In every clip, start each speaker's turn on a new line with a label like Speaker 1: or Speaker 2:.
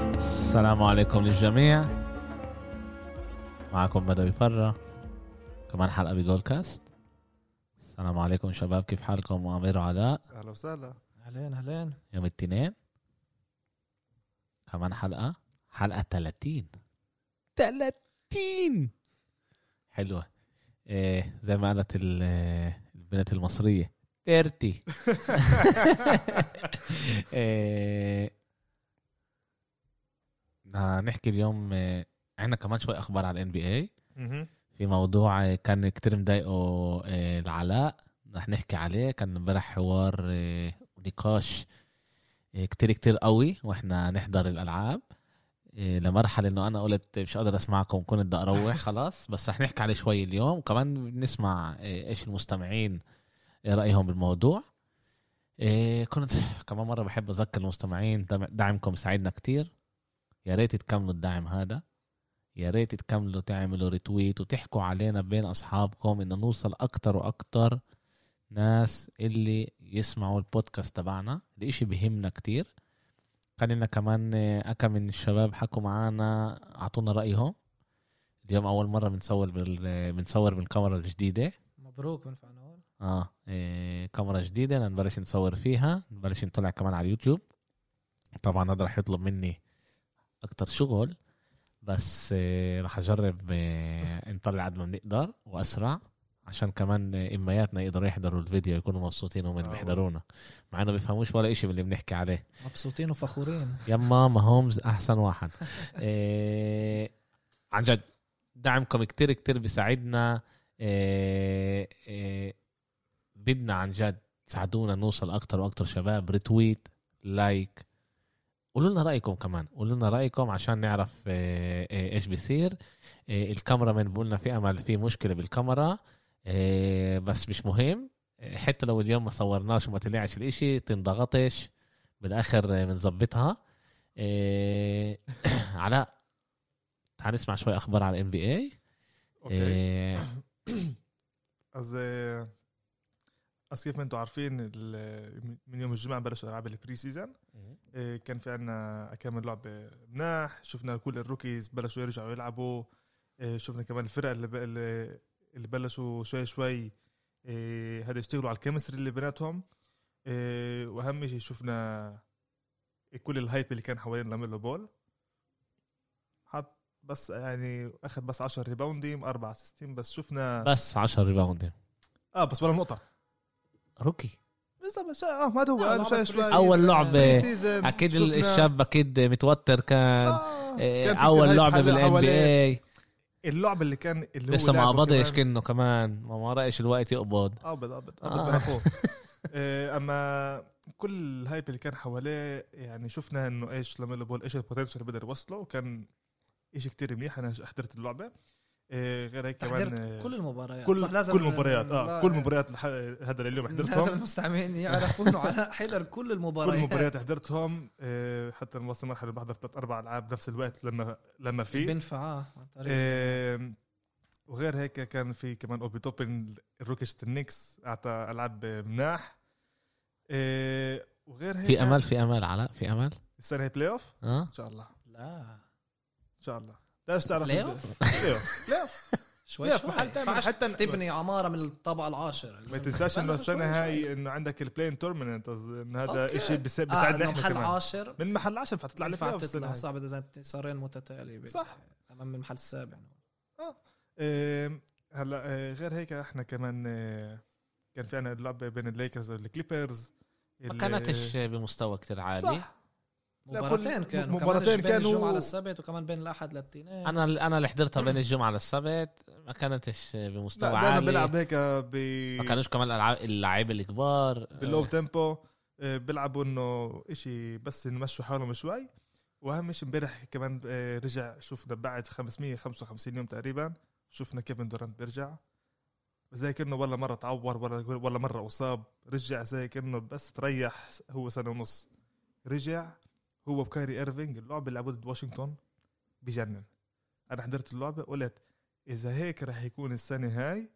Speaker 1: السلام عليكم للجميع معكم بدوي فرة كمان حلقة بجول كاست السلام عليكم شباب كيف حالكم وأمير وعلاء
Speaker 2: اهلا وسهلا
Speaker 3: اهلين اهلين
Speaker 1: يوم الاثنين كمان حلقة حلقة 30 30 حلوة إيه زي ما قالت ال- البنت المصرية 30 إيه بدنا نحكي اليوم إيه، عندنا كمان شوي اخبار على الان بي اي في موضوع كان كتير مضايقه آه، العلاء رح نحكي عليه كان امبارح حوار آه، ونقاش آه، كتير كتير قوي واحنا نحضر الالعاب آه، لمرحلة انه انا قلت مش قادر اسمعكم كنت بدي اروح خلاص بس رح نحكي عليه شوي اليوم وكمان نسمع آه، ايش المستمعين آه، رايهم بالموضوع آه، كنت كمان مرة بحب اذكر المستمعين دم- دعمكم ساعدنا كتير يا ريت تكملوا الدعم هذا يا ريت تكملوا تعملوا ريتويت وتحكوا علينا بين اصحابكم انه نوصل اكتر واكتر ناس اللي يسمعوا البودكاست تبعنا ده اشي بهمنا كتير كان لنا كمان آه، اكا من الشباب حكوا معانا اعطونا رايهم اليوم اول مره بنصور بال... آه، بنصور بالكاميرا الجديده
Speaker 3: مبروك بنفع نقول
Speaker 1: اه إيه كاميرا جديده بدنا نبلش نصور فيها نبلش نطلع كمان على اليوتيوب طبعا هذا رح يطلب مني اكتر شغل بس إيه رح اجرب إيه نطلع قد ما بنقدر واسرع عشان كمان إيه، امياتنا يقدروا يحضروا الفيديو يكونوا مبسوطين وهم اللي
Speaker 2: آه.
Speaker 1: بيحضرونا مع انه بيفهموش ولا إشي من اللي بنحكي عليه
Speaker 3: مبسوطين وفخورين
Speaker 1: يما ما هومز احسن واحد إيه عن جد دعمكم كتير كتير بيساعدنا إيه إيه بدنا عن جد تساعدونا نوصل اكتر واكتر شباب ريتويت لايك قولوا لنا رايكم كمان قولوا لنا رايكم عشان نعرف إيه، إيه، ايش بيصير إيه، الكاميرا من بقولنا في امل في مشكله بالكاميرا إيه، بس مش مهم إيه، حتى لو اليوم ما صورناش وما طلعش الاشي تنضغطش بالاخر بنظبطها إيه علاء تعال نسمع شوي اخبار على الان بي اي
Speaker 2: اوكي
Speaker 1: إيه،
Speaker 2: از از كيف ما انتم عارفين ال- من يوم الجمعه بلشوا العاب البري سيزون إيه، كان في عنا كم لعبه مناح شفنا كل الروكيز بلشوا يرجعوا يلعبوا إيه، شفنا كمان الفرق اللي ب- اللي- اللي بلشوا شوي شوي إيه، هذا يشتغلوا على الكيمستري اللي بيناتهم إيه، واهم شيء شفنا كل الهايب اللي كان حوالين لاميلو بول حط بس يعني اخذ بس 10 ريباوندين اربع اسيستين بس شفنا
Speaker 1: بس 10 ريباوند
Speaker 2: اه بس ولا نقطه
Speaker 1: روكي
Speaker 2: بالضبط شا- اه ما هذا هو
Speaker 3: لا،
Speaker 2: قالوا شوي
Speaker 3: لعبة
Speaker 2: شوي
Speaker 3: بريسيزن.
Speaker 1: اول
Speaker 2: بري
Speaker 1: لعبه
Speaker 2: سيزن
Speaker 1: اكيد
Speaker 2: شفنا-
Speaker 1: الشاب اكيد متوتر كان
Speaker 2: آه،
Speaker 1: إيه،
Speaker 2: كان في
Speaker 1: اول
Speaker 2: كتير
Speaker 1: لعبه
Speaker 2: هايب
Speaker 1: بالان بي
Speaker 2: حواليه.
Speaker 1: اي
Speaker 2: اللعبه اللي كان اللي هو
Speaker 1: لسه ما
Speaker 2: لعبه
Speaker 1: قبضش
Speaker 2: كمان-
Speaker 1: كنه كمان ما مرقش الوقت يقبض
Speaker 2: ابد ابد
Speaker 1: آه.
Speaker 2: ابد بنفوه. إيه، اما كل الهايب اللي كان حواليه يعني شفنا انه ايش لما بول ايش البوتنشل اللي بقدر يوصله وكان شيء كتير منيح انا حضرت اللعبه إيه، غير هيك كمان
Speaker 3: حضرت كل المباريات صح
Speaker 2: كل
Speaker 3: لازم
Speaker 2: كل مباريات
Speaker 3: لا،
Speaker 2: اه كل مباريات الح- هذا اليوم
Speaker 3: لازم
Speaker 2: حضرتهم
Speaker 3: المستمعين يعرفوا انه علاء حضر كل
Speaker 2: كل
Speaker 3: المباريات
Speaker 2: مباريات حضرتهم إيه، حتى نوصل مرحله بحضر ثلاث اربع العاب بنفس الوقت لما لما في
Speaker 3: بنفع آه، عن طريق
Speaker 2: إيه. آم، وغير هيك كان في كمان اوبي توبن الروكيش النكس اعطى العاب مناح آه، وغير هيك
Speaker 1: في امل في امل علاء في امل
Speaker 2: السنه هي بلاي اوف
Speaker 1: اه
Speaker 2: ان شاء الله ان
Speaker 3: لا
Speaker 2: شاء الله ليش تعرف
Speaker 3: بلاي أوف؟
Speaker 2: بلاي أوف. بلاي أوف.
Speaker 3: شوي
Speaker 2: لا،
Speaker 3: شوي
Speaker 2: محل تعمل
Speaker 3: ينفعش
Speaker 2: حتى-
Speaker 3: تبني عماره من الطبقه العاشره
Speaker 2: ما تنساش انه
Speaker 3: بلش شوي آه،
Speaker 2: السنه
Speaker 3: شوي.
Speaker 2: هاي انه عندك البلاين تورمنت ان هذا
Speaker 3: أوكي.
Speaker 2: شيء بيساعدنا
Speaker 3: آه، إنه
Speaker 2: احنا
Speaker 3: محل
Speaker 2: كمان
Speaker 3: عاشر
Speaker 2: من محل 10 فتطلع لي بلاي
Speaker 3: ينفع
Speaker 2: اوف السنة
Speaker 3: تطلع
Speaker 2: هاي.
Speaker 3: صعب اذا انتصارين متتالي
Speaker 2: صح.
Speaker 3: امام المحل السابع
Speaker 2: آم، هلا آه، غير هيك احنا كمان آه، كان في عنا اللعبه بين الليكرز والكليبرز
Speaker 1: ما
Speaker 2: ال-
Speaker 1: كانتش بمستوى كتير عالي
Speaker 2: صح لا، كل-
Speaker 3: مباراتين
Speaker 2: مباراتين
Speaker 3: كانوا مباراتين كانوا بين
Speaker 2: كانوا-
Speaker 3: الجمعه للسبت وكمان بين الاحد للاثنين
Speaker 1: انا انا اللي حضرتها بين الجمعه للسبت ما كانتش بمستوى
Speaker 2: لا دائما
Speaker 1: عالي
Speaker 2: بيلعب هيك ب
Speaker 1: ما كانوش كمان الالعاب اللعيبه الكبار
Speaker 2: باللو تيمبو آه، بيلعبوا انه اشي بس نمشوا حالهم شوي واهم شيء امبارح كمان آه، رجع شفنا بعد 555 يوم تقريبا شفنا كيفن دورانت بيرجع زي كانه ولا مره تعور ولا ولا مره اصاب رجع زي كانه بس تريح هو سنه ونص رجع هو وكايري ايرفينج اللعبه اللي لعبوها ضد واشنطن بجنن انا حضرت اللعبه قلت اذا هيك رح يكون السنه هاي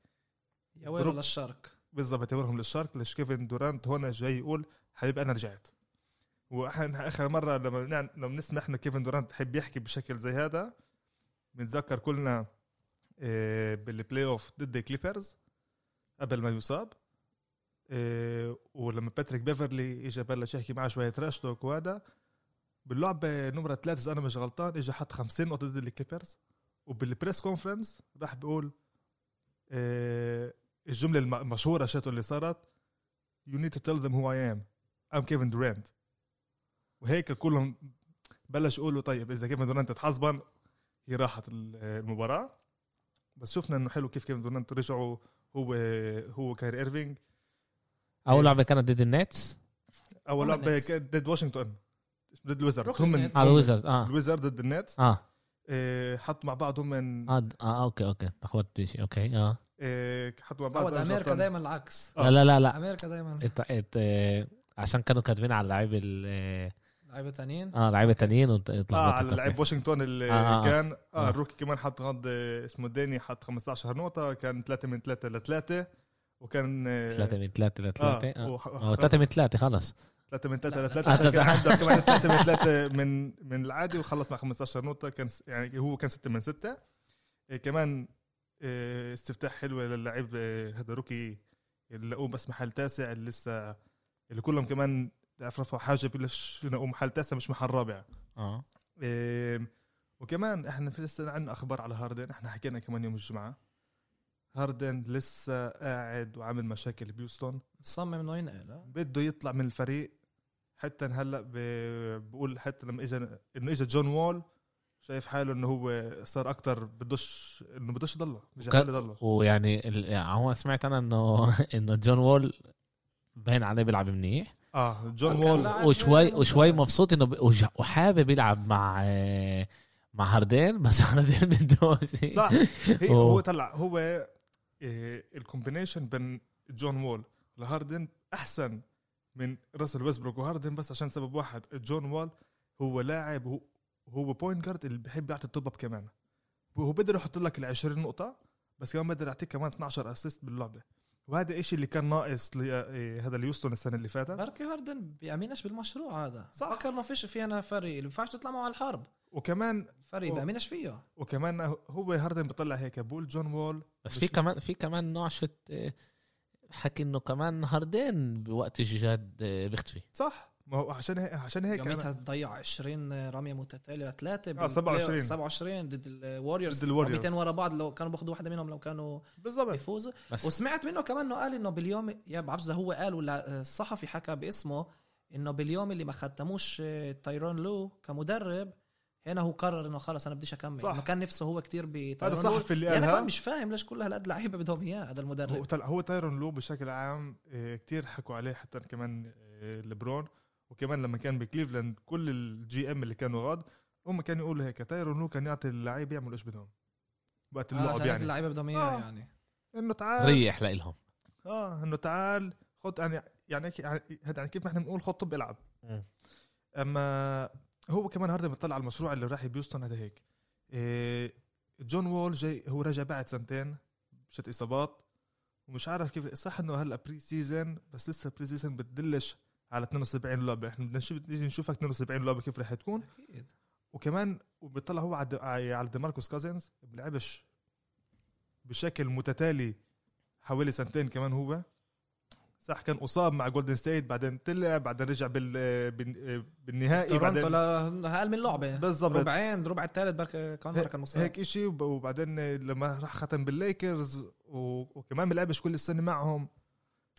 Speaker 3: يا ويل
Speaker 2: بروك-
Speaker 3: للشرق
Speaker 2: بالضبط يعتبرهم للشرق ليش كيفن دورانت هون جاي يقول حبيب انا رجعت واحنا اخر مره لما نع- لما نسمع احنا كيفن دورانت بحب يحكي بشكل زي هذا بنتذكر كلنا آه، بالبلاي اوف ضد الكليبرز قبل ما يصاب آه، ولما باتريك بيفرلي اجى بلش يحكي معاه شويه تراش توك وهذا باللعبه نمره ثلاثه اذا انا مش غلطان اجى حط 50 نقطه ضد الكليبرز وبالبريس كونفرنس راح بيقول آه، الجمله الم- المشهوره شاتو اللي صارت يو نيد تو تيل ذم هو اي ام ام كيفن دورانت وهيك كلهم بلش يقولوا طيب اذا كيفن دورانت اتحسبن هي راحت ال- المباراه بس شفنا انه حلو كيف كيفن دورانت رجعوا هو هو كاير ايرفينج
Speaker 1: اول لعبه كانت ضد النتس
Speaker 2: اول
Speaker 3: هم
Speaker 2: لعبه
Speaker 3: Nets.
Speaker 2: كانت ضد واشنطن ضد الويزردز
Speaker 3: Brooklyn
Speaker 2: هم
Speaker 3: Nets.
Speaker 1: على
Speaker 2: من
Speaker 1: الويزرد اه
Speaker 2: الويزرد ضد النت آه،
Speaker 1: اه
Speaker 2: حطوا مع بعض هم من
Speaker 1: اه, آه اوكي اوكي تخبطت شيء اوكي اه
Speaker 2: إيه، حطوا مع بعض
Speaker 3: عود
Speaker 2: زي
Speaker 3: امريكا
Speaker 2: واشنطن.
Speaker 3: دائما العكس
Speaker 2: آه.
Speaker 1: لا لا لا لا
Speaker 3: امريكا دائما
Speaker 1: إت إت آه، عشان كانوا كاتبين على اللعيبه ال- آه،
Speaker 3: لعيبه تانيين
Speaker 1: اه لعيبه تانيين
Speaker 2: اه على
Speaker 1: واتلخبطت
Speaker 2: لعيب
Speaker 1: أوكي.
Speaker 2: واشنطن اللي
Speaker 1: آه، آه،
Speaker 2: آه كان اه
Speaker 1: آه.
Speaker 2: الروكي كمان حط غض اسمه داني حط 15 نقطه كان 3 من 3 ل 3 وكان آه،
Speaker 1: ثلاثة من ثلاثة لثلاثة اه
Speaker 2: اه
Speaker 1: آه، ثلاثة من ثلاثة خلص
Speaker 2: 3 من 3
Speaker 3: لا،
Speaker 2: ل
Speaker 3: لا.
Speaker 2: 3 عشان
Speaker 1: آه،
Speaker 2: كان
Speaker 1: لا.
Speaker 2: عنده كمان 3 من 3 من من العادي وخلص مع 15 نقطه كان س- يعني هو كان 6 من 6 كمان آه، استفتاح حلو للاعب آه، هذا روكي اللي لقوه بس محل تاسع اللي لسه اللي كلهم كمان بيعرف رفعوا حاجه بلش لقوه محل تاسع مش محل رابع
Speaker 1: اه
Speaker 2: إيه، وكمان احنا في لسه عندنا اخبار على هاردن احنا حكينا كمان يوم الجمعه هاردن لسه قاعد وعامل مشاكل بيوستون
Speaker 3: صمم انه ينقل آه.
Speaker 2: بده يطلع من الفريق حتى هلا ب- بقول حتى لما اجى انه اجى جون وول شايف حاله انه هو صار اكتر بدوش انه بدوش يضله مش
Speaker 1: وك-
Speaker 2: حاله يضله
Speaker 1: ويعني ال- يعني هو سمعت انا انه انه جون وول باين عليه بيلعب منيح
Speaker 2: اه جون
Speaker 3: كان
Speaker 2: وول
Speaker 3: لاعب
Speaker 1: وشوي
Speaker 3: ممتاز.
Speaker 1: وشوي مبسوط انه ب- وج- وحابب يلعب مع آه، مع هاردين بس هاردين بده
Speaker 2: صح هي هو
Speaker 1: أوه.
Speaker 2: طلع هو إيه، الكومبينيشن بين جون وول لهاردن احسن من راسل ويسبروك وهاردن بس عشان سبب واحد جون وول هو لاعب هو هو بوينت جارد اللي بحب يعطي الطبب كمان هو بقدر يحط لك ال 20 نقطه بس كمان بقدر يعطيك كمان 12 اسيست باللعبه وهذا الشيء اللي كان ناقص لي- إيه، هذا اليوستون السنه اللي فاتت
Speaker 3: بركي هاردن بيأمنش بالمشروع هذا
Speaker 2: صح.
Speaker 3: صح فكر ما فيش فينا فريق اللي ما ينفعش تطلع معه على الحرب
Speaker 2: وكمان
Speaker 3: فريق
Speaker 2: أوه.
Speaker 3: بيأمنش فيه
Speaker 2: وكمان هو هاردن بيطلع هيك بقول جون وول
Speaker 1: بس في كمان في كمان نعشة آه، حكي انه كمان هاردين بوقت الجهاد آه، بيختفي
Speaker 2: صح ما هو عشان هيك عشان هيك أنا-
Speaker 3: يوميتها تضيع 20 رميه متتاليه لثلاثه
Speaker 2: آه، 27.
Speaker 3: 27 ضد الوريورز
Speaker 2: ضد طيب. الWarriors.
Speaker 3: 200 ورا بعض لو كانوا باخذوا واحده منهم لو كانوا
Speaker 2: بالضبط
Speaker 3: يفوزوا
Speaker 1: بس
Speaker 3: وسمعت منه كمان انه قال انه باليوم يا بعرفش اذا هو قال ولا آه، الصحفي حكى باسمه انه باليوم اللي ما ختموش آه، تايرون لو كمدرب هنا هو قرر انه خلص انا بديش اكمل
Speaker 2: صح.
Speaker 3: صح. كان نفسه هو كتير
Speaker 2: هذا
Speaker 3: بتايرون لو
Speaker 2: الصحفي اللي
Speaker 3: يعني انا
Speaker 2: قالها
Speaker 3: كمان مش فاهم ليش كل هالقد لعيبه بدهم اياه
Speaker 2: هو
Speaker 3: هذا المدرب
Speaker 2: طلع هو تايرون لو بشكل عام آه، كتير حكوا عليه حتى كمان آه، لبرون وكمان لما كان بكليفلاند كل الجي ام اللي كانوا غاد هم كانوا يقولوا هيك تايرون لو كان يعطي اللعيب يعمل ايش بدهم وقت
Speaker 3: آه،
Speaker 2: اللعب
Speaker 3: عشان هيك
Speaker 2: يعني
Speaker 3: اللعيبه بدهم اياه
Speaker 2: آه.
Speaker 3: يعني
Speaker 2: انه تعال
Speaker 1: ريح لإلهم
Speaker 2: اه انه تعال خد يعني يعني هيك- يعني- هذا يعني كيف ما احنا بنقول خد طب العب
Speaker 1: مم.
Speaker 2: اما هو كمان هاردن بيطلع على المشروع اللي راح بيوستن هذا هيك إيه جون وول جاي هو رجع بعد سنتين مشت اصابات ومش عارف كيف صح انه هلا بري سيزون بس لسه بري سيزون بتدلش على 72 لعبه احنا بدنا نشوف نيجي نشوفها 72 لعبه كيف رح تكون
Speaker 3: اكيد
Speaker 2: وكمان وبيطلع هو آه، على على ديماركوس كازنز بيلعبش بشكل متتالي حوالي سنتين كمان هو صح كان اصاب مع جولدن ستيت بعدين طلع بعدين رجع بال بال- بالنهائي
Speaker 3: تورنتو
Speaker 2: بعدين
Speaker 3: لا- اقل من لعبه
Speaker 2: بالضبط
Speaker 3: ربعين ربع الثالث بركة كان
Speaker 2: هيك-
Speaker 3: بركة كان مصاب
Speaker 2: هيك اشي وب- وبعدين لما راح ختم بالليكرز و- وكمان بيلعبش كل السنه معهم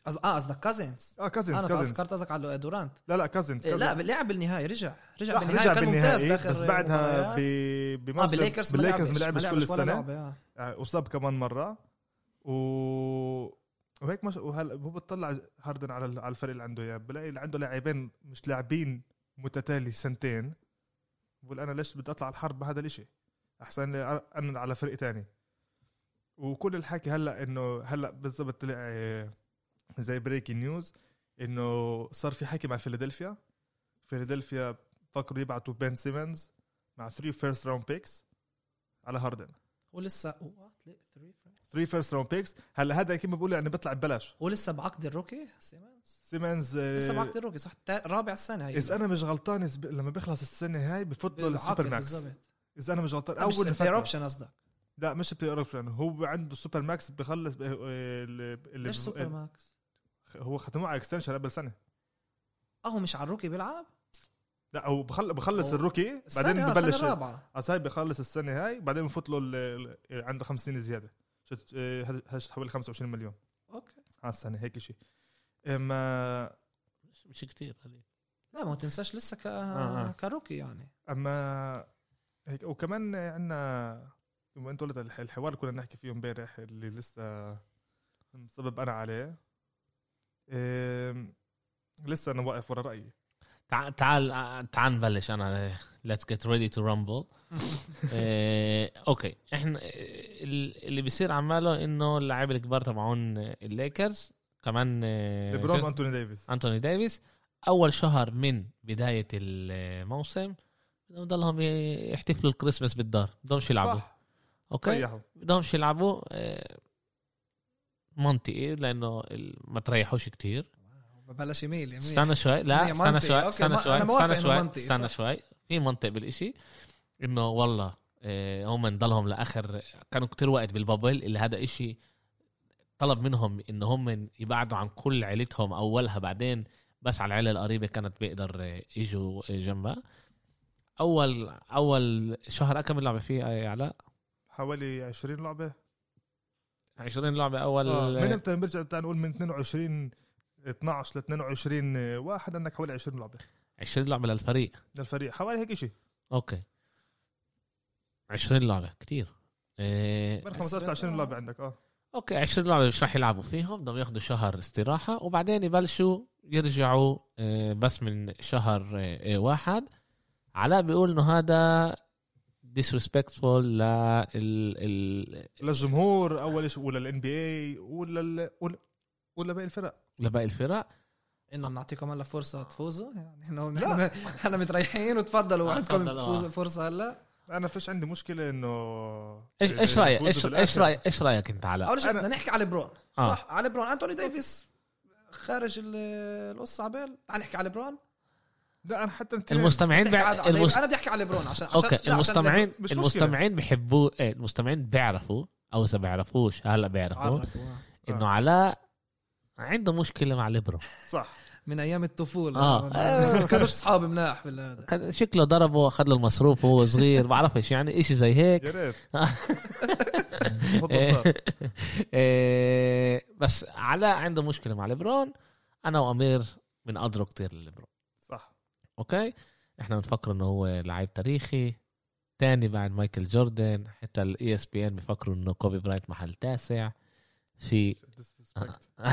Speaker 3: أز... اه قصدك كازنز
Speaker 2: اه كازنز
Speaker 3: انا
Speaker 2: كازنز
Speaker 3: فكرت قصدك على دورانت
Speaker 2: لا لا كازنز
Speaker 3: إيه لا
Speaker 2: كازنز.
Speaker 3: لعب بالنهاية رجع رجع
Speaker 2: راح
Speaker 3: بالنهاية
Speaker 2: رجع
Speaker 3: كان ممتاز
Speaker 2: بالنهائي
Speaker 3: باخر
Speaker 2: بس بعدها
Speaker 3: مباريات.
Speaker 2: ب-
Speaker 3: اه
Speaker 2: بموسم
Speaker 3: بالليكرز
Speaker 2: بالليكرز
Speaker 3: بالليكرز
Speaker 2: ما لعبش كل السنه
Speaker 3: لعبة. آه.
Speaker 2: اصاب آه، كمان مره و وهيك مش وهلا هو بتطلع هاردن على على الفريق اللي عنده اياه بلاقي اللي عنده لاعبين مش لاعبين متتالي سنتين بقول انا ليش بدي اطلع على الحرب بهذا الاشي احسن لي انا على فريق تاني وكل الحكي هلا انه هلا بالضبط طلع آه، زي بريكنج نيوز انه صار في حكي مع فيلادلفيا فيلادلفيا فكروا يبعتوا بين سيمنز مع 3 فيرست راوند بيكس على هاردن
Speaker 3: هو لسه هو 3
Speaker 2: 3 فيرست راوند بيكس هلا هذا اكيد ما بقول يعني بيطلع ببلاش
Speaker 3: هو لسه بعقد الروكي سيمنز
Speaker 2: سيمنز آه،
Speaker 3: لسه بعقد الروكي صح تا- رابع سنه هي
Speaker 2: اذا انا مش غلطان إذا ب- لما بيخلص السنه هاي بفوت له
Speaker 3: بالعقد
Speaker 2: السوبر ماكس
Speaker 3: بالظبط
Speaker 2: اذا انا مش غلطان
Speaker 3: اول
Speaker 2: اول
Speaker 3: بلاير
Speaker 2: فترة.
Speaker 3: اوبشن قصدك
Speaker 2: لا مش بلاي اوبشن هو عنده سوبر ماكس بخلص آه، ب- اللي اللي
Speaker 3: ليش سوبر ماكس؟
Speaker 2: هو ختموه على اكستنشن قبل سنه إيه.
Speaker 3: اه هو مش على الروكي بيلعب
Speaker 2: لا هو بخل- بخلص
Speaker 3: هو
Speaker 2: الروكي
Speaker 3: بعدين
Speaker 2: بعدين
Speaker 3: ببلش
Speaker 2: ببلش
Speaker 3: السنه الرابعه
Speaker 2: أصل هاي بخلص السنه هاي بعدين بفوت له ال- ال- عنده خمس سنين زياده شت- آه، هاد- هاد حوالي 25 مليون
Speaker 3: اوكي
Speaker 2: على السنه هيك شيء اما
Speaker 1: مش- مش كتير هذه
Speaker 3: لا ما هو تنساش لسه ك...
Speaker 2: آه.
Speaker 3: كروكي يعني
Speaker 2: اما هيك وكمان عندنا بما انت قلت الح- الحوار اللي كنا نحكي فيه امبارح اللي لسه مسبب انا عليه أم، لسه انا واقف ورا رايي
Speaker 1: تعال تعال تعال نبلش انا ليتس جيت ريدي تو رامبل اوكي احنا آه، ال- اللي بيصير عماله انه اللعيبه الكبار تبعون الليكرز كمان آه،
Speaker 2: ليبرون
Speaker 1: شو-
Speaker 2: وانتوني ديفيس
Speaker 1: انتوني ديفيس اول شهر من بدايه الموسم بدهم يضلهم يحتفلوا الكريسماس بالدار بدهمش يلعبوا
Speaker 2: صح طيب.
Speaker 1: اوكي
Speaker 2: ريحوا
Speaker 1: بدهمش يلعبوا آه، منطقي لانه ال- ما تريحوش كتير
Speaker 3: ببلش يميل يميل
Speaker 1: استنى شوي
Speaker 3: هي
Speaker 1: لا
Speaker 3: منطقي.
Speaker 1: استنى شوي
Speaker 3: أوكي،
Speaker 1: استنى
Speaker 3: ما-
Speaker 1: شوي
Speaker 3: أنا موافق
Speaker 1: استنى
Speaker 3: إنه
Speaker 1: شوي
Speaker 3: منطقي،
Speaker 1: استنى
Speaker 3: صح.
Speaker 1: شوي في منطق بالإشي انه والله آه، هم نضلهم لاخر كانوا كتير وقت بالبابل اللي هذا إشي طلب منهم ان هم يبعدوا عن كل عيلتهم اولها بعدين بس على العيله القريبه كانت بيقدر آه، يجوا آه، جنبها اول اول شهر كم لعبه فيه آه، علاء
Speaker 2: حوالي 20 لعبه
Speaker 1: 20 لعبه اول
Speaker 2: آه. من
Speaker 1: آه،
Speaker 2: امتى بنرجع تعال نقول من 22 12 ل 22 واحد عندك حوالي 20 لعبه
Speaker 1: 20 لعبه للفريق
Speaker 2: للفريق حوالي هيك شيء
Speaker 1: اوكي 20 لعبه كتير آه،
Speaker 2: من 15 ل 20 لعبه عندك اه
Speaker 1: اوكي 20 لعبه مش راح يلعبوا فيهم بدهم ياخذوا شهر استراحه وبعدين يبلشوا يرجعوا آه، بس من شهر آه، آه، واحد علاء بيقول انه هذا ديسريسبكتفول لل
Speaker 2: للجمهور اول شيء وللان بي اي ولل ول- ولباقي الفرق
Speaker 1: لباقي الفرق
Speaker 3: انه بنعطيكم هلا فرصه تفوزوا يعني إنه
Speaker 2: لا.
Speaker 3: نحن هلا متريحين وتفضلوا
Speaker 1: آه،
Speaker 3: عندكم
Speaker 1: تفضلوا، آه.
Speaker 3: فوز- فرصه هلا
Speaker 2: انا فيش عندي مشكله انه
Speaker 1: ايش ايش رايك ايش
Speaker 2: إيه، يفوزوا
Speaker 1: ايش
Speaker 2: بالآخر.
Speaker 1: رايك ايش رايك انت علاء؟
Speaker 3: اول شيء
Speaker 2: أنا-
Speaker 3: بدنا نحكي على برون
Speaker 1: آه.
Speaker 3: صح على برون انتوني ديفيس خارج ال- القصه عبال تعال نحكي على برون
Speaker 2: لا انا حتى انت
Speaker 1: المستمعين
Speaker 3: نحكي على-
Speaker 1: بع...
Speaker 3: على-
Speaker 1: المس...
Speaker 3: انا بدي احكي على برون عشان عشان- لا،
Speaker 1: اوكي
Speaker 3: عشان
Speaker 1: المستمعين
Speaker 2: مش مشكلة.
Speaker 1: المستمعين بحبوه إيه، المستمعين بيعرفوا او اذا بيعرفوش هلا بيعرفوا
Speaker 3: عرفوا، آه.
Speaker 1: انه علاء عنده مشكله مع ليبرو
Speaker 2: صح
Speaker 3: من ايام الطفوله
Speaker 1: آه.
Speaker 3: آه. كانوش اصحاب مناح بالهذا
Speaker 1: كان شكله ضربه اخذ له المصروف وهو صغير بعرفش يعني اشي زي هيك
Speaker 2: يا ريت حط الضرب.
Speaker 1: إيه، بس علاء عنده مشكله مع ليبرون انا وامير بنقدره كتير لليبرون
Speaker 2: صح
Speaker 1: اوكي احنا بنفكر انه هو لعيب تاريخي تاني بعد مايكل جوردن حتى E الاي اس بي ان بيفكروا انه كوبي برايت محل تاسع شيء
Speaker 2: disrespect.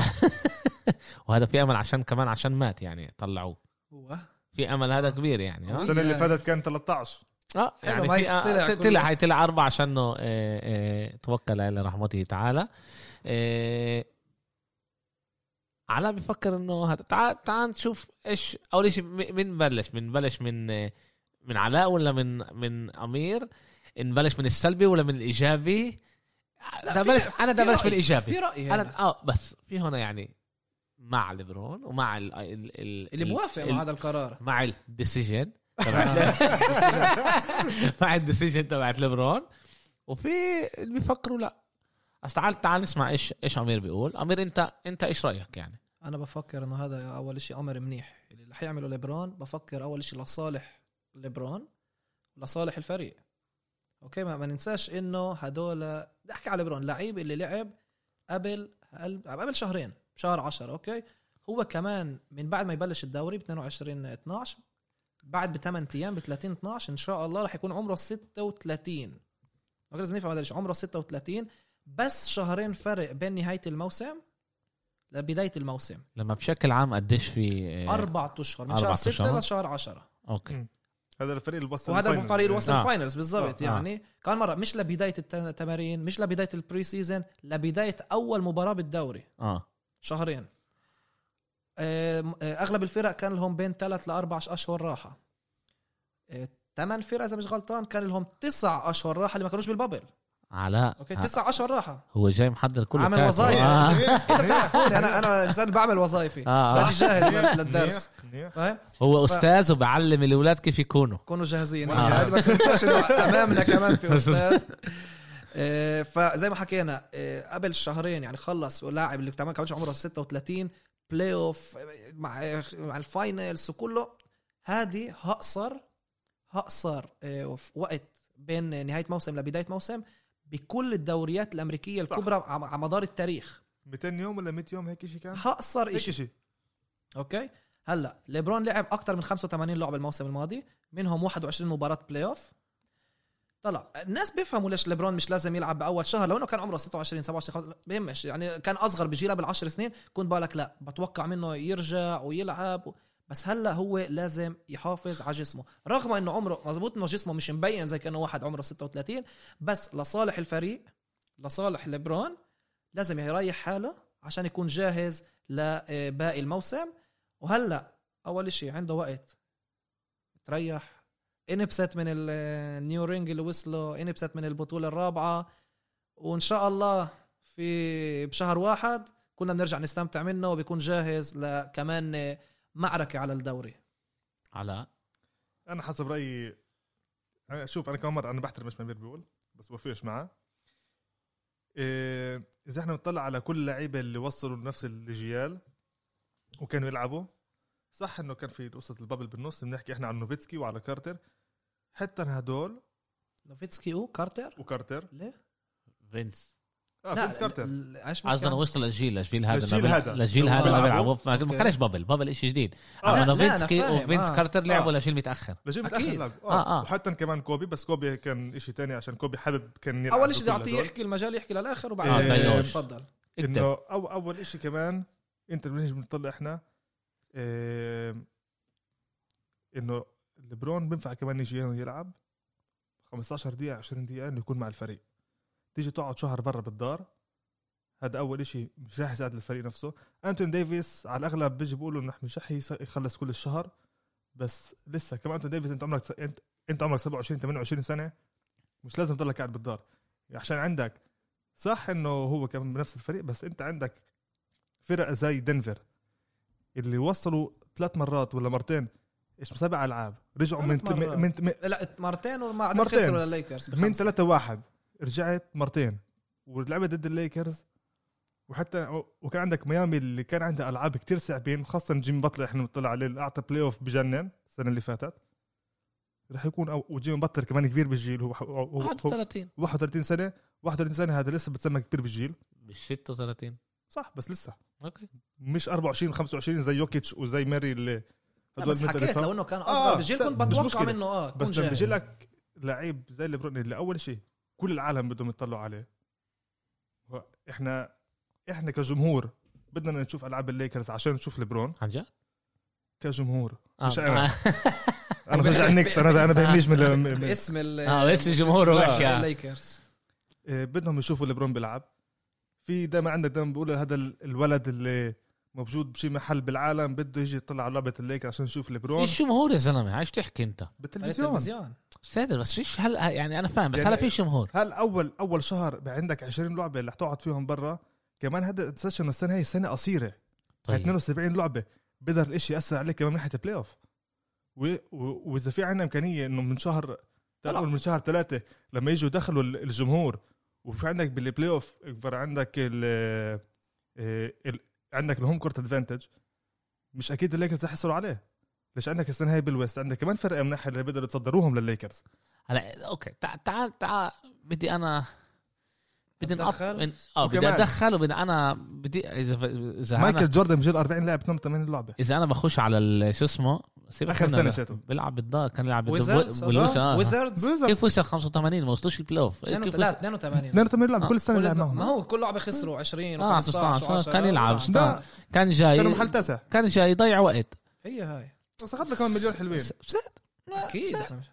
Speaker 1: وهذا في امل عشان كمان عشان مات يعني طلعوه
Speaker 3: هو
Speaker 1: في امل هذا كبير يعني ها؟
Speaker 2: السنه اللي فاتت كان 13
Speaker 1: اه
Speaker 3: حلو،
Speaker 1: يعني
Speaker 3: مايك
Speaker 1: في آه،
Speaker 3: طلع
Speaker 1: ت-
Speaker 3: كله.
Speaker 1: طلع هاي طلع اربع عشانه آه، آه، توكل على رحمته تعالى آه، علاء بفكر انه هذا تعال تعال نشوف ايش اول شيء م- من بلش من بلش من آه، من علاء ولا من من امير نبلش من السلبي ولا من الايجابي
Speaker 3: لا،
Speaker 1: ده
Speaker 3: في
Speaker 1: بلش
Speaker 3: شيء-
Speaker 1: انا ده
Speaker 3: في
Speaker 1: بلش
Speaker 3: رأي- يعني.
Speaker 1: بالايجابي
Speaker 3: في رايي أنا.
Speaker 1: انا اه بس في هنا يعني مع ليبرون ومع ال ال ال
Speaker 3: اللي بوافق
Speaker 1: ال-
Speaker 3: مع هذا القرار
Speaker 1: مع الديسيجن مع الديسيجن تبعت ليبرون وفي اللي بيفكروا لا بس تعال تعال نسمع ايش ايش امير بيقول امير انت انت ايش رايك يعني
Speaker 3: انا بفكر انه هذا اول شيء امر منيح اللي رح يعمله ليبرون بفكر اول شيء لصالح ليبرون لصالح الفريق اوكي ما, ما ننساش انه هدول بدي احكي على ليبرون لعيب اللي لعب قبل قبل قبل شهرين شهر 10 اوكي هو كمان من بعد ما يبلش الدوري ب 22 12 بعد بثمان ايام ب 30 12 ان شاء الله رح يكون عمره 36 اوكي لازم نفهم هذا الشيء عمره 36 بس شهرين فرق بين نهايه الموسم لبدايه الموسم
Speaker 1: لما بشكل عام قديش في آه،
Speaker 3: اربع اشهر من
Speaker 1: أربع
Speaker 3: شهر 6
Speaker 1: أشهر.
Speaker 3: لشهر 10
Speaker 1: اوكي
Speaker 2: هذا الفريق اللي وصل
Speaker 3: وهذا
Speaker 2: الفاينل.
Speaker 3: الفريق اللي وصل
Speaker 1: آه.
Speaker 3: الفاينلز بالضبط
Speaker 1: آه.
Speaker 3: يعني كان مره مش لبدايه الت- التمارين مش لبدايه البري سيزون لبدايه اول مباراه بالدوري
Speaker 1: اه
Speaker 3: شهرين آم، آه، اغلب الفرق كان لهم بين ثلاث لاربع اشهر راحه آه، ثمان فرق اذا مش غلطان كان لهم تسع اشهر راحه اللي ما كانوش بالبابل
Speaker 1: علاء
Speaker 3: اوكي
Speaker 1: ه-
Speaker 3: 9 10 راحه
Speaker 1: هو جاي محضر كله
Speaker 3: عامل
Speaker 1: كاتب.
Speaker 3: وظايف.
Speaker 1: آه.
Speaker 3: انت بتعرفوني انا انا انسان بعمل وظايفي
Speaker 1: آه.
Speaker 3: فأجي جاهز للدرس
Speaker 2: منيح، منيح.
Speaker 3: فاهم
Speaker 1: هو
Speaker 3: ف-
Speaker 1: استاذ وبعلم الاولاد كيف يكونوا
Speaker 3: كونوا جاهزين
Speaker 2: آه.
Speaker 3: يعني ما تنساش إنه امامنا كمان في استاذ آه، فزي ما حكينا آه، قبل شهرين يعني خلص ولاعب اللي كمان كمان عمره 36 بلاي اوف مع آه، مع الفاينلز وكله هذه هقصر هقصر آه، في وقت بين نهايه موسم لبدايه موسم بكل الدوريات الامريكيه
Speaker 2: صح.
Speaker 3: الكبرى على على مدار التاريخ
Speaker 2: 200 يوم ولا 100 يوم هيك شيء كان
Speaker 3: هقصر
Speaker 2: أه. هيك
Speaker 3: شيء
Speaker 2: شيء
Speaker 3: اوكي هلا ليبرون لعب اكثر من 85 لعبه الموسم الماضي منهم 21 مباراه بلاي اوف طلع الناس بيفهموا ليش ليبرون مش لازم يلعب باول شهر لو انه كان عمره 26 27 25 بهمش يعني كان اصغر بجيلها بالعشر سنين كنت بالك لا بتوقع منه يرجع ويلعب و... بس هلا هو لازم يحافظ على جسمه رغم انه عمره مزبوط انه جسمه مش مبين زي كانه واحد عمره 36 بس لصالح الفريق لصالح ليبرون لازم يريح حاله عشان يكون جاهز لباقي الموسم وهلا اول شيء عنده وقت تريح انبسط من ال- النيو رينج اللي وصله انبسط من البطوله الرابعه وان شاء الله في بشهر واحد كنا بنرجع نستمتع منه وبيكون جاهز لكمان معركه على الدوري
Speaker 1: علاء
Speaker 2: انا حسب رايي أنا شوف انا كمان مره انا بحترم ايش ما أمير بيقول بس بوافقش معاه إيه، اذا احنا بنطلع على كل اللعيبه اللي وصلوا لنفس الاجيال وكانوا يلعبوا صح انه كان في قصه البابل بالنص بنحكي احنا عن نوفيتسكي وعلى كارتر حتى هدول
Speaker 3: نوفيتسكي وكارتر
Speaker 2: وكارتر
Speaker 3: ليه؟
Speaker 1: فينس
Speaker 2: اه فينس كارتر
Speaker 3: ل- ل- إيش ما
Speaker 1: قصدنا
Speaker 3: كان؟
Speaker 1: وصل للجيل للجيل هذا
Speaker 2: للجيل
Speaker 1: لما-
Speaker 2: هذا.
Speaker 1: للجيل
Speaker 3: لما
Speaker 1: هذا ما
Speaker 2: بيلعبوا.
Speaker 1: بيلعبوا ما ما
Speaker 3: أوكي.
Speaker 1: كانش بابل بابل شيء جديد
Speaker 2: آه.
Speaker 1: اما
Speaker 3: لا، لا، أنا
Speaker 1: نوفيتسكي
Speaker 3: فاهم،
Speaker 1: وفينس
Speaker 3: آه.
Speaker 1: كارتر لعبوا
Speaker 2: آه.
Speaker 1: لجيل متاخر
Speaker 2: لجيب
Speaker 3: أكيد.
Speaker 2: الاخر لاعب.
Speaker 1: آه،
Speaker 2: اه
Speaker 1: آه.
Speaker 2: وحتى كمان كوبي بس كوبي كان إشي تاني عشان كوبي حابب كان يلعب
Speaker 3: اول شيء بدي
Speaker 2: بكل
Speaker 3: اعطيه
Speaker 2: هدول.
Speaker 3: يحكي المجال يحكي للاخر
Speaker 2: آه،
Speaker 3: وبعدين
Speaker 1: ضيعوش.
Speaker 3: تفضل
Speaker 1: اكتب
Speaker 2: انه أو اول شيء كمان انت بنيجي بنطلع احنا آم، انه لبرون بينفع كمان يجي هنا يلعب 15 دقيقة 20 دقيقة انه يكون مع الفريق تيجي تقعد شهر برا بالدار هذا اول شيء مش راح يساعد الفريق نفسه انتون ديفيس على الاغلب بيجي بيقولوا انه مش راح يس- يخلص كل الشهر بس لسه كمان انتون ديفيس انت عمرك انت, انت عمرك 27 28 سنة مش لازم تضلك قاعد بالدار عشان عندك صح انه هو كان بنفس الفريق بس انت عندك فرق زي دنفر اللي وصلوا ثلاث مرات ولا مرتين ايش سبع العاب رجعوا من
Speaker 3: ثلاث مرات.
Speaker 2: من من-
Speaker 3: لا مرتين وما عاد
Speaker 2: مرتين.
Speaker 3: خسروا للليكرز
Speaker 2: من
Speaker 3: بخمسة.
Speaker 2: 3 واحد رجعت مرتين ولعبت ضد الليكرز وحتى وكان عندك ميامي اللي كان عندها العاب كتير صعبين خاصه جيمي بطلر احنا بنطلع عليه اللي اعطى بلاي اوف بجنن السنه اللي فاتت رح يكون أو وجيمي بطلر كمان كبير بالجيل هو, هو, هو,
Speaker 1: واحد
Speaker 2: هو
Speaker 1: 31
Speaker 2: 31 سنه 31 سنه هذا لسه بتسمى كبير بالجيل
Speaker 1: مش 36
Speaker 2: صح بس لسه
Speaker 1: اوكي
Speaker 2: مش 24 25 زي يوكيتش وزي ماري اللي
Speaker 3: لا،
Speaker 2: هدول
Speaker 3: بس
Speaker 2: مثل
Speaker 3: حكيت
Speaker 2: الفرق.
Speaker 3: لو انه كان
Speaker 2: آه،
Speaker 3: اصغر بجيل كنت
Speaker 2: مش
Speaker 3: بتوقع
Speaker 2: مشكلة.
Speaker 3: منه اه كون
Speaker 2: بس لما
Speaker 3: جاهز.
Speaker 2: بيجي لك لعيب زي ليبرون اللي اول شيء كل العالم بدهم يطلعوا عليه و- احنا احنا كجمهور بدنا نشوف العاب الليكرز عشان نشوف ليبرون
Speaker 1: عن جد؟
Speaker 2: كجمهور
Speaker 1: آه.
Speaker 2: مش أنا. انا بشجع النكس انا انا بهمنيش من, من- من
Speaker 3: اسم ال
Speaker 1: آه، اسم الجمهور
Speaker 2: هو
Speaker 3: اسم
Speaker 1: هيك.
Speaker 3: الليكرز
Speaker 2: آه، بدهم يشوفوا ليبرون بيلعب في دائما عندك دائما بقول هذا ال- الولد اللي موجود بشي محل بالعالم بده يجي يطلع على لعبه الليكرز عشان يشوف ليبرون
Speaker 1: ايش جمهور يا زلمه عايش تحكي انت
Speaker 2: بالتلفزيون
Speaker 3: التلفزيون
Speaker 1: مش قادر بس فيش هلا يعني انا فاهم بس
Speaker 2: يعني-
Speaker 1: هلا فيش جمهور
Speaker 2: هل اول اول شهر بقى عندك 20 لعبه اللي حتقعد فيهم برا كمان هذا تنساش انه السنه هي سنه قصيره طيب.
Speaker 1: طيب
Speaker 2: 72 لعبه بقدر الاشي ياثر عليك كمان من ناحيه البلاي اوف و- و- واذا في عندنا امكانيه انه من شهر
Speaker 3: طلع.
Speaker 2: تقريبا من شهر ثلاثه لما يجوا دخلوا ال- الجمهور وفي عندك بالبلاي اوف اكبر عندك ال آه، ال- عندك الهوم كورت ادفانتج مش اكيد الليكرز رح يحصلوا عليه ليش عندك السنه هاي بالويست عندك كمان فرق من ناحيه اللي بيقدروا يتصدروهم للليكرز
Speaker 1: هلا اوكي تعال تعال تعال بدي انا بدي
Speaker 3: أتدخل؟
Speaker 1: نقطع اه بدي
Speaker 2: وكمان.
Speaker 1: اتدخل وبدي انا بدي اذا اذا أنا-
Speaker 2: مايكل جوردن بجيل 40 لعب 82 لعبه
Speaker 1: اذا انا بخش على ال- شو اسمه سيبك
Speaker 2: آخر
Speaker 1: منه
Speaker 2: سنة
Speaker 1: ده.
Speaker 2: شاتو.
Speaker 1: بيلعب بالدار كان يلعب
Speaker 3: ويزردز
Speaker 1: بالدو- بالوش- آه.
Speaker 3: ويزردز
Speaker 1: كيف وصل 85 ما وصلوش البلاي اوف كيف وصل-
Speaker 3: 82
Speaker 2: 82 لعبه
Speaker 1: آه.
Speaker 2: كل السنه لعب
Speaker 3: ما
Speaker 2: معهم
Speaker 3: هو كل لعبه خسروا 20
Speaker 1: آه،
Speaker 3: و15
Speaker 1: 15
Speaker 3: و10
Speaker 1: كان يلعب.
Speaker 2: ده
Speaker 1: كان جاي
Speaker 2: كانوا محل تاسع
Speaker 1: كان جاي يضيع وقت
Speaker 3: هي هاي
Speaker 2: بس اخذنا كمان مليون حلوين
Speaker 1: س- س-
Speaker 3: اكيد إحنا مش-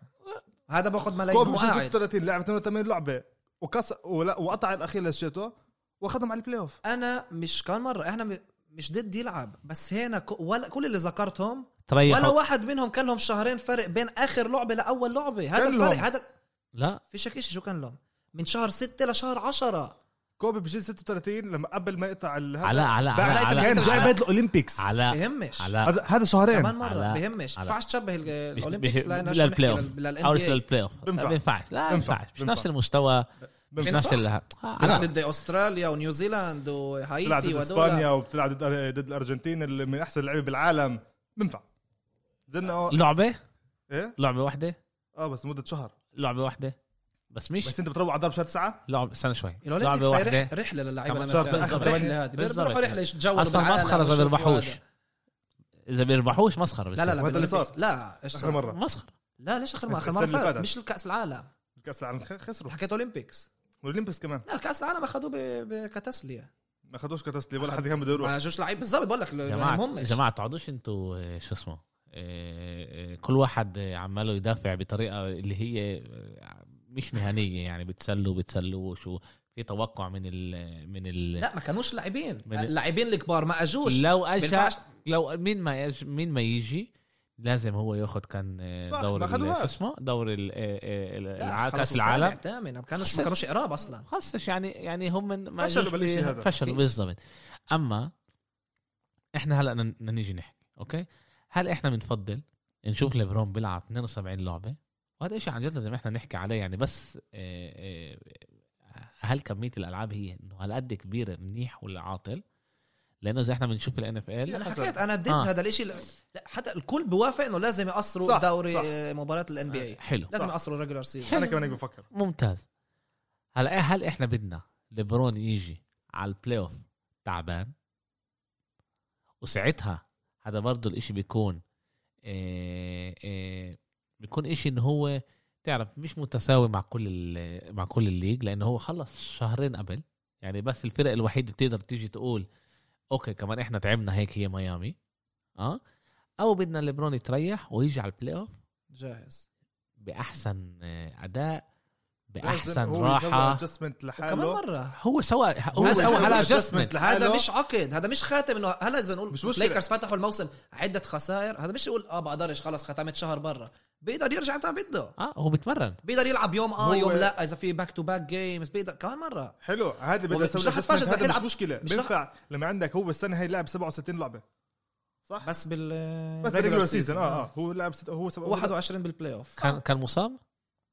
Speaker 3: هذا باخذ ملايين
Speaker 2: كوبي مش
Speaker 3: وقاعد
Speaker 2: 36 لعب 82 لعبه وكسر ولا وقطع الاخير للشيتو واخذهم على البلاي اوف
Speaker 3: انا مش كان مره احنا م- مش ضد يلعب بس هنا ك- ولا كل اللي ذكرتهم ولا
Speaker 1: تريحوا
Speaker 3: واحد منهم كان لهم شهرين فرق بين اخر لعبه لاول لعبه هذا
Speaker 2: كان
Speaker 3: الفرق
Speaker 2: لهم.
Speaker 3: هذا
Speaker 1: لا
Speaker 3: في شك شيء شو كان لهم من شهر 6 لشهر 10
Speaker 2: كوبي بجيل 36 لما قبل ما يقطع ال- هذا
Speaker 1: علاء علاء
Speaker 2: بعد
Speaker 1: علاء
Speaker 2: كان
Speaker 1: علاء
Speaker 3: على-
Speaker 2: جاي بدل الاولمبيكس
Speaker 1: علاء
Speaker 3: بهمش
Speaker 1: علاء
Speaker 2: هذا هذا شهرين
Speaker 3: كمان مره
Speaker 1: آه، على-
Speaker 3: بهمش
Speaker 1: على-
Speaker 3: بينفعش تشبه ال-
Speaker 1: مش-
Speaker 3: الاولمبيكس
Speaker 1: مش-
Speaker 3: لأنه
Speaker 1: لا
Speaker 3: شو بنحكي
Speaker 1: البلاي أوف.
Speaker 3: لل- لل
Speaker 1: حاول يصير
Speaker 3: NBA.
Speaker 1: البلاي اوف
Speaker 2: بينفع.
Speaker 1: لا بينفعش لا
Speaker 2: بينفع.
Speaker 1: بينفعش مش نفس
Speaker 2: بينفع.
Speaker 1: المستوى مش
Speaker 2: بينفع.
Speaker 1: نفس ال ها-
Speaker 3: بتلعب
Speaker 1: علاء
Speaker 3: ضد استراليا ونيوزيلاند
Speaker 2: بتلعب ضد
Speaker 3: وهايتي
Speaker 2: اسبانيا
Speaker 3: وهدول
Speaker 2: وبتلعب ضد آه، ضد الارجنتين اللي من احسن اللعيبه بالعالم بنفع زلنا أه-
Speaker 1: لعبه
Speaker 2: ايه
Speaker 1: لعبه واحده
Speaker 2: اه بس لمده شهر
Speaker 1: لعبه واحده بس مش
Speaker 2: بس انت بتروح على ضرب شهر تسعه
Speaker 1: لعبه استنى شوي
Speaker 3: الاولمبيكس
Speaker 1: لعبه
Speaker 3: هي
Speaker 1: واحده
Speaker 3: رح- رحله للعيبه
Speaker 1: كمان
Speaker 3: لما
Speaker 2: شهر
Speaker 3: بتعمل
Speaker 2: تأخر كمان.
Speaker 3: رحله هذه
Speaker 1: بالضبط.
Speaker 3: بيروحوا رحله يتجولوا
Speaker 1: اصلا
Speaker 3: بالعالم
Speaker 1: مسخره اذا
Speaker 3: ويشوفوا
Speaker 1: بيربحوش
Speaker 3: هذا.
Speaker 1: اذا بيربحوش يعني مسخره
Speaker 3: لا لا لا
Speaker 2: وهذا اللي
Speaker 3: بالأولمبيكس.
Speaker 2: صار.
Speaker 3: لا ايش
Speaker 2: اخر
Speaker 3: صار؟
Speaker 2: مره
Speaker 1: مسخره
Speaker 3: لا ليش اخر مره
Speaker 2: بس
Speaker 3: اخر مره
Speaker 2: السنة اللي
Speaker 3: فاتت
Speaker 2: فاتت.
Speaker 3: مش الكاس العالم
Speaker 2: كاس العالم خ- خسروا
Speaker 3: حكيت اولمبيكس
Speaker 2: والاولمبيكس كمان
Speaker 3: لا كاس العالم اخذوه ب- ب- كتسليه
Speaker 2: ما اخذوش كتسليم ولا حد كان بده يروح
Speaker 3: ما جوش لعيب بالضبط بقول لك ما
Speaker 1: جماعه
Speaker 3: يهمهمش
Speaker 1: جماعه تقعدوش انتوا آه، شو اسمه آه، آه، كل واحد آه، عماله يدافع بطريقه اللي هي آه، مش مهنيه يعني بتسلوا بتسلوش وفي توقع من ال من ال
Speaker 3: لا ما كانوش لاعبين
Speaker 1: من-
Speaker 3: اللاعبين الكبار ما اجوش
Speaker 1: لو اجى
Speaker 3: بينفعش-
Speaker 1: لو مين ما يج... مين ما يجي لازم هو ياخذ كان آه،
Speaker 2: صح،
Speaker 1: دور
Speaker 2: ما
Speaker 1: ال-
Speaker 2: خدوهاش.
Speaker 1: شو اسمه دور ال- آه، آه، ال-
Speaker 2: يعني
Speaker 3: لا،
Speaker 1: الع-
Speaker 3: خلص
Speaker 1: كاس
Speaker 3: السابع،
Speaker 1: العالم
Speaker 3: الثامن ما كانوش
Speaker 1: خسر.
Speaker 3: ما كانوش قراب اصلا
Speaker 1: خصش يعني يعني هم من- ما
Speaker 2: فشلوا
Speaker 1: جوش
Speaker 2: بالإشي
Speaker 1: بي-
Speaker 2: هذا.
Speaker 1: فشلوا
Speaker 3: أكيد.
Speaker 1: بالضبط اما احنا هلا بدنا- بدنا نيجي نحكي اوكي هل احنا بنفضل نشوف ليبرون بيلعب 72 لعبه وهذا شيء عن جد لازم احنا نحكي عليه يعني بس آه، آه، هل كميه الالعاب هي انه هالقد كبيره منيح ولا عاطل لانه اذا احنا بنشوف الان اف ال
Speaker 3: انا
Speaker 2: حسب.
Speaker 3: حكيت انا ضد
Speaker 1: آه.
Speaker 3: هذا الاشي لا حتى الكل بوافق انه لازم يقصروا
Speaker 2: صح،
Speaker 3: دوري
Speaker 2: صح.
Speaker 3: آه، مباراه الان بي اي
Speaker 1: حلو
Speaker 3: لازم
Speaker 2: صح.
Speaker 3: يقصروا ريجولار سيزون
Speaker 2: انا كمان هيك بفكر
Speaker 1: ممتاز هلا إيه، هل احنا بدنا ليبرون يجي على البلاي اوف تعبان وساعتها هذا برضه الاشي بيكون إيه إيه بيكون اشي ان هو تعرف مش متساوي مع كل ال- مع كل الليج لانه هو خلص شهرين قبل يعني بس الفرق الوحيد اللي بتقدر تيجي تقول اوكي كمان احنا تعبنا هيك هي ميامي اه او بدنا ليبرون يتريح ويجي على البلاي اوف
Speaker 3: جاهز
Speaker 1: باحسن اداء
Speaker 2: لازم
Speaker 1: باحسن
Speaker 2: هو
Speaker 1: راحه
Speaker 2: ادجستمنت
Speaker 3: كمان
Speaker 2: لحاله
Speaker 3: مره
Speaker 1: هو سوى هو
Speaker 3: هذا
Speaker 1: سوى
Speaker 3: هو
Speaker 1: هلا
Speaker 3: adjustment.
Speaker 1: ادجستمنت
Speaker 3: هذا مش عقد هذا مش خاتم انه هلا اذا نقول
Speaker 2: مش
Speaker 3: مش
Speaker 2: مشكلة.
Speaker 3: ليكرز فتحوا الموسم عده خسائر هذا مش يقول اه بقدرش خلص ختمت شهر برا بيقدر يرجع متى بده
Speaker 1: اه هو بتمرن
Speaker 3: بيقدر يلعب يوم
Speaker 2: هو-
Speaker 3: اه يوم لا اذا في باك تو باك جيمز بيقدر كمان مره
Speaker 2: حلو هذا اللي
Speaker 3: ومش
Speaker 2: بدي اسوي
Speaker 3: رح
Speaker 2: adjustment،
Speaker 3: يتفاجئ إذا
Speaker 2: هذا
Speaker 3: يلعب-
Speaker 2: مش مشكله
Speaker 3: مش رح-
Speaker 2: بينفع لما عندك هو السنه هي لعب 67 لعبه صح
Speaker 3: بس بال
Speaker 2: بس
Speaker 3: regular
Speaker 2: بالريجولر
Speaker 3: season. آه.
Speaker 2: سيزون اه اه هو لعب ست... هو سب...
Speaker 3: 21 بالبلاي اوف
Speaker 1: كان كان مصاب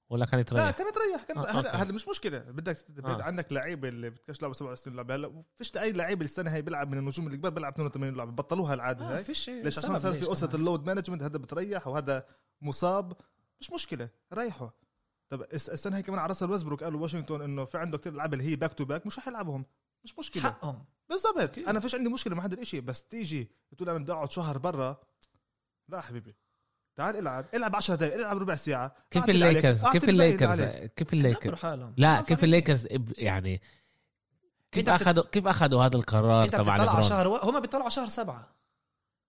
Speaker 1: ولا كان
Speaker 2: لا
Speaker 1: يتريح
Speaker 2: كان تريح كان
Speaker 1: آه،
Speaker 2: هذا
Speaker 1: أوكي.
Speaker 2: هذا مش مشكله بدك
Speaker 1: آه.
Speaker 2: آه. عندك لعيبه اللي بتكش لعبه 67 لعبه هلا فيش اي لعيب السنه هي بيلعب من النجوم اللي كبار بيلعب 82 لعبه بطلوها العاده
Speaker 3: آه،
Speaker 2: هاي
Speaker 3: فيش
Speaker 2: ليش عشان
Speaker 3: سبب
Speaker 2: صار في
Speaker 3: ليش
Speaker 2: قصه
Speaker 3: كمان.
Speaker 2: اللود مانجمنت هذا بتريح وهذا مصاب مش مشكله ريحه طب الس- السنه هي كمان على راسل ويسبروك قالوا واشنطن انه في عنده كثير لعيبه اللي هي باك تو باك مش رح يلعبهم مش مشكله
Speaker 3: حقهم
Speaker 2: بالضبط
Speaker 3: أكيد.
Speaker 2: انا فيش عندي مشكله مع هذا الشيء بس تيجي تقول انا بدي اقعد شهر برا لا حبيبي تعال العب العب 10 دقائق العب ربع ساعه
Speaker 1: كيف
Speaker 2: أعطي اللي عليك،
Speaker 1: الليكرز
Speaker 2: أعطي
Speaker 1: كيف
Speaker 2: الباقي اللي
Speaker 1: الليكرز
Speaker 2: عليك.
Speaker 1: كيف الليكرز
Speaker 3: دبروا حالهم
Speaker 1: لا
Speaker 3: ما
Speaker 1: كيف
Speaker 3: فرق.
Speaker 1: الليكرز إب- يعني كيف
Speaker 3: أنت بت-
Speaker 1: اخذوا كيف اخذوا هذا القرار
Speaker 3: انت
Speaker 1: تبع
Speaker 3: بتطلع على
Speaker 1: ليبرون
Speaker 3: شهر و... هم بيطلعوا على شهر سبعة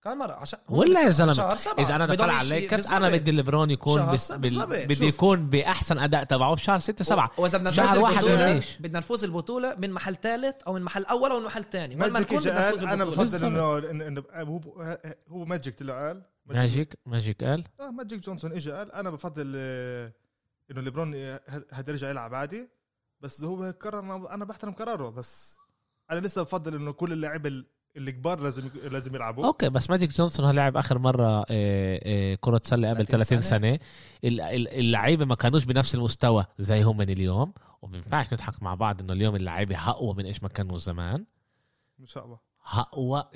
Speaker 3: كمان مرة عشان هم
Speaker 1: ولا يا
Speaker 3: بيطلعوا على
Speaker 1: زلمه
Speaker 3: شهر سبعة
Speaker 1: اذا انا
Speaker 3: بدهم
Speaker 1: بطلع على
Speaker 3: يشي-
Speaker 1: الليكرز
Speaker 3: بالظبط.
Speaker 1: انا بدي ليبرون يكون
Speaker 3: شهر
Speaker 1: بس
Speaker 3: سبعة،
Speaker 1: بال-
Speaker 3: بالظبط.
Speaker 1: بدي
Speaker 3: شوف.
Speaker 1: يكون باحسن اداء تبعه في شهر 6 7
Speaker 3: و- واذا بدنا نفوز
Speaker 1: شهر واحد
Speaker 3: البطولة،
Speaker 1: بلاش.
Speaker 3: بدنا نفوز البطولة من محل ثالث او من محل اول او من محل ثاني وين ما
Speaker 2: ماجيك
Speaker 3: نكون
Speaker 2: إجا
Speaker 3: بدنا نفوز
Speaker 2: قال انا
Speaker 3: البطولة
Speaker 2: بفضل انه إن- إن- هو هو ماجيك طلع قال
Speaker 1: ماجيك ماجيك قال
Speaker 2: اه ماجيك جونسون اجى قال انا بفضل آه، انه ليبرون آه، هاد- هاد يرجع يلعب عادي بس هو هيك قرر أنا- انا بحترم قراره بس انا لسه بفضل انه كل اللعيبه الكبار لازم يك- لازم يلعبوا
Speaker 1: اوكي بس ماجيك جونسون هاللاعب اخر مره آه، آه، كره سله قبل
Speaker 3: 30
Speaker 1: 30 سنه ال- ال- اللعيبه ما كانوش بنفس المستوى زي هم من اليوم وما ينفعش نضحك مع بعض انه اليوم اللعيبه اقوى من ايش ما كانوا زمان
Speaker 2: ان شاء الله
Speaker 1: اقوى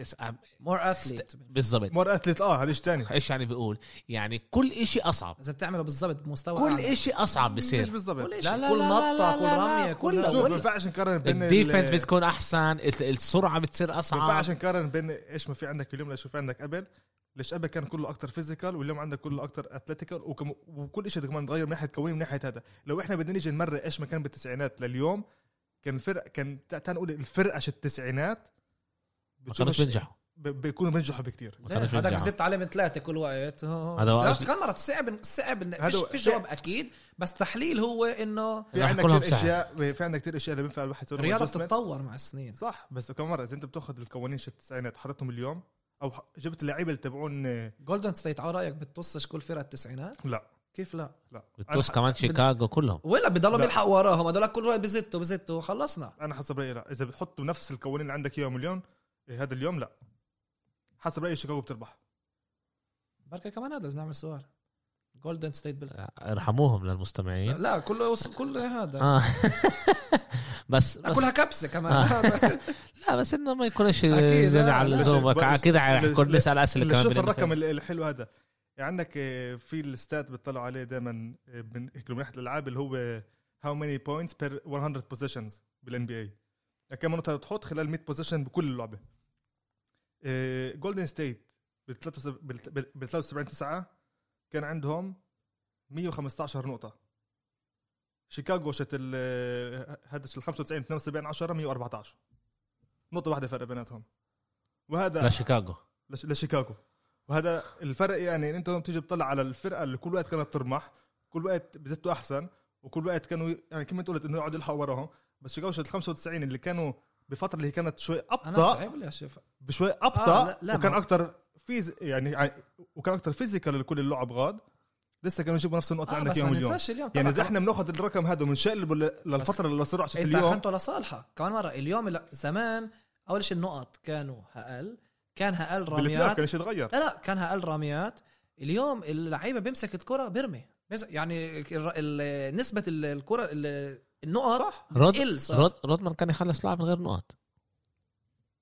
Speaker 3: مور اثليت
Speaker 1: بالضبط
Speaker 2: مور اثليت اه هذا شيء ثاني
Speaker 1: ايش يعني بقول يعني كل إشي اصعب
Speaker 3: اذا بتعمله بالضبط بمستوى
Speaker 1: كل
Speaker 3: أعلى.
Speaker 1: إشي اصعب
Speaker 2: مش
Speaker 1: بصير
Speaker 2: بالضبط
Speaker 3: كل
Speaker 1: لا،
Speaker 3: شيء
Speaker 1: لا،
Speaker 3: كل
Speaker 1: لا، لا، لا،
Speaker 3: نطة كل
Speaker 1: لا،
Speaker 3: رمية
Speaker 1: لا،
Speaker 3: كل
Speaker 1: كله.
Speaker 2: شوف ما
Speaker 3: ولا-
Speaker 2: ينفعش نقارن بين ال-
Speaker 1: الديفنس بتكون احسن ال- السرعه بتصير
Speaker 2: ما
Speaker 1: اصعب
Speaker 2: ينفعش نقارن بين ايش ما في عندك اليوم ليش ما في عندك قبل ليش قبل كان كله اكثر فيزيكال واليوم عندك كله اكثر اتلتيكال وكم وكل شيء كمان تغير من ناحيه كوني من ناحيه هذا لو احنا بدنا نيجي نمرق ايش ما كان بالتسعينات لليوم كان فرق كان تع- تعال نقول الفرقه شو التسعينات
Speaker 1: ما
Speaker 2: بتشوف
Speaker 1: كانوش
Speaker 2: الش-
Speaker 1: بينجحوا
Speaker 2: ب- بيكونوا بينجحوا بكثير
Speaker 1: ما
Speaker 3: ليه؟
Speaker 1: كانوش
Speaker 3: هذاك
Speaker 1: بينجحوا
Speaker 3: بزت عليه من ثلاثة كل وقت هو-
Speaker 1: هذا هو
Speaker 3: بتعرف
Speaker 1: أصل-
Speaker 3: كم مرة صعب صعب
Speaker 2: هذا هو-
Speaker 3: فيش فيش جواب اكيد بس تحليل هو انه
Speaker 2: في
Speaker 1: راح
Speaker 2: عندك
Speaker 1: يعني كلهم
Speaker 2: كثير اشياء في عندك كثير اشياء اللي بينفع الواحد يسوي لهم
Speaker 3: الرياضة
Speaker 2: adjustment.
Speaker 3: بتتطور مع السنين
Speaker 2: صح بس كم مره اذا انت بتاخذ القوانين شو التسعينات حطيتهم اليوم او ح- جبت اللعيبه اللي تبعون
Speaker 3: جولدن ستيت على رايك بتطصش كل فرقه التسعينات
Speaker 2: لا
Speaker 3: كيف لا
Speaker 2: لا
Speaker 1: بتوش
Speaker 2: أنا-
Speaker 1: كمان شيكاغو كلهم
Speaker 3: ولا بضلهم
Speaker 2: لا.
Speaker 3: يلحقوا وراهم هدول كل واحد بزته بزته خلصنا
Speaker 2: انا حسب رايي لا اذا بتحط نفس القوانين اللي عندك اياهم اليوم إيه هذا اليوم لا حسب رايي شيكاغو بتربح
Speaker 3: بركة كمان هذا لازم نعمل سؤال جولدن ستيت بل
Speaker 1: ارحموهم للمستمعين
Speaker 3: لا كله كل هذا
Speaker 1: اه بس
Speaker 3: لا،
Speaker 1: بس
Speaker 3: كلها كبسه كمان
Speaker 1: لا بس انه ما يكونش
Speaker 3: أكيد،
Speaker 1: زين
Speaker 3: آه.
Speaker 1: على
Speaker 2: بس-
Speaker 1: زومك
Speaker 2: بس-
Speaker 1: اكيد رح
Speaker 2: بس-
Speaker 1: يكون نسال اسئله
Speaker 2: اللي
Speaker 1: كمان
Speaker 2: شوف
Speaker 1: بين
Speaker 2: الرقم
Speaker 1: الفريق.
Speaker 2: ال- الحلو هذا يعني عندك آه، في الستات بتطلعوا عليه دائما من هيك من ناحيه الالعاب اللي هو آه، هاو ماني بوينتس بير 100 بوزيشنز بالان بي اي يعني كم نقطه تحط خلال 100 بوزيشن بكل آه، اللعبه جولدن ستيت بال 73 9 كان عندهم 115 نقطه شيكاغو شت ال آه، هذا ال 95 72 10 114 نقطه واحده فرق بيناتهم وهذا
Speaker 1: لشيكاغو
Speaker 2: لش- لشيكاغو وهذا الفرق يعني إن انت لما تيجي تطلع على الفرقه اللي كل وقت كانت ترمح كل وقت بزتوا احسن وكل وقت كانوا ي- يعني كما انت قلت انه يقعدوا يلحقوا وراهم بس شيكاغو شت 95 اللي كانوا بفتره اللي كانت شوي
Speaker 3: انا
Speaker 2: ابطا
Speaker 3: صعب لي اشوف
Speaker 2: بشوي
Speaker 3: آه،
Speaker 2: ابطا
Speaker 3: لا- لا،
Speaker 2: وكان
Speaker 3: ما-
Speaker 2: اكثر فيز يعني يعني- وكان اكثر فيزيكال لكل اللعب غاد لسه كانوا يجيبوا نفس النقطه
Speaker 3: آه
Speaker 2: اللي عندك
Speaker 3: بس ما
Speaker 2: اياهم اليوم
Speaker 3: ننساش اليوم
Speaker 2: يعني
Speaker 3: طبعاً.
Speaker 2: اذا احنا بناخذ الرقم هذا وبنشقلبه ل- للفتره اللي صاروا عشان
Speaker 3: انت
Speaker 2: اليوم
Speaker 3: اخنته لصالحك كمان مره اليوم لا زمان اول شيء النقط كانوا اقل كان اقل
Speaker 2: بالبلاي
Speaker 3: رميات
Speaker 2: كان شيء يتغير
Speaker 3: لا لا كان اقل رميات اليوم اللعيبه بيمسك الكره بيرمي بيمسك يعني ال- ال- نسبه ال- الكره ال- النقط
Speaker 2: صح
Speaker 1: رود
Speaker 3: تقل صار.
Speaker 1: رود رودمان كان يخلص لعب من غير نقاط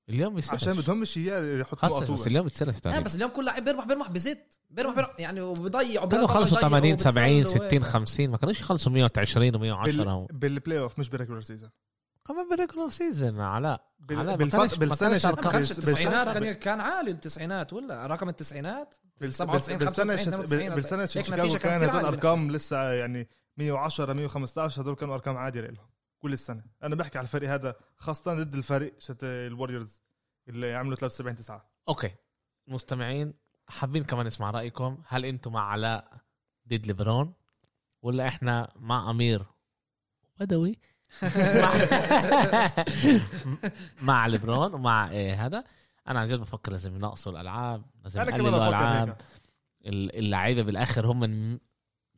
Speaker 1: اليوم يصير
Speaker 2: عشان بدهمش اياه يحط
Speaker 1: خاصة
Speaker 2: نقط
Speaker 1: بس اليوم بتصرف
Speaker 3: لا
Speaker 1: تقريبا
Speaker 3: بس اليوم كل لعيب بيربح بيربح بزيت بيربح, بيربح يعني وبضيع
Speaker 1: كانوا
Speaker 3: وبيربح
Speaker 1: خلصوا
Speaker 3: وبيضيع
Speaker 1: 80
Speaker 3: وبتصل
Speaker 1: 70 60
Speaker 3: وهيك.
Speaker 1: 50 ما كانوش يخلصوا 120 و110
Speaker 2: بال... بالبلاي اوف مش بالريجولر سيزون
Speaker 1: كمان بالريجولر سيزون علاء
Speaker 2: بال-
Speaker 1: علاء ما
Speaker 2: بالفت-
Speaker 1: كانش- ما
Speaker 2: بالسنة
Speaker 1: كانش
Speaker 2: شت-
Speaker 3: ما كانش
Speaker 2: بس- بس-
Speaker 3: التسعينات كان
Speaker 2: بس-
Speaker 3: كان عالي التسعينات ولا رقم التسعينات
Speaker 2: بال-
Speaker 3: 97
Speaker 2: بال- بالسنه
Speaker 3: 95
Speaker 2: شت-
Speaker 3: 98
Speaker 2: بال- بالسنه شت-
Speaker 3: هيك
Speaker 2: شيكاغو
Speaker 3: نتيجة
Speaker 2: كان
Speaker 3: كتير
Speaker 2: هدول
Speaker 3: عالية
Speaker 2: ارقام لسه يعني 110 115 هدول كانوا ارقام عاديه لهم كل السنه انا بحكي على الفريق هذا خاصه ضد الفريق شت الوريورز اللي عملوا 73 9
Speaker 1: اوكي مستمعين حابين كمان نسمع رايكم هل انتم مع علاء ضد ليبرون ولا احنا مع امير بدوي مع- مع ليبرون ومع إيه هذا انا عن جد بفكر لازم ينقصوا الالعاب لازم
Speaker 2: انا كمان
Speaker 1: يقللوا
Speaker 2: بفكر
Speaker 1: الالعاب
Speaker 2: هيك
Speaker 1: ال- اللعيبه بالاخر هم م-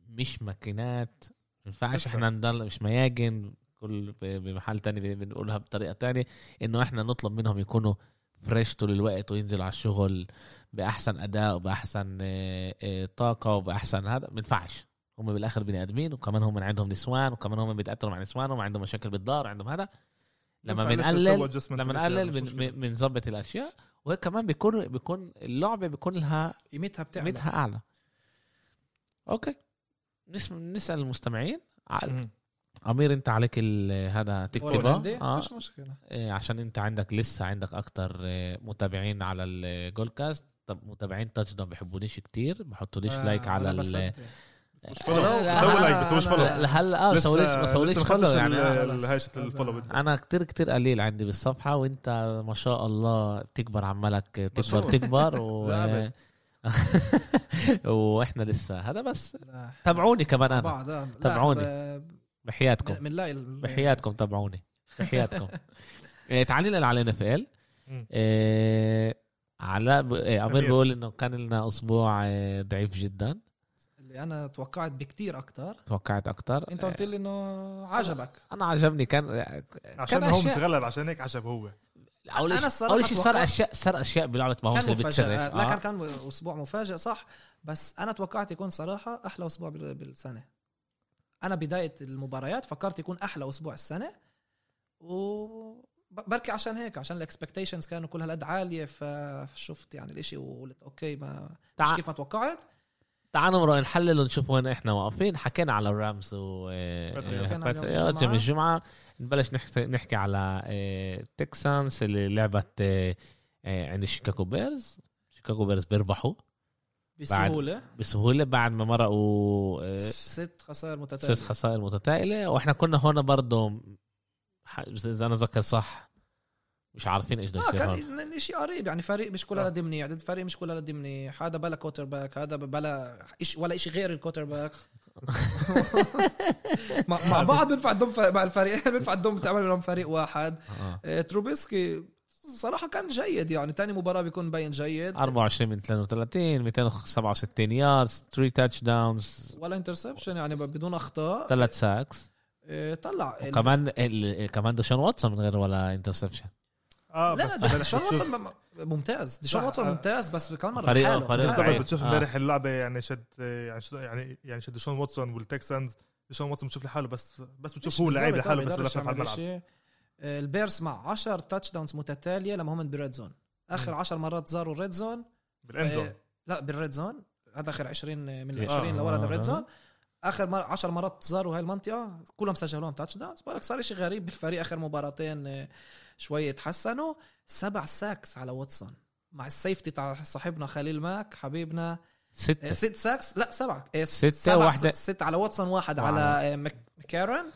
Speaker 1: مش ماكينات ما ينفعش
Speaker 2: لسه.
Speaker 1: احنا نضل مش مياجن كل ب- بمحل تاني ب- بنقولها بطريقه تانية انه احنا نطلب منهم يكونوا فريش طول الوقت وينزلوا على الشغل باحسن اداء وباحسن آه، آه، طاقه وباحسن هذا ما ينفعش هم بالاخر بني ادمين وكمان هم عندهم نسوان وكمان هم بيتاثروا مع نسوانهم وعندهم مشاكل بالدار عندهم هذا لما
Speaker 2: ينفع لسه
Speaker 1: بنقلل
Speaker 2: يسووا adjustment
Speaker 1: لما
Speaker 2: بالأشياء،
Speaker 1: نقلل
Speaker 2: مش
Speaker 1: بن-
Speaker 2: مشكلة.
Speaker 1: بنظبط الاشياء وهيك كمان بيكون بيكون اللعبه بيكون لها
Speaker 3: قيمتها بتعلى
Speaker 1: قيمتها اعلى اوكي نس- نسال المستمعين ع-
Speaker 2: مهم.
Speaker 1: امير انت عليك ال- هذا
Speaker 3: ولا
Speaker 1: تكتبه
Speaker 3: عندي؟
Speaker 1: آه.
Speaker 3: فيش مشكله
Speaker 1: آه، عشان انت عندك لسه عندك اكتر آه، متابعين على الجول كاست طب متابعين تاتش داون بحبونيش كتير بحطوا ليش
Speaker 3: آه،
Speaker 1: لايك على
Speaker 3: ولا
Speaker 1: ال
Speaker 3: بصدق.
Speaker 2: مش
Speaker 1: لا، لا،
Speaker 2: فولو
Speaker 1: لا،
Speaker 2: سووا
Speaker 1: أنا-
Speaker 2: لايك بس مش
Speaker 3: أنا-
Speaker 2: فولو
Speaker 3: لا،
Speaker 1: لهلا آه، ما سووليش ما سووليش
Speaker 2: لسه ما
Speaker 1: فولو
Speaker 2: خدتش
Speaker 1: يعني
Speaker 2: ال- هايشة الفولو
Speaker 1: انا كتير كتير قليل عندي بالصفحه وانت ما شاء الله بتكبر عمالك تكبر
Speaker 2: شاء الله.
Speaker 1: تكبر و...
Speaker 2: زعبل.
Speaker 1: واحنا لسه هذا بس
Speaker 3: لا.
Speaker 1: تابعوني كمان انا
Speaker 3: بعض آه. لا،
Speaker 1: تابعوني.
Speaker 3: ب-
Speaker 1: بحياتكم
Speaker 3: بنلاقي
Speaker 1: بحياتكم تابعوني بحياتكم إيه، تعالي لنا على ان اف ال
Speaker 2: مم.
Speaker 1: علاء ب- إيه، امير
Speaker 2: أمير.
Speaker 1: بيقول انه كان لنا اسبوع إيه، ضعيف جدا
Speaker 3: اللي انا توقعت بكتير اكتر
Speaker 1: توقعت اكثر
Speaker 3: انت قلت لي انه عجبك
Speaker 1: انا عجبني كان
Speaker 2: عشان
Speaker 1: كان
Speaker 2: هو
Speaker 1: أشياء-
Speaker 2: مستغلب عشان هيك عشب هو
Speaker 1: اول
Speaker 3: أنا
Speaker 1: شيء
Speaker 3: الصراحة
Speaker 1: اول شيء صار
Speaker 3: توقعت-
Speaker 1: اشياء صار اشياء بلعبه ماوس
Speaker 3: كان
Speaker 1: اللي بتشرف
Speaker 3: مفاجآت لا كان
Speaker 1: آه.
Speaker 3: كان اسبوع مفاجئ صح بس انا توقعت يكون صراحه احلى اسبوع بال- بالسنه انا بدايه المباريات فكرت يكون احلى اسبوع السنه و ب- بركي عشان هيك عشان الاكسبكتيشنز كانوا كل هالقد عاليه فشفت يعني الاشي وقلت اوكي ما مش
Speaker 1: تع-
Speaker 3: كيف ما توقعت
Speaker 1: تعال نمرق نحلل ونشوف وين احنا واقفين حكينا على الرامز و
Speaker 2: بدري.
Speaker 1: آه،
Speaker 3: حكينا على
Speaker 1: بدري.
Speaker 3: يوم
Speaker 1: آه،
Speaker 3: الجمعة.
Speaker 1: يوم الجمعة نبلش نحكي, نحكي على آه، تكسانس اللي لعبت آه، آه، عند شيكاغو بيرز شيكاغو بيرز بيربحوا
Speaker 3: بسهوله
Speaker 1: بسهولة بعد ما مرقوا آه،
Speaker 3: ست خسائر متتاليه
Speaker 1: ست خسائر متتالية واحنا كنا هون برضه ح- اذا انا ذكر صح مش عارفين ايش بده
Speaker 3: اه
Speaker 1: يصير هون
Speaker 3: كان شيء قريب يعني فريق مش كل
Speaker 2: آه.
Speaker 3: هالقد منيح ضد فريق مش كل هالقد منيح هذا بلا كوتر باك هذا بلا إش ولا شيء غير الكوتر باك مع, مع بعض بينفع تضم ف- مع الفريق بينفع تضم تعمل منهم فريق واحد
Speaker 1: آه.
Speaker 3: آه، تروبيسكي صراحه كان جيد يعني تاني مباراه بيكون باين جيد
Speaker 1: 24 من 33 267 ياردز 3 تاتش داونز
Speaker 3: ولا انترسبشن يعني بدون اخطاء
Speaker 1: ثلاث ساكس
Speaker 3: إيه، طلع ال-
Speaker 1: وكمان ال- كمان ديشون واتسون من غير ولا انترسبشن
Speaker 2: اه
Speaker 3: لا
Speaker 2: بس
Speaker 3: لا
Speaker 2: امبارح
Speaker 3: ديشون
Speaker 2: بتشوف-
Speaker 3: واتسون مم- ممتاز ديشون
Speaker 2: لا،
Speaker 3: واتسون
Speaker 2: آه.
Speaker 3: ممتاز بس يعني كمان مره
Speaker 1: فريقه-
Speaker 3: حاله.
Speaker 1: فريقه
Speaker 2: بالضبط
Speaker 1: لعيب.
Speaker 2: بتشوف
Speaker 1: آه.
Speaker 2: امبارح اللعبه يعني شد يعني شد يعني يعني شد شون واتسون والتكسانز شون واتسون بشوف لحاله بس بس بتشوف هو لعيب لحاله بس
Speaker 3: بس
Speaker 2: بلف على الملعب
Speaker 3: البيرس آه، مع 10 تاتش داونز متتاليه لما هم بالريد زون اخر 10 مرات زاروا الريد زون
Speaker 2: بالاند زون
Speaker 3: آه، لا بالريد زون هذا اخر 20 من ال
Speaker 1: إيه.
Speaker 3: 20 اللي
Speaker 1: آه.
Speaker 3: ورا الريد زون اخر مر... 10 مرات زاروا هاي المنطقه كلهم سجلوا لهم تاتش داونز بالك صار شيء غريب بالفريق اخر مباراتين آه، شوي تحسنوا سبع ساكس على واتسون مع السيفتي تاع صاحبنا خليل ماك حبيبنا آه،
Speaker 1: ستة
Speaker 3: ست ساكس لا سبعة آه،
Speaker 1: ستة
Speaker 3: سبع
Speaker 1: واحدة.
Speaker 3: س- ست على واتسون واحد
Speaker 1: وعلى-
Speaker 3: على آه، مك- مكارن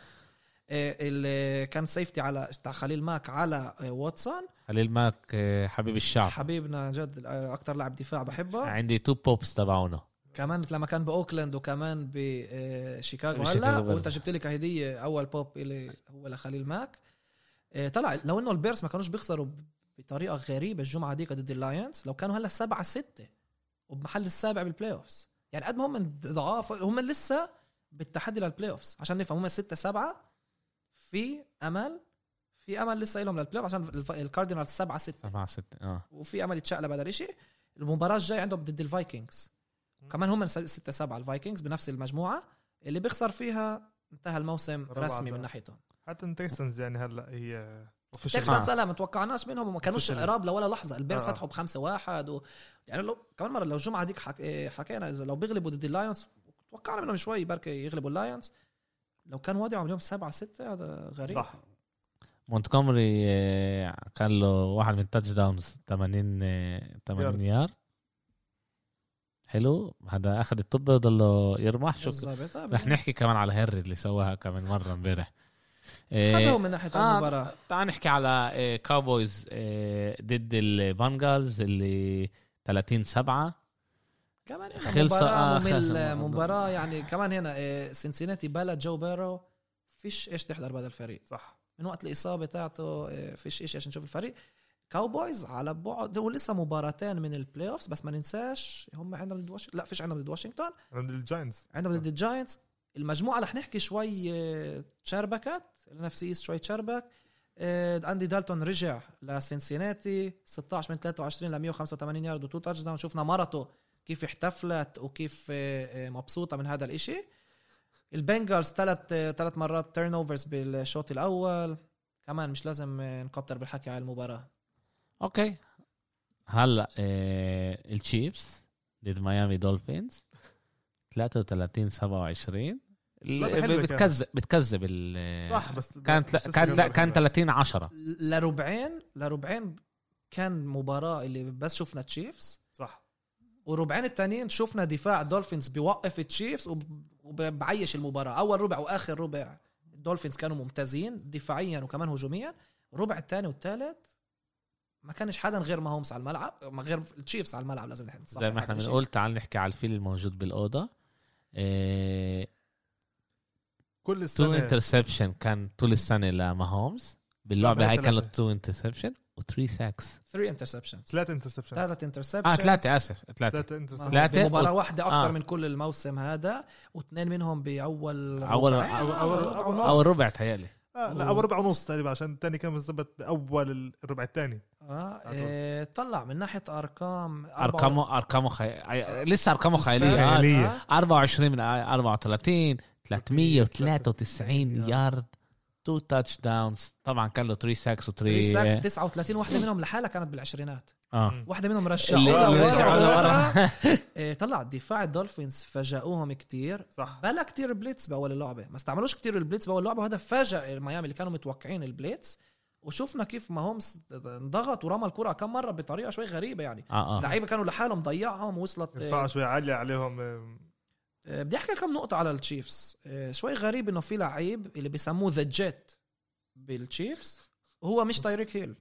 Speaker 3: آه، اللي كان سيفتي على تاع خليل ماك على آه، واتسون
Speaker 1: خليل ماك آه، حبيب الشعب
Speaker 3: حبيبنا جد اكثر لاعب دفاع بحبه
Speaker 1: عندي تو بوبس تبعونه
Speaker 3: كمان لما كان باوكلاند وكمان بشيكاغو
Speaker 1: بشيكاغو
Speaker 3: هلا
Speaker 1: برضه.
Speaker 3: وانت جبت لي كهديه اول بوب اللي هو لخليل ماك آه، طلع لو انه البيرس ما كانوش بيخسروا بطريقه غريبه الجمعه دي ضد اللاينز لو كانوا هلا سبعة ستة وبمحل السابع بالبلاي اوفز يعني قد ما هم من ضعاف هم لسه بالتحدي للبلاي اوفز عشان نفهم هم ستة سبعة في امل في امل لسه لهم للبلاي أوفز عشان الف- الكاردينالز سبعة ستة
Speaker 1: سبعة ستة اه
Speaker 3: وفي امل يتشقلب هذا الشيء المباراه الجاي عندهم ضد الفايكنجز كمان هم 6 7 الفايكنجز بنفس المجموعه اللي بيخسر فيها انتهى الموسم
Speaker 2: ربع
Speaker 3: رسمي
Speaker 2: ده.
Speaker 3: من ناحيتهم
Speaker 2: حتى التكسانز يعني هلا هي officially.
Speaker 1: آه.
Speaker 3: تكساس لا ما توقعناش منهم وما كانوش
Speaker 2: Officially.
Speaker 3: قراب لولا لحظه البيرز
Speaker 2: آه.
Speaker 3: فتحوا بخمسة واحد و... يعني لو كمان مره لو الجمعه ديك حك... إيه، حكينا اذا لو بيغلبوا ضد اللايونز توقعنا منهم شوي بركة يغلبوا اللايونز لو كان وضعهم اليوم 7 6 هذا غريب
Speaker 2: صح
Speaker 1: مونتكومري آه، كان له واحد من التاتش داونز 80 آه، 80 يارد حلو هذا اخذ الطب ضله يرمح شكرا
Speaker 3: بالظبط آه،
Speaker 1: رح نحكي كمان على هنري اللي سواها كمان مره امبارح
Speaker 3: هذا هو
Speaker 1: آه،
Speaker 3: من ناحيه
Speaker 1: آه،
Speaker 3: المباراه
Speaker 1: تعال نحكي على آه، كاوبويز آه، ضد البانجلز اللي 30 7
Speaker 3: كمان هنا
Speaker 1: خلصة- آه،
Speaker 3: مباراة
Speaker 1: خلصة.
Speaker 3: ممل مباراة يعني كمان هنا آه، سنسيناتي بلا جو بيرو فيش ايش تحضر بهذا الفريق
Speaker 2: صح
Speaker 3: من وقت الإصابة تاعته آه، فيش ايش عشان نشوف الفريق كاوبويز على بعد هو لسه مباراتين من البلاي اوفز بس ما ننساش هم عندهم ضد واشنطن لا فيش عندهم ضد واشنطن
Speaker 2: عند الجاينتس
Speaker 3: عندهم ضد الجاينتس المجموعة رح نحكي شوي آه، تشربكت النفسي ايست شوي تشربك آه، اندي دالتون رجع لسنسيناتي 16 من 23 ل 185 يارد وتو تاتش داون شفنا مرته كيف احتفلت وكيف آه، آه، مبسوطه من هذا الاشي البنجرز ثلاث ثلاث آه، مرات تيرن اوفرز بالشوط الاول كمان مش لازم آه، نكتر بالحكي على المباراه
Speaker 1: اوكي هلا آه، التشيفز ضد ميامي دولفينز 33 27
Speaker 2: لعبة حلوة كانت.
Speaker 1: بتكذب بتكذب ال-
Speaker 2: صح بس
Speaker 1: كانت لا
Speaker 2: بس-
Speaker 1: كانت لا كان 30 10
Speaker 3: لربعين لربعين كان مباراه اللي بس شفنا تشيفز
Speaker 2: صح
Speaker 3: وربعين التانيين شفنا دفاع دولفينز بيوقف التشيفز وب- وبعيش المباراة أول ربع وآخر ربع الدولفينز كانوا ممتازين دفاعيا وكمان هجوميا الربع الثاني والثالث ما كانش حدا غير ما هومس على الملعب ما غير التشيفس على الملعب لازم نحن
Speaker 1: زي ما احنا بنقول تعال نحكي على الفيل الموجود بالاوضه آه،
Speaker 2: كل
Speaker 1: تو
Speaker 2: السنه
Speaker 1: انترسبشن كان طول السنه لماهومز باللعبه
Speaker 2: أربعة
Speaker 1: هاي
Speaker 2: ثلاثة.
Speaker 1: كانت تو انترسبشن و3 ساكس
Speaker 3: ثري انترسبشنز
Speaker 2: ثلاثة آه. انترسبشن
Speaker 3: ثلاثة انترسبشنز
Speaker 1: اه ثلاثه اسف ثلاثه
Speaker 2: ثلاثة انترسبشن
Speaker 1: ثلاثة.
Speaker 3: مباراة واحدة أكثر
Speaker 1: آه.
Speaker 3: من كل الموسم هذا واثنين منهم بأول
Speaker 1: أول-
Speaker 3: ربع.
Speaker 1: أول-
Speaker 3: أول ربع ونص.
Speaker 1: او الربع تهيألي
Speaker 2: آه لا
Speaker 3: أوه.
Speaker 2: اول ربع ونص تقريبا عشان الثاني كان بالضبط باول الربع الثاني
Speaker 3: آه
Speaker 2: عدل.
Speaker 3: إيه، طلع من ناحية أرقام أربعة
Speaker 1: ارقامه ارقامه خي... آه، لسه ارقامه خياليه آه،
Speaker 2: خيالية.
Speaker 3: آه.
Speaker 1: 24 من آية، 34 393
Speaker 2: يارد.
Speaker 1: يارد تو تاتش داونز طبعا كان له 3 ساكس و3
Speaker 3: 3 ساكس 39 واحده منهم لحالها كانت بالعشرينات
Speaker 1: اه
Speaker 2: مم.
Speaker 3: واحده منهم
Speaker 1: اللي-
Speaker 3: رشعوها
Speaker 1: اللي
Speaker 3: ورا
Speaker 1: رشعوها
Speaker 3: ورا إيه، طلع دفاع الدولفينز فاجئوهم كتير
Speaker 2: صح
Speaker 3: بلا كتير بليتس باول اللعبه ما استعملوش كتير البليتس باول لعبه وهذا فاجئ ميامي اللي كانوا متوقعين البليتس وشفنا كيف ما هومس انضغط ورمى الكره كم مره بطريقه شوي غريبه يعني
Speaker 1: اه اه
Speaker 3: لعيبه كانوا لحالهم ضيعهم وصلت إيه،
Speaker 2: ارتفاع شوي عالية عليهم آم،
Speaker 3: آه، بدي احكي كم نقطة على التشيفز آه، شوي غريب انه في لعيب اللي بيسموه ذا جيت بالتشيفز هو مش تايريك هيل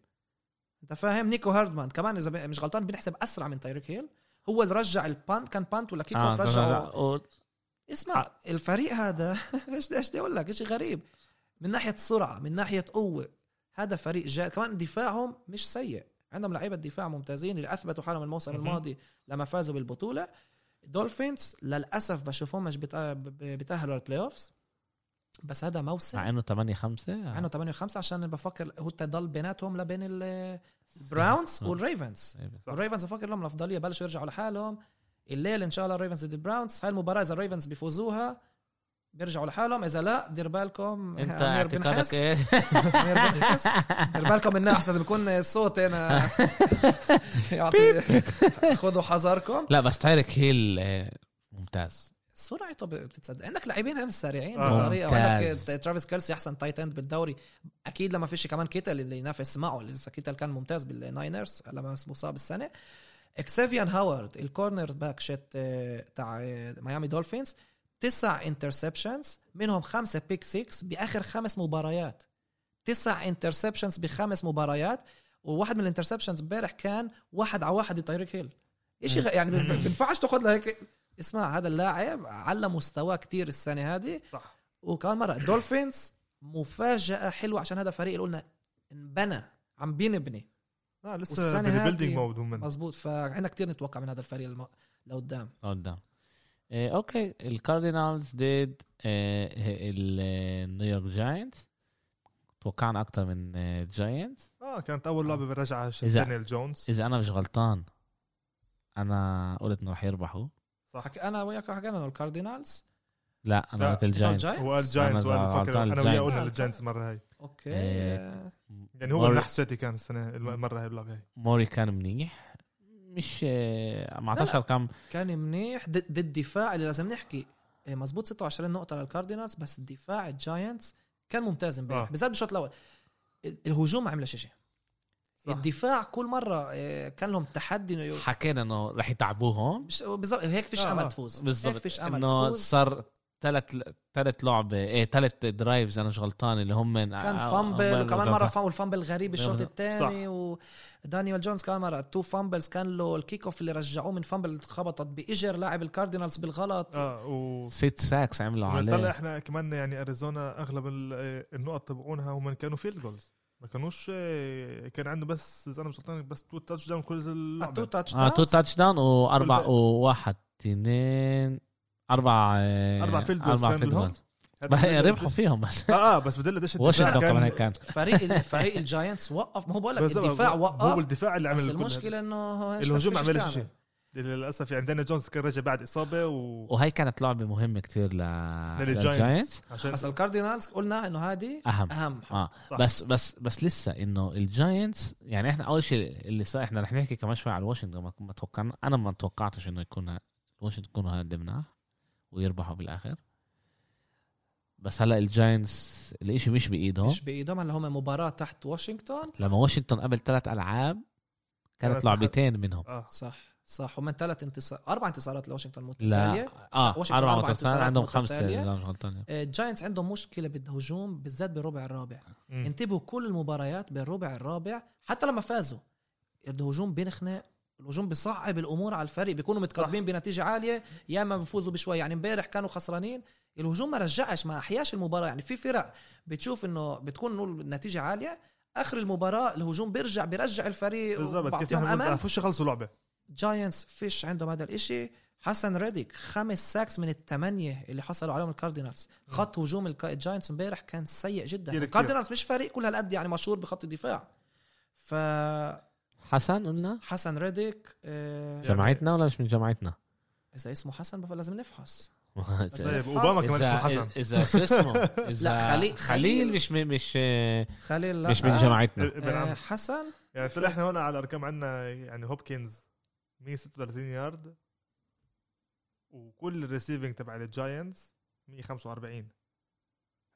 Speaker 3: انت فاهم نيكو هاردمان كمان اذا ب- مش غلطان بنحسب اسرع من تايريك هيل هو اللي رجع البانت كان بانت ولا كيك اوف
Speaker 1: آه،
Speaker 3: رجعه
Speaker 1: و-
Speaker 3: اسمع الفريق هذا ايش ايش بدي اقول لك شيء غريب من ناحيه سرعه من ناحيه قوه هذا فريق جاء كمان دفاعهم مش سيء عندهم لعيبه دفاع ممتازين اللي اثبتوا حالهم الموسم
Speaker 2: مهم.
Speaker 3: الماضي لما فازوا بالبطوله دولفينز للاسف بشوفهم مش بتأ- ب- بتاهلوا للبلاي اوفز بس هذا موسم
Speaker 1: مع انه 8 5
Speaker 3: عنده 8 و5 عشان بفكر هو تضل بيناتهم لبين ال- البراونز
Speaker 1: صح.
Speaker 3: والريفنز
Speaker 2: صح.
Speaker 3: الريفنز بفكر لهم الافضليه بلشوا يرجعوا لحالهم الليل ان شاء الله الريفنز ضد البراونز هاي المباراه اذا الريفنز بيفوزوها بيرجعوا لحالهم اذا لا دير بالكم
Speaker 1: انت
Speaker 3: أمير
Speaker 1: اعتقادك
Speaker 3: بنحس.
Speaker 1: ايه
Speaker 3: أمير بنحس. دير بالكم النحس لازم يكون الصوت هنا يعطي خذوا حذركم
Speaker 1: لا بس تايرك هيل آه، ممتاز
Speaker 3: سرعته ب- بتتصدق عندك لاعبين هنا سريعين
Speaker 2: آه.
Speaker 3: بطريقه وعندك
Speaker 1: ممتاز.
Speaker 3: ترافيس كيلسي احسن تايت اند بالدوري اكيد لما فيش كمان كيتل اللي ينافس معه لسه كيتل كان ممتاز بالناينرز لما مصاب السنه اكسيفيان هاورد الكورنر باك شت آه، تاع آه، ميامي دولفينز تسع انترسبشنز منهم خمسه بيك 6 باخر خمس مباريات تسع انترسبشنز بخمس مباريات وواحد من الانترسبشنز امبارح كان واحد على واحد تايريك هيل شيء يعني ما بينفعش تاخذ لهيك اسمع هذا اللاعب على مستواه كتير السنه هذه
Speaker 2: صح
Speaker 3: وكمان مره دولفينز مفاجاه حلوه عشان هذا فريق اللي قلنا انبنى عم بينبني
Speaker 2: لا لسه
Speaker 3: والسنة هذه-
Speaker 2: بالبيلدينج مود هم من-
Speaker 3: مزبوط فعندنا كتير نتوقع من هذا الفريق الم... لقدام
Speaker 1: قدام آه، اوكي الكاردينالز ضد آه، النيويورك جاينتس توقعنا اكتر من آه، جاينتس
Speaker 2: اه كانت اول لعبه بالرجعه
Speaker 1: آه. إذا-
Speaker 2: دانيال جونز
Speaker 1: اذا انا مش غلطان انا قلت انه رح يربحوا
Speaker 2: صح
Speaker 3: حك... انا وياك حكينا انه الكاردينالز
Speaker 1: لا انا
Speaker 2: لا،
Speaker 1: قلت
Speaker 3: أنت قلت
Speaker 1: الجاينتس
Speaker 3: Giants؟
Speaker 2: هو قال جاينتس
Speaker 1: أنا
Speaker 2: وقال بفكر
Speaker 1: غلطان
Speaker 2: انا وياه
Speaker 1: الجاينتس.
Speaker 2: قلنا للجاينتس المره هاي
Speaker 3: اوكي
Speaker 1: إيه.
Speaker 2: يعني هو
Speaker 1: مور-
Speaker 2: منح سيتي كان السنه المره هاي باللعبه هاي
Speaker 1: موري كان منيح مش آه، ما
Speaker 3: لا،
Speaker 1: عطاش
Speaker 3: لا.
Speaker 1: ارقام
Speaker 3: كان منيح ضد ضد الدفاع اللي لازم نحكي إيه، مزبوط 26 نقطة للكاردينالز بس الدفاع الجاينتس كان ممتاز امبارح
Speaker 2: آه.
Speaker 3: بالذات بالشوط الأول الهجوم ما عملش شيء
Speaker 2: صح.
Speaker 3: الدفاع كل مرة إيه، كان لهم تحدي انه يو-
Speaker 1: حكينا انه رح يتعبوهم
Speaker 3: مش- بالظبط هيك فيش
Speaker 2: آه، آه.
Speaker 3: امل تفوز
Speaker 1: بالظبط
Speaker 3: هيك فيش امل
Speaker 1: انه
Speaker 3: تفوز
Speaker 1: صار ثلاث ثلاث لعبه ايه ثلاث درايفز انا مش غلطان اللي هم من
Speaker 3: كان
Speaker 1: آه،
Speaker 3: فامبل
Speaker 1: آه،
Speaker 3: وكمان
Speaker 1: آه،
Speaker 3: مره
Speaker 1: آه.
Speaker 3: فاول فامبل غريب الشوط
Speaker 1: صح.
Speaker 3: الثاني ودانيال جونز كمان مره تو فامبلز كان له الكيك اوف اللي رجعوه من فامبل اتخبطت باجر لاعب الكاردينالز بالغلط آه،
Speaker 2: اه و
Speaker 1: ست ساكس عملوا
Speaker 2: بنطلع
Speaker 1: عليه
Speaker 2: احنا كمان يعني اريزونا اغلب ال- آه، النقط تبعونها هم كانوا فيلد جولز ما كانوش آه، كان عنده بس اذا انا مش غلطان بس تو تاتش داون كل
Speaker 3: تو
Speaker 2: اللعبه
Speaker 3: تاتش
Speaker 1: اه تو تاتش داون واربع
Speaker 2: كل-
Speaker 1: وواحد اثنين اربع آه،
Speaker 2: أربع field goals
Speaker 1: اربع
Speaker 2: كان
Speaker 1: فيلد
Speaker 2: لهم.
Speaker 1: جولز ربحوا فيهم بس
Speaker 2: اه اه بس بدل قديش
Speaker 1: واشنطن كمان هيك كان
Speaker 3: فريق فريق الجاينتس وقف ما هو بقول لك
Speaker 2: بس
Speaker 3: الدفاع
Speaker 2: هو- هو
Speaker 3: وقف
Speaker 2: الدفاع اللي عمل
Speaker 3: بس
Speaker 2: كل هذا.
Speaker 3: المشكله انه هو إيش
Speaker 2: الهجوم ما
Speaker 3: بدك- فيش
Speaker 2: عملش
Speaker 3: إيش
Speaker 2: شيء
Speaker 3: تعمل.
Speaker 2: للاسف يعني دانيال جونز كان رجع بعد اصابه و
Speaker 1: وهي كانت لعبه مهمه كثير ل للجاينتس
Speaker 2: للجاينتس عشان
Speaker 3: بس الكاردينالز قلنا انه هذه
Speaker 1: اهم
Speaker 3: اهم
Speaker 1: اه
Speaker 2: صح.
Speaker 1: بس بس بس لسه انه الجاينتس يعني احنا اول شيء اللي صار احنا رح نحكي كمان شوي على واشنطن ما- ما توقعنا انا ما توقعتش انه يكون واشنطن يكونوا هدمناه ويربحوا بالاخر بس هلا الجاينتس الاشي مش بايدهم
Speaker 3: مش بايدهم هلا هم مباراه تحت واشنطن
Speaker 1: لما واشنطن قبل ثلاث العاب كانت
Speaker 2: كانت
Speaker 1: لعبتين منهم
Speaker 2: اه
Speaker 3: صح صح هم ثلاث انتصار اربع انتصارات لواشنطن
Speaker 1: لا
Speaker 3: متتاليه
Speaker 1: اه
Speaker 3: واشنطن
Speaker 1: اربع
Speaker 3: أربع
Speaker 1: متتالية
Speaker 3: انتصارات
Speaker 1: عندهم خمسه
Speaker 3: متتالية.
Speaker 1: إذا مش غلطان
Speaker 3: الجاينتس آه، عندهم مشكله بالهجوم بالذات بالربع الرابع
Speaker 2: مم.
Speaker 3: انتبهوا كل المباريات بالربع الرابع حتى لما فازوا الهجوم بينخنق الهجوم بصعب الامور على الفريق بيكونوا متقدمين بنتيجه عاليه يا اما بفوزوا بشوي يعني امبارح كانوا خسرانين الهجوم ما رجعش ما احياش المباراه يعني في فرق بتشوف انه بتكون إنه النتيجه عاليه اخر المباراه الهجوم بيرجع بيرجع الفريق
Speaker 2: بالضبط كيف
Speaker 3: وبعطيهم
Speaker 2: نحن
Speaker 3: امل
Speaker 2: ما فيش خلصوا لعبه
Speaker 3: جاينتس فيش عندهم هذا الاشي حسن ريديك خمس ساكس من الثمانية اللي حصلوا عليهم الكاردينالز خط هجوم الك- الجاينتس امبارح كان سيء جدا
Speaker 2: كتير-
Speaker 3: الكاردينالز مش فريق كل هالقد يعني مشهور بخط الدفاع فحسن
Speaker 1: حسن قلنا
Speaker 3: ريديك آه،
Speaker 2: جمع.
Speaker 1: جماعتنا ولا مش من جماعتنا؟
Speaker 3: اذا اسمه حسن بف- لازم نفحص
Speaker 2: طيب اوباما كمان اسمه حسن
Speaker 1: إذا- اذا شو اسمه
Speaker 3: لا،
Speaker 1: اذا خليل
Speaker 3: خليل- خليل.
Speaker 1: خليل مش مش
Speaker 3: خليل لا
Speaker 1: مش من جماعتنا
Speaker 2: ابن إيه، عم
Speaker 3: آه، حسن
Speaker 2: يعني طلع احنا هون على الارقام عندنا يعني هوبكنز 136 يارد وكل الريسيفنج تبع الجاينتس 145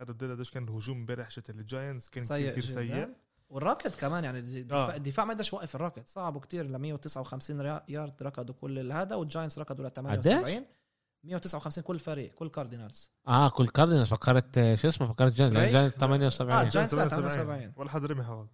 Speaker 2: هذا بدل قديش كان الهجوم امبارح شت الجاينتس كان
Speaker 3: سيء
Speaker 2: كثير
Speaker 3: جدا.
Speaker 2: سيء
Speaker 3: والراكد كمان يعني الدفاع,
Speaker 2: آه.
Speaker 3: الدفاع ما قدرش يوقف الراكد صعبوا كتير ل 159 ري- يارد ركضوا كل هذا والجاينتس ركضوا ل 78 159 كل فريق كل كاردينالز
Speaker 1: اه كل كاردينالز فكرت آه، شو اسمه فكرت جاينز
Speaker 3: دريك؟
Speaker 1: جاينز
Speaker 3: اه
Speaker 1: 78
Speaker 3: جاينتس لا،
Speaker 2: 78.
Speaker 3: 78.
Speaker 2: ولا حد رمي هذا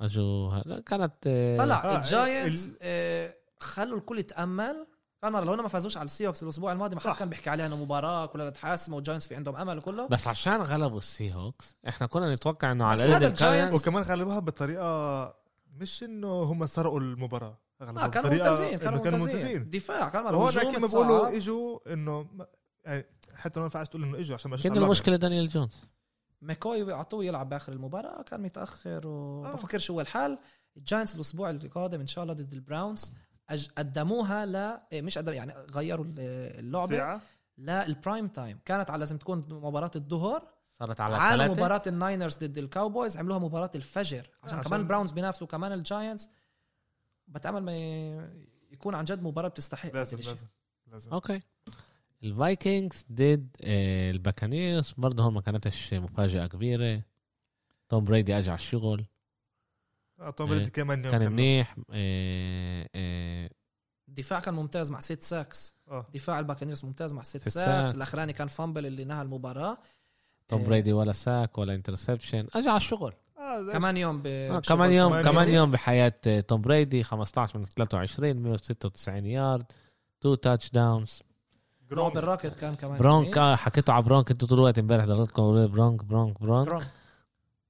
Speaker 1: اجوا لا، كانت آه،
Speaker 3: طلع
Speaker 2: آه،
Speaker 3: الجاينتس
Speaker 2: ال-
Speaker 3: آه، خلوا الكل يتامل كان مرة لو انه ما فازوش على السيوكس الاسبوع الماضي ما حد
Speaker 2: صح.
Speaker 3: كان بيحكي عليها انه مباراه كلها تحاسمه والجاينتس في عندهم امل وكله
Speaker 1: بس عشان غلبوا السي هوكس احنا كنا نتوقع انه على
Speaker 3: بس
Speaker 1: الاقل
Speaker 3: هذا
Speaker 1: الجاينتس
Speaker 3: الجاينتس-
Speaker 2: وكمان غلبوها بطريقه مش انه هم سرقوا المباراه
Speaker 3: لا
Speaker 2: أغلبهم
Speaker 3: آه، كانوا
Speaker 2: بطريقة
Speaker 3: ممتازين
Speaker 2: إنه
Speaker 3: كانوا ممتازين دفاع كانوا
Speaker 2: هو
Speaker 3: هجوم
Speaker 2: لكن ما
Speaker 3: اتصعد.
Speaker 2: بقولوا اجوا انه ما- يعني حتى ما ينفعش تقول انه اجوا عشان ما شفنا
Speaker 1: كان
Speaker 2: اللعبة.
Speaker 1: المشكله دانيال جونز
Speaker 3: ماكوي اعطوه يلعب باخر المباراه كان متاخر
Speaker 2: آه.
Speaker 3: وبفكر شو هو الحال الجاينتس الاسبوع القادم ان شاء الله ضد البراونز أج- قدموها ل إيه، مش قدم يعني غيروا ال- اللعبه
Speaker 2: ساعة
Speaker 3: للبرايم تايم كانت على لازم تكون مباراه الظهر
Speaker 1: صارت على
Speaker 3: على
Speaker 1: ثلاثة.
Speaker 3: مباراه الناينرز ضد الكاوبويز عملوها مباراه الفجر عشان
Speaker 2: عشان-
Speaker 3: كمان البراونز بينافسوا كمان الجاينتس بتامل ما ي- يكون عن جد مباراه بتستحق هذا
Speaker 2: لازم
Speaker 3: الشيء.
Speaker 2: لازم لازم
Speaker 1: اوكي الفايكنجز ضد آه، الباكانيرز برضه هون ما كانتش مفاجاه كبيره توم بريدي اجى على الشغل
Speaker 2: آه، توم بريدي
Speaker 1: إيه.
Speaker 2: كمان يوم
Speaker 1: كان
Speaker 2: كمان.
Speaker 1: منيح آه، آه،
Speaker 3: الدفاع كان ممتاز مع ست ساكس
Speaker 2: اه
Speaker 3: دفاع الباكنيرز ممتاز مع ست
Speaker 1: ست
Speaker 3: ساكس
Speaker 1: ساكس.
Speaker 3: الاخراني كان فامبل اللي نهى المباراه
Speaker 1: توم
Speaker 3: إيه.
Speaker 1: بريدي ولا ساك ولا انترسبشن اجى على الشغل
Speaker 2: آه، ده
Speaker 3: كمان يوم ب...
Speaker 1: آه،
Speaker 3: بشغل
Speaker 1: كمان يوم
Speaker 2: كمان
Speaker 1: كمان
Speaker 2: يوم.
Speaker 1: يوم بحياه آه، توم بريدي 15 من 23 196 يارد تو تاتش داونز
Speaker 2: جرون.
Speaker 3: لعب الراكت كان كمان
Speaker 1: برونك
Speaker 3: جميل.
Speaker 1: آه، حكيتوا على برونك انتوا طول الوقت امبارح ضلتكم تقولوا برونك برونك برونك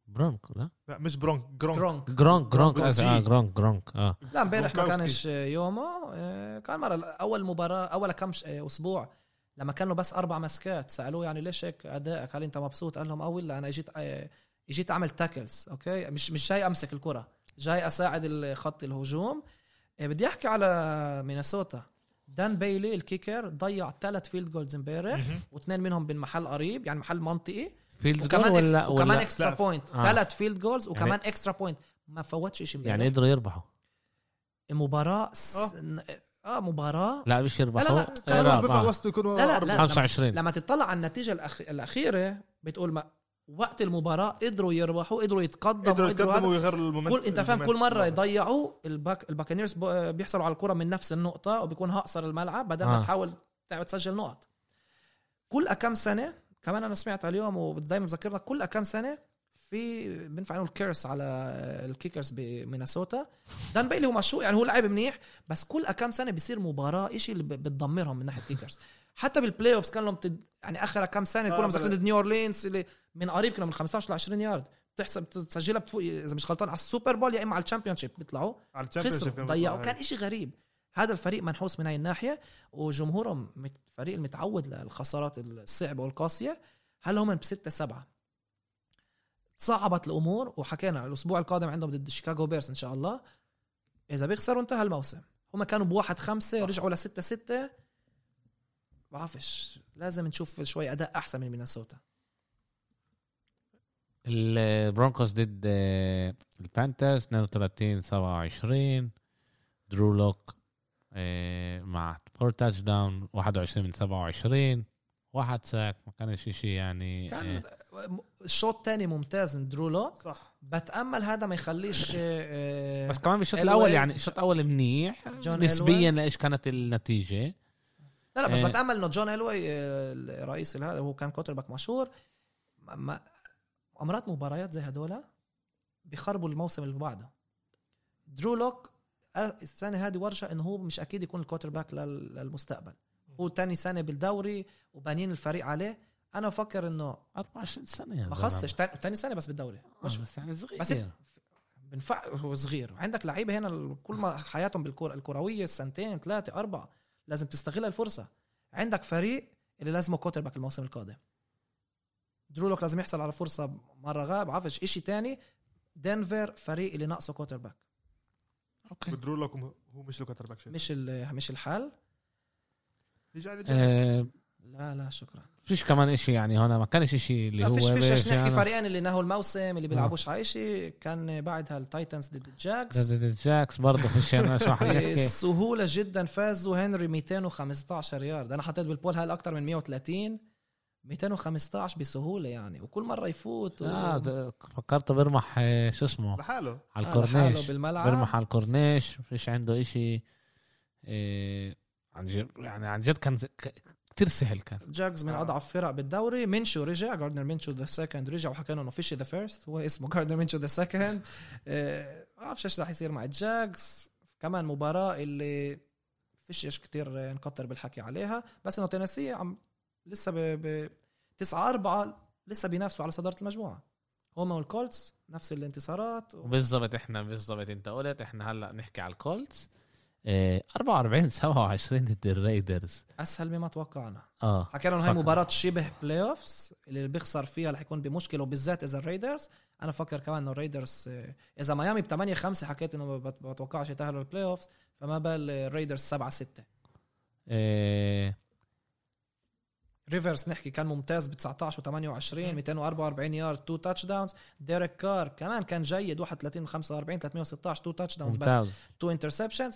Speaker 3: برونك
Speaker 1: برونك لا
Speaker 2: لا مش برونك جرونك
Speaker 3: برونك
Speaker 1: جرونك جرونك
Speaker 2: برونك.
Speaker 1: آه، جرونك جرونك اه
Speaker 3: لا امبارح ما
Speaker 2: برونكوفسكي.
Speaker 3: كانش يومه آه، كان مرة اول مباراه اول كم ش- آه، اسبوع لما كانوا بس اربع مسكات سالوه يعني ليش هيك ادائك هل انت مبسوط قال لهم اول لا انا اجيت آه، اجيت اعمل تاكلز اوكي مش مش جاي امسك الكره جاي اساعد ال- خط الهجوم آه، بدي احكي على مينيسوتا دان بيلي الكيكر ضيع ثلاث فيلد جولز امبارح
Speaker 2: مهم.
Speaker 3: واثنين منهم من محل قريب يعني محل منطقي
Speaker 1: فيلد جول
Speaker 3: وكمان ولا
Speaker 1: ولا
Speaker 3: وكمان
Speaker 1: ولا
Speaker 3: اكسترا
Speaker 2: لا.
Speaker 3: بوينت
Speaker 1: آه.
Speaker 3: ثلاث فيلد جولز وكمان
Speaker 1: يعني-
Speaker 3: اكسترا بوينت ما فوتش شيء
Speaker 1: يعني
Speaker 3: يعني
Speaker 1: قدروا يربحوا
Speaker 3: المباراه س...
Speaker 2: آه.
Speaker 3: اه مباراه
Speaker 1: لا مش يربحوا
Speaker 3: إيه، لا، لا،
Speaker 1: آه،
Speaker 2: كمان
Speaker 1: لا،
Speaker 2: بينفع
Speaker 1: آه.
Speaker 2: وسط يكونوا
Speaker 3: لا، لا،
Speaker 2: أربعة.
Speaker 3: لا.
Speaker 1: 25
Speaker 3: لما تطلع على النتيجه الأخ... الاخيره بتقول ما وقت المباراه قدروا يربحوا قدروا يتقدموا
Speaker 2: قدروا يتقدموا
Speaker 3: هذا.
Speaker 2: ويغيروا المومنت
Speaker 3: كل انت فاهم كل مره يضيعوا الباك الباكانيرز ب- بيحصلوا على الكره من نفس النقطه وبيكون هقصر الملعب بدل ما
Speaker 1: آه.
Speaker 3: تحاول تع- تسجل نقط كل كم سنه كمان انا سمعت اليوم ودايما بذكرنا كل كم سنه في بنفع نقول كيرس على الكيكرز بمينيسوتا دان بيلي هو مشهور يعني هو لاعب منيح بس كل كم سنه بيصير مباراه شيء اللي ب- بتدمرهم من ناحيه الكيكرز حتى بالبلاي اوفز كان لهم تد... يعني اخر كم سنه
Speaker 2: آه،
Speaker 3: كنا
Speaker 2: بلا-
Speaker 3: مسكرين ضد نيو اورلينز اللي من قريب كانوا من 15 ل 20 يارد بتحسب بتسجلها بتفوق اذا مش غلطان على السوبر بول يا اما على الشامبيون شيب بيطلعوا
Speaker 2: على الشامبيونشيب
Speaker 3: خسروا
Speaker 2: كانوا
Speaker 3: ضيعوا
Speaker 2: بيطلعوا
Speaker 3: كان إشي غريب هذا الفريق منحوس من هاي الناحيه وجمهورهم مت- فريق المتعود للخسارات الصعبه والقاسيه هل هم بستة سبعة صعبت الامور وحكينا الاسبوع القادم عندهم ضد شيكاغو بيرس ان شاء الله اذا بيخسروا انتهى الموسم هم كانوا بواحد خمسة رجعوا لستة ستة بعرفش لازم نشوف شوي اداء احسن من مينيسوتا
Speaker 1: البرونكوس ضد آه، البانترز 32 27 درو لوك آه، مع فور تاتش داون 21 من 27 واحد ساك ما كانش شيء يعني
Speaker 3: كان
Speaker 1: آه،
Speaker 3: الشوط تاني ممتاز من درو لوك
Speaker 2: صح
Speaker 3: بتامل هذا ما يخليش آه، آه،
Speaker 1: بس كمان بالشوط
Speaker 3: Elway-
Speaker 1: الاول يعني الشوط الاول منيح
Speaker 3: جون
Speaker 1: نسبيا لايش كانت النتيجه
Speaker 3: لا لا بس
Speaker 1: آه.
Speaker 3: بتامل انه جون الوي آه، الرئيس هذا هو كان كوتر باك مشهور ما- ما امرات مباريات زي هدول بيخربوا الموسم اللي بعده درو لوك آه، السنه هذه ورجع انه هو مش اكيد يكون الكوتر باك لل- للمستقبل هو تاني سنه بالدوري وبانين الفريق عليه انا بفكر انه
Speaker 1: 24 سنه يا
Speaker 3: ما
Speaker 1: زلمة.
Speaker 3: خصش تاني تاني سنه بس بالدوري
Speaker 1: آه،
Speaker 3: مش
Speaker 1: بس يعني صغير
Speaker 3: بس إيه. بنفع هو صغير عندك لعيبه هنا ال- كل ما حياتهم بالكره الكرويه سنتين ثلاثه اربعه لازم تستغل الفرصه عندك فريق اللي لازمه كوتر باك الموسم القادم درولوك لازم يحصل على فرصه مره غاب عفش إشي تاني دنفر فريق اللي ناقصه كوتر باك
Speaker 1: اوكي
Speaker 2: بدرو لك هو مش الكوتر باك شيء
Speaker 3: مش ال- مش الحال
Speaker 2: يجي على
Speaker 3: إيه.
Speaker 2: الجاينتس.
Speaker 1: آه،
Speaker 3: لا لا شكرا
Speaker 1: فيش كمان اشي يعني هنا ما كانش اشي اللي
Speaker 3: لا
Speaker 1: هو آه.
Speaker 3: فيش فيش عشان
Speaker 1: يعني-
Speaker 3: نحكي فريقين اللي نهوا الموسم اللي بيلعبوش على إشي كان بعدها التايتنز ضد الجاكس
Speaker 1: ضد الجاكس برضه فيش انا شو
Speaker 3: إيه،
Speaker 1: حنحكي
Speaker 3: بسهوله جدا آه، فازوا هنري 215 يارد انا حطيت بالبول هاي اكثر من 130 215 بسهوله يعني وكل مره يفوت و...
Speaker 1: اه ده- فكرته بيرمح آه، شو اسمه
Speaker 2: لحاله
Speaker 1: على
Speaker 3: لحاله
Speaker 1: الكورنيش
Speaker 3: بالملعب.
Speaker 1: بيرمح على الكورنيش فيش عنده اشي آه، عن جد يعني عن جد كان كثير سهل كان
Speaker 3: جاكس من
Speaker 2: آه.
Speaker 3: اضعف فرق بالدوري منشو رجع جاردنر منشو ذا سكند رجع وحكى انه فيش ذا فيرست هو اسمه جاردنر منشو ذا سكند بعرفش ايش رح يصير مع الجاكس كمان مباراه اللي فيش ايش كتير نكتر بالحكي عليها بس انه تينيسي عم لسه ب, ب... 9 4 لسه بينافسوا على صداره المجموعه هم والكولتس نفس الانتصارات و...
Speaker 1: بالضبط احنا بالضبط انت قلت احنا هلا نحكي على الكولتس إيه، 44 27 ضد الريدرز
Speaker 3: اسهل مما توقعنا
Speaker 1: اه
Speaker 3: حكينا انه هاي
Speaker 1: فكر.
Speaker 3: مباراه شبه بلاي اوفز اللي بيخسر فيها رح يكون بمشكله وبالذات اذا الريدرز انا بفكر كمان انه الريدرز آه، اذا ميامي ب 8 5 حكيت انه ما بت- بتوقعش يتاهلوا البلاي اوفز فما بال الريدرز 7 6
Speaker 1: إيه،
Speaker 3: ريفرس نحكي كان ممتاز ب 19 و28 244 يارد 2 تاتش داونز ديريك كار كمان كان جيد 31 من 45 316 2 تاتش داونز بس
Speaker 1: ممتاز
Speaker 3: 2 انترسبشنز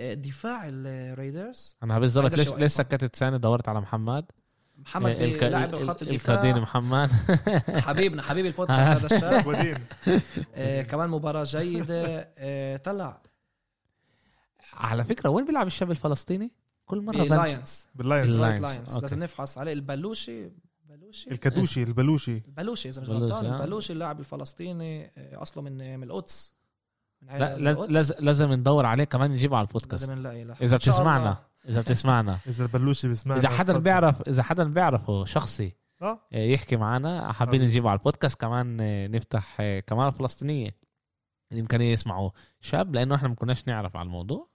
Speaker 3: دفاع الريدرز
Speaker 1: انا بالضبط
Speaker 3: هيدا
Speaker 1: ليش
Speaker 3: شو
Speaker 1: ليش
Speaker 3: أيضاً.
Speaker 1: سكتت سنه دورت على محمد
Speaker 3: محمد
Speaker 1: إيه، الك- ال-
Speaker 3: لاعب الخط
Speaker 1: ال- القدير
Speaker 3: الدفاع
Speaker 1: محمد
Speaker 3: حبيبنا حبيب البودكاست هذا الشاب
Speaker 2: ودين
Speaker 3: آه، كمان مباراة جيدة آه، طلع
Speaker 1: على فكره وين بيلعب الشاب الفلسطيني كل مره بنش-
Speaker 3: اللاينز
Speaker 2: باللاينز
Speaker 1: باللاينز،
Speaker 3: لاينز
Speaker 1: أوكي.
Speaker 3: لازم نفحص عليه البلوشي بلوشي
Speaker 2: الكدوشي البلوشي
Speaker 3: البلوشي اذا مش
Speaker 1: بلوشي،
Speaker 3: غلطان
Speaker 1: آه.
Speaker 3: البلوشي اللاعب الفلسطيني آه، اصله من من القدس من
Speaker 1: لا
Speaker 3: عائلة
Speaker 1: لاز-
Speaker 3: القدس.
Speaker 1: لازم لازم ندور عليه كمان نجيبه على البودكاست
Speaker 3: لازم نلاقي له.
Speaker 1: اذا
Speaker 3: إن شاء الله.
Speaker 1: بتسمعنا اذا بتسمعنا
Speaker 2: اذا البلوشي بيسمعنا
Speaker 1: اذا حدا
Speaker 2: تفضل.
Speaker 1: بيعرف اذا حدا بيعرفه شخصي
Speaker 2: اه
Speaker 1: آه، يحكي معنا حابين
Speaker 2: حبيبي.
Speaker 1: نجيبه على البودكاست كمان آه، نفتح آه، كمان الفلسطينيه الامكانيه يسمعوا شاب لانه احنا ما كناش نعرف على الموضوع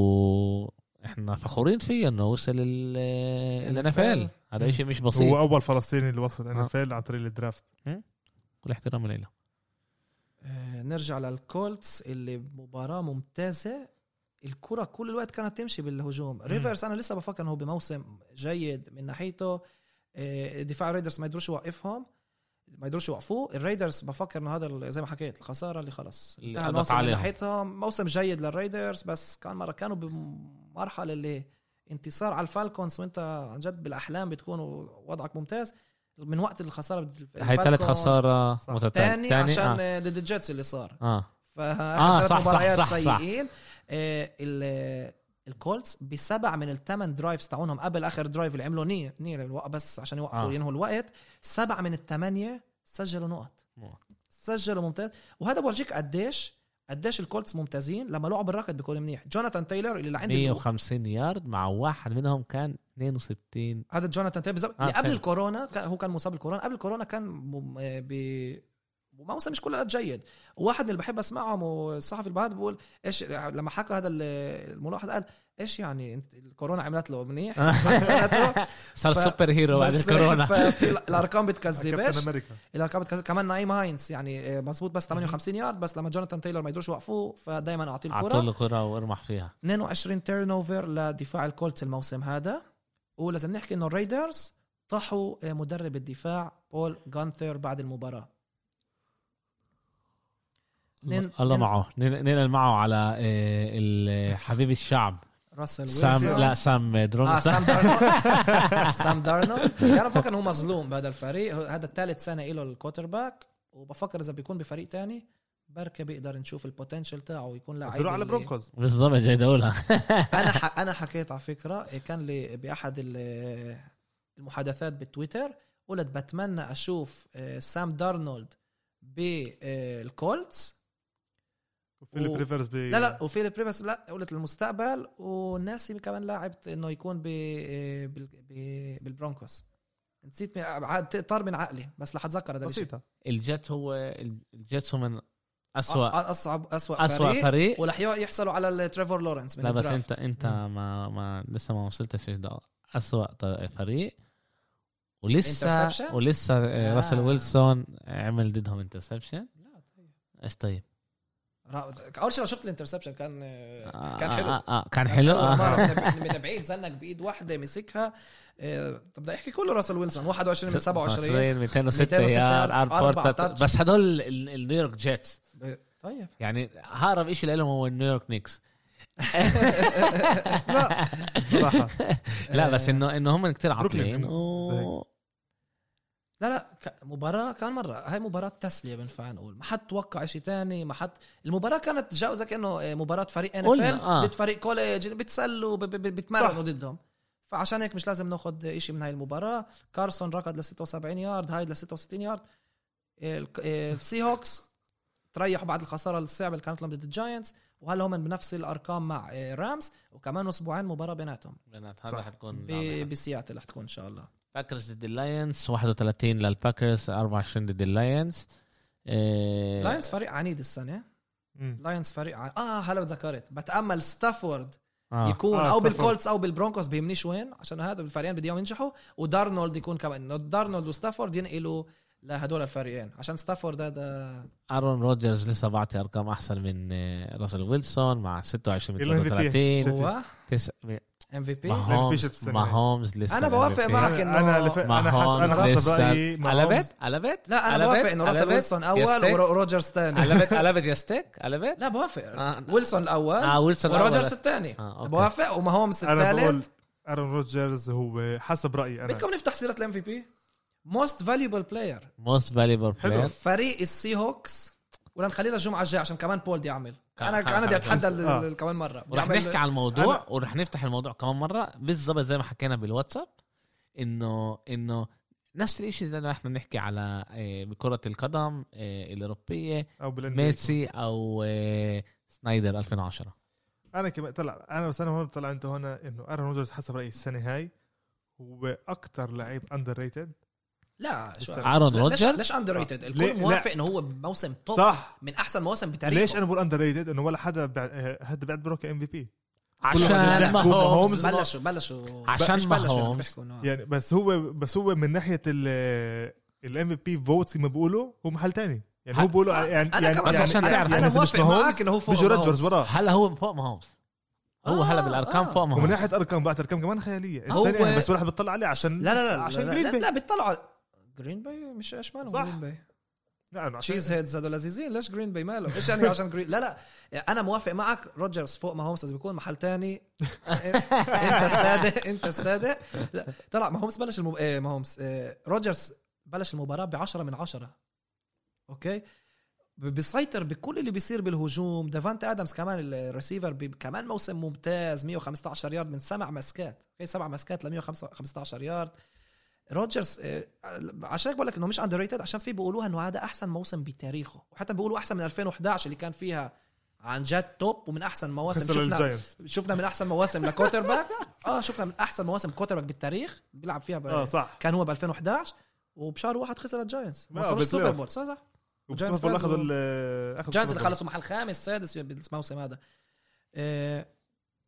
Speaker 1: واحنا فخورين فيه انه وصل الان اف
Speaker 3: NFL.
Speaker 1: ال هذا شيء مش
Speaker 2: هو
Speaker 1: بسيط
Speaker 2: اول فلسطيني اللي وصل ان
Speaker 1: آه.
Speaker 2: اف عن طريق الدرافت
Speaker 1: كل احترام له
Speaker 3: آه، نرجع للكولتس اللي مباراة ممتازة الكرة كل الوقت كانت تمشي بالهجوم ريفرس انا لسه بفكر انه هو بموسم جيد من ناحيته آه، دفاع الريدرز ما يقدروش يوقفهم ما يقدروش يوقفوه الريدرز بفكر انه هذا ال- زي ما حكيت الخساره اللي خلاص
Speaker 1: اللي
Speaker 3: انتهى
Speaker 1: قضت
Speaker 3: الموسم من
Speaker 1: عليهم.
Speaker 3: ناحيتهم موسم جيد للريدرز بس كان مره كانوا بمرحله اللي انتصار على الفالكونز وانت عن جد بالاحلام بتكون وضعك ممتاز من وقت الخساره بال-
Speaker 1: هاي ثالث
Speaker 3: الفالكونز
Speaker 1: خساره
Speaker 2: صح.
Speaker 1: متتاليه
Speaker 3: تاني عشان
Speaker 1: اه,
Speaker 3: آه، ضد الجيتس اللي صار
Speaker 1: آه.
Speaker 3: فاخر
Speaker 1: آه،
Speaker 3: ثلاث
Speaker 1: صح، صح،
Speaker 3: مباريات
Speaker 1: صح، صح.
Speaker 3: سيئين آه، ال- الكولتس بسبع من الثمان درايفز تاعونهم قبل اخر درايف اللي عملوا نية نية للوقت بس عشان يوقفوا
Speaker 1: آه.
Speaker 3: ينهوا الوقت سبع من الثمانيه سجلوا نقط سجلوا ممتاز وهذا بورجيك قديش قديش الكولتس ممتازين لما لعب الركض بيكون منيح جوناثان تايلر اللي عندي
Speaker 1: 150 يارد مع واحد منهم كان 62
Speaker 3: هذا جوناثان تايلر بالظبط
Speaker 1: آه،
Speaker 3: اللي قبل
Speaker 1: تايلر.
Speaker 3: الكورونا كان- هو كان مصاب بالكورونا قبل الكورونا كان مم- آه، ب وموسم مش كله جيد واحد اللي بحب اسمعهم والصحفي اللي بعد بقول ايش لما حكى هذا ال- الملاحظ قال ايش يعني انت الكورونا عملت له منيح سنته،
Speaker 1: صار
Speaker 3: ف-
Speaker 1: سوبر هيرو بعد
Speaker 3: بس
Speaker 1: الكورونا
Speaker 3: ففي
Speaker 2: كابتن
Speaker 3: الارقام بتكذبش
Speaker 2: امريكا
Speaker 3: الارقام بتكذب كمان نايم هاينز يعني آه، مزبوط بس 58 يارد بس لما جوناثان تايلر ما يقدروش يوقفوه فدائما اعطيه
Speaker 1: اعطوا
Speaker 3: الكره
Speaker 1: له كره وارمح فيها
Speaker 3: 22 تيرن اوفر لدفاع الكولتس الموسم هذا ولازم نحكي انه الريدرز طحوا مدرب الدفاع بول جانثر بعد المباراه نين-
Speaker 1: الله
Speaker 3: نين-
Speaker 1: معه نن- ننقل معه على آه، ال- حبيب الشعب
Speaker 3: راسل
Speaker 1: سام
Speaker 3: ويلسون
Speaker 1: لا سام درون
Speaker 3: آه سام دارنولد سام دارنولد انا بفكر انه هو مظلوم بهذا الفريق هو- هذا الثالث سنه له الكوتر باك وبفكر اذا بيكون بفريق تاني بركه بيقدر نشوف البوتنشل تاعه يكون لاعب
Speaker 2: زرعوا على
Speaker 3: اللي-
Speaker 2: برونكوز
Speaker 1: بالضبط جاي دولها
Speaker 3: انا ح... انا حكيت على فكره كان لي باحد ال- المحادثات بالتويتر قلت بتمنى اشوف آه، سام دارنولد بالكولتس
Speaker 2: وفيليب
Speaker 3: و-
Speaker 2: ريفرز بي
Speaker 3: لا لا وفي بريفس لا قلت للمستقبل وناسي كمان لاعب انه يكون ب... آه، بال... ب- بالبرونكوس نسيت من... عاد طار من عقلي بس رح اتذكر هذا الشيء
Speaker 2: بسيطة
Speaker 1: الجيت هو الجيتس هو من اسوء
Speaker 3: اصعب اسوء,
Speaker 1: اسوء
Speaker 3: آه، فريق,
Speaker 1: فريق
Speaker 3: ولح يحصلوا على تريفور لورنس من
Speaker 1: لا بس
Speaker 3: الدرافت.
Speaker 1: انت انت ما ما لسه ما وصلتش ده اسوء ط- فريق ولسه
Speaker 3: Interception؟
Speaker 1: ولسه آه،
Speaker 3: آه.
Speaker 1: راسل ويلسون عمل ضدهم انترسبشن
Speaker 3: لا، طيب.
Speaker 1: ايش طيب
Speaker 3: را- اول شيء أنا شفت الانترسبشن كان آه،
Speaker 1: آه،
Speaker 3: كان
Speaker 1: آه،
Speaker 3: حلو
Speaker 1: آه، آه، كان حلو آه.
Speaker 3: مرة من بعيد زنك بايد واحده مسكها آه، طب بدي احكي كله راسل ويلسون 21 من 27
Speaker 1: 206
Speaker 3: 206
Speaker 1: يار
Speaker 3: يارد،
Speaker 1: ار
Speaker 3: أربعة
Speaker 1: بورتا
Speaker 3: تاتش.
Speaker 1: بس هدول ال- النيويورك جيتس
Speaker 3: طيب
Speaker 1: يعني هارب شيء لهم هو النيويورك نيكس
Speaker 2: لا صراحة
Speaker 1: لا بس انه انه هم كثير
Speaker 2: بروكلين.
Speaker 1: عاطلين
Speaker 2: زي-
Speaker 3: لا لا ك- مباراة كان مرة هاي مباراة تسلية بنفع نقول ما حد توقع شيء تاني ما حد المباراة كانت جو زي كأنه آه، مباراة فريق ان
Speaker 1: قلنا، آه.
Speaker 3: ضد فريق كوليج بتسلوا ب- ب- ب- بتمرنوا ضدهم فعشان هيك مش لازم ناخذ شيء من هاي المباراة كارسون ركض ل 76 يارد هاي ل 66 يارد ال- آه، السي هوكس تريحوا بعد الخسارة الصعبة اللي كانت لهم ضد الجاينتس وهلا هم بنفس الارقام مع آه، رامز وكمان اسبوعين مباراة بيناتهم
Speaker 1: بنات هذا
Speaker 2: صح.
Speaker 1: حتكون
Speaker 3: ب- بسياتل رح تكون ان شاء الله
Speaker 1: باكرز ضد اللاينز 31 للباكرز 24 ضد اللاينز آه،
Speaker 3: لاينز فريق عنيد السنه
Speaker 2: مم.
Speaker 3: لاينز فريق عن... اه هلا تذكرت بتامل ستافورد
Speaker 1: آه.
Speaker 2: آه،
Speaker 3: يكون او
Speaker 2: ستافورد.
Speaker 3: بالكولتس او بالبرونكوس بيهمنيش وين عشان هذا الفريقين بدي اياهم ينجحوا ودارنولد يكون كمان إنه دارنولد وستافورد ينقلوا لهدول الفريقين عشان ستافورد هذا
Speaker 1: ارون روجرز لسه بعطي ارقام احسن من آه، راسل ويلسون مع 26 من
Speaker 2: إلا MVP.
Speaker 1: 33
Speaker 3: هو
Speaker 1: تسع- م-
Speaker 3: ام في بي
Speaker 2: ما-
Speaker 1: مع
Speaker 2: MVP السنة.
Speaker 1: هومز لسه
Speaker 3: أنا بوافق
Speaker 1: MVP.
Speaker 3: معك. إنه-
Speaker 2: انا لف...
Speaker 1: مع
Speaker 2: انا حس... انا
Speaker 1: هومز
Speaker 2: حسب
Speaker 1: لسه-
Speaker 2: رايي مع هومز.
Speaker 1: قلبت قلبت
Speaker 3: لا انا
Speaker 1: قلبت؟
Speaker 3: بوافق انه راسل
Speaker 1: قلبت؟
Speaker 3: ويلسون
Speaker 1: يا
Speaker 3: اول
Speaker 1: ستيك؟
Speaker 3: وروجرز ثاني
Speaker 1: قلبت قلبت يا ستيك قلبت
Speaker 3: لا بوافق
Speaker 1: آه.
Speaker 3: ويلسون الاول
Speaker 1: اه ويلسون
Speaker 3: وروجرز
Speaker 1: روجرز
Speaker 3: الثاني
Speaker 1: آه، أوكي.
Speaker 3: بوافق وماهومس
Speaker 2: انا بقول
Speaker 3: الثالث
Speaker 2: ارون روجرز هو حسب رايي انا
Speaker 3: بدكم نفتح سيره الام في بي موست فاليوبل بلاير
Speaker 1: موست فاليبل
Speaker 2: حلو.
Speaker 1: بلاير
Speaker 3: فريق السي هوكس ولا نخليها الجمعه الجايه عشان كمان بول بدي اعمل
Speaker 1: كان-
Speaker 3: انا
Speaker 1: كان-
Speaker 3: انا بدي
Speaker 1: كان-
Speaker 3: اتحدى ال-
Speaker 2: آه.
Speaker 3: ال- كمان مره بدي
Speaker 1: ورح
Speaker 3: أعمل-
Speaker 1: نحكي على الموضوع ورح نفتح الموضوع كمان مره بالضبط زي ما حكينا بالواتساب انه انه نفس الشيء اللي احنا نحكي على آه، بكره القدم آه، الاوروبيه
Speaker 2: او بالان
Speaker 1: ميسي او آه، سنايدر 2010
Speaker 2: انا كمان طلع انا بس انا هون طلع انت هون انه ارون روجرز حسب رايي السنه هاي هو اكثر لعيب اندر ريتد
Speaker 3: لا شو
Speaker 2: بالسنة.
Speaker 1: ارون
Speaker 3: لا، ليش
Speaker 1: روجر
Speaker 3: ليش اندر ريتد
Speaker 1: آه.
Speaker 2: ليه؟
Speaker 3: الكل
Speaker 2: لا.
Speaker 3: موافق انه هو موسم توب
Speaker 2: صح
Speaker 3: من احسن مواسم بتاريخه
Speaker 2: ليش انا بقول اندر ريتد انه ولا حدا بع- آه، حدا بيعتبره كام في بي
Speaker 1: عشان
Speaker 3: لا،
Speaker 1: ما
Speaker 2: هو
Speaker 1: هومز
Speaker 2: هومز-
Speaker 3: بلشوا بلشوا
Speaker 1: عشان
Speaker 3: مش بلشوا،
Speaker 1: ماهومز.
Speaker 3: بيحكوا إنه-
Speaker 2: يعني بس هو بس هو من ناحيه ال الام في بي فوتس ما بيقولوا هو محل تاني يعني هو
Speaker 1: هل-
Speaker 2: بيقولوا
Speaker 3: آه،
Speaker 2: يعني
Speaker 3: أنا
Speaker 2: يعني
Speaker 3: كمان
Speaker 1: بس
Speaker 2: يعني
Speaker 1: عشان
Speaker 2: يعني
Speaker 1: تعرف.
Speaker 3: أنا
Speaker 2: إذا مش
Speaker 3: موافق
Speaker 2: ماهومز،
Speaker 3: معك إنه هو فوق
Speaker 2: بيجي
Speaker 3: ماهومز.
Speaker 2: روجرز وراه
Speaker 1: هلا هو فوق ما هومز هو
Speaker 3: آه،
Speaker 1: هلا بالارقام
Speaker 3: آه.
Speaker 1: فوق ما
Speaker 2: ومن
Speaker 1: هومز
Speaker 2: ناحيه ارقام بعد ارقام كمان خياليه
Speaker 3: هو-
Speaker 2: السنه يعني بس الواحد بيطلع عليه عشان
Speaker 3: لا لا
Speaker 2: عشان
Speaker 3: لا عشان لا
Speaker 2: جرين
Speaker 3: لا,
Speaker 2: باي
Speaker 3: لا بيطلعوا على- جرين باي مش ايش مالهم
Speaker 2: صح.
Speaker 3: جرين باي
Speaker 2: لا عشان
Speaker 3: تشيز هيدز هذول لذيذين ليش جرين باي ماله ايش يعني عشان جرين لا لا انا موافق معك روجرز فوق ما هومس بس بيكون محل تاني انت الصادق انت الصادق لا طلع ما هومس بلش المب... إيه، ما هومس روجرز بلش المباراه ب 10 من 10 اوكي ب- بيسيطر بكل اللي بيصير بالهجوم دافانت ادمز كمان الريسيفر ب- كمان موسم ممتاز 115 يارد من سبع مسكات اوكي سبع مسكات ل 115 يارد روجرز آه، عشان هيك بقول لك انه مش اندر ريتد عشان في بيقولوها انه هذا احسن موسم بتاريخه وحتى بيقولوا احسن من 2011 اللي كان فيها عن جد توب ومن احسن مواسم
Speaker 2: خسروا
Speaker 3: شفنا
Speaker 2: الجاينتس
Speaker 3: شفنا من احسن مواسم لكوتر باك اه شفنا من احسن مواسم كوتر باك بالتاريخ بيلعب فيها ب...
Speaker 2: اه صح
Speaker 3: كان هو ب 2011 وبشهر واحد خسر الجاينتس
Speaker 2: آه،
Speaker 3: ما وصلوش
Speaker 2: بالبلاي
Speaker 3: السوبر
Speaker 2: أوف.
Speaker 3: بول صح صح
Speaker 2: وبصراحه
Speaker 3: الجاينتس
Speaker 2: والله اخذوا
Speaker 3: فازوا.
Speaker 2: ال- اخذوا
Speaker 3: الجاينتس اللي
Speaker 2: السوبر بول.
Speaker 3: خلصوا محل خامس سادس بالموسم هذا آه،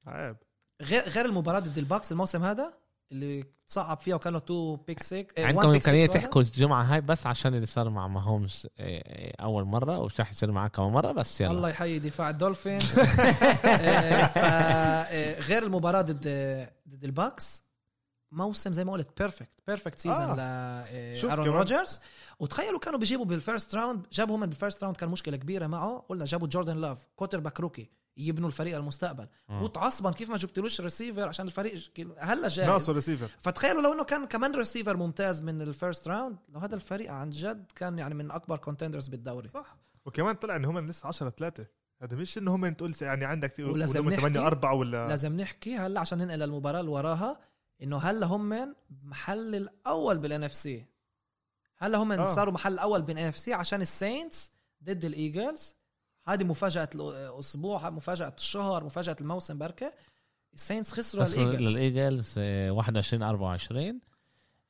Speaker 2: عيب
Speaker 3: غير غير المباراه ضد الباكس الموسم هذا اللي صعب فيها وكانوا تو بيك سيك
Speaker 1: عندكم امكانيه تحكوا الجمعه هاي بس عشان اللي صار مع ماهومز آه، آه، اول مره ومش رح يصير معك كمان مره بس يلا
Speaker 3: الله يحيي دفاع الدولفينز آه، ف- آه، غير المباراه ضد ضد الباكس موسم زي ما قلت بيرفكت بيرفكت سيزون
Speaker 2: آه. شوف
Speaker 3: لارون
Speaker 2: كمان.
Speaker 3: روجرز وتخيلوا كانوا بيجيبوا بالفيرست راوند جابوا هم بالفيرست راوند كان مشكله كبيره معه قلنا جابوا جوردن لاف كوتر باك روكي يبنوا الفريق المستقبل
Speaker 1: آه.
Speaker 3: وتعصبن كيف ما جبتلوش ريسيفر عشان الفريق ج- كي- هلا جاهز
Speaker 2: ناقصه ريسيفر
Speaker 3: فتخيلوا لو انه كان كمان ريسيفر ممتاز من الفيرست راوند لو هذا الفريق عن جد كان يعني من اكبر كونتندرز بالدوري
Speaker 2: صح وكمان طلع ان هم لسه 10 3 هذا مش ان هم تقول س- يعني عندك في-
Speaker 3: ولازم
Speaker 2: ولا هم 8
Speaker 3: نحكي-
Speaker 2: 4 ولا
Speaker 3: لازم نحكي هلا عشان ننقل للمباراه اللي وراها انه هلا هم محل الاول بالان اف سي هلا هم
Speaker 2: آه.
Speaker 3: آه. صاروا محل الاول بالان اف سي عشان السينتس ضد الايجلز هذه مفاجاه الاسبوع مفاجاه الشهر مفاجاه الموسم بركه السينتس خسروا
Speaker 1: بس
Speaker 3: الايجلز
Speaker 1: للايجلز آه، 21 24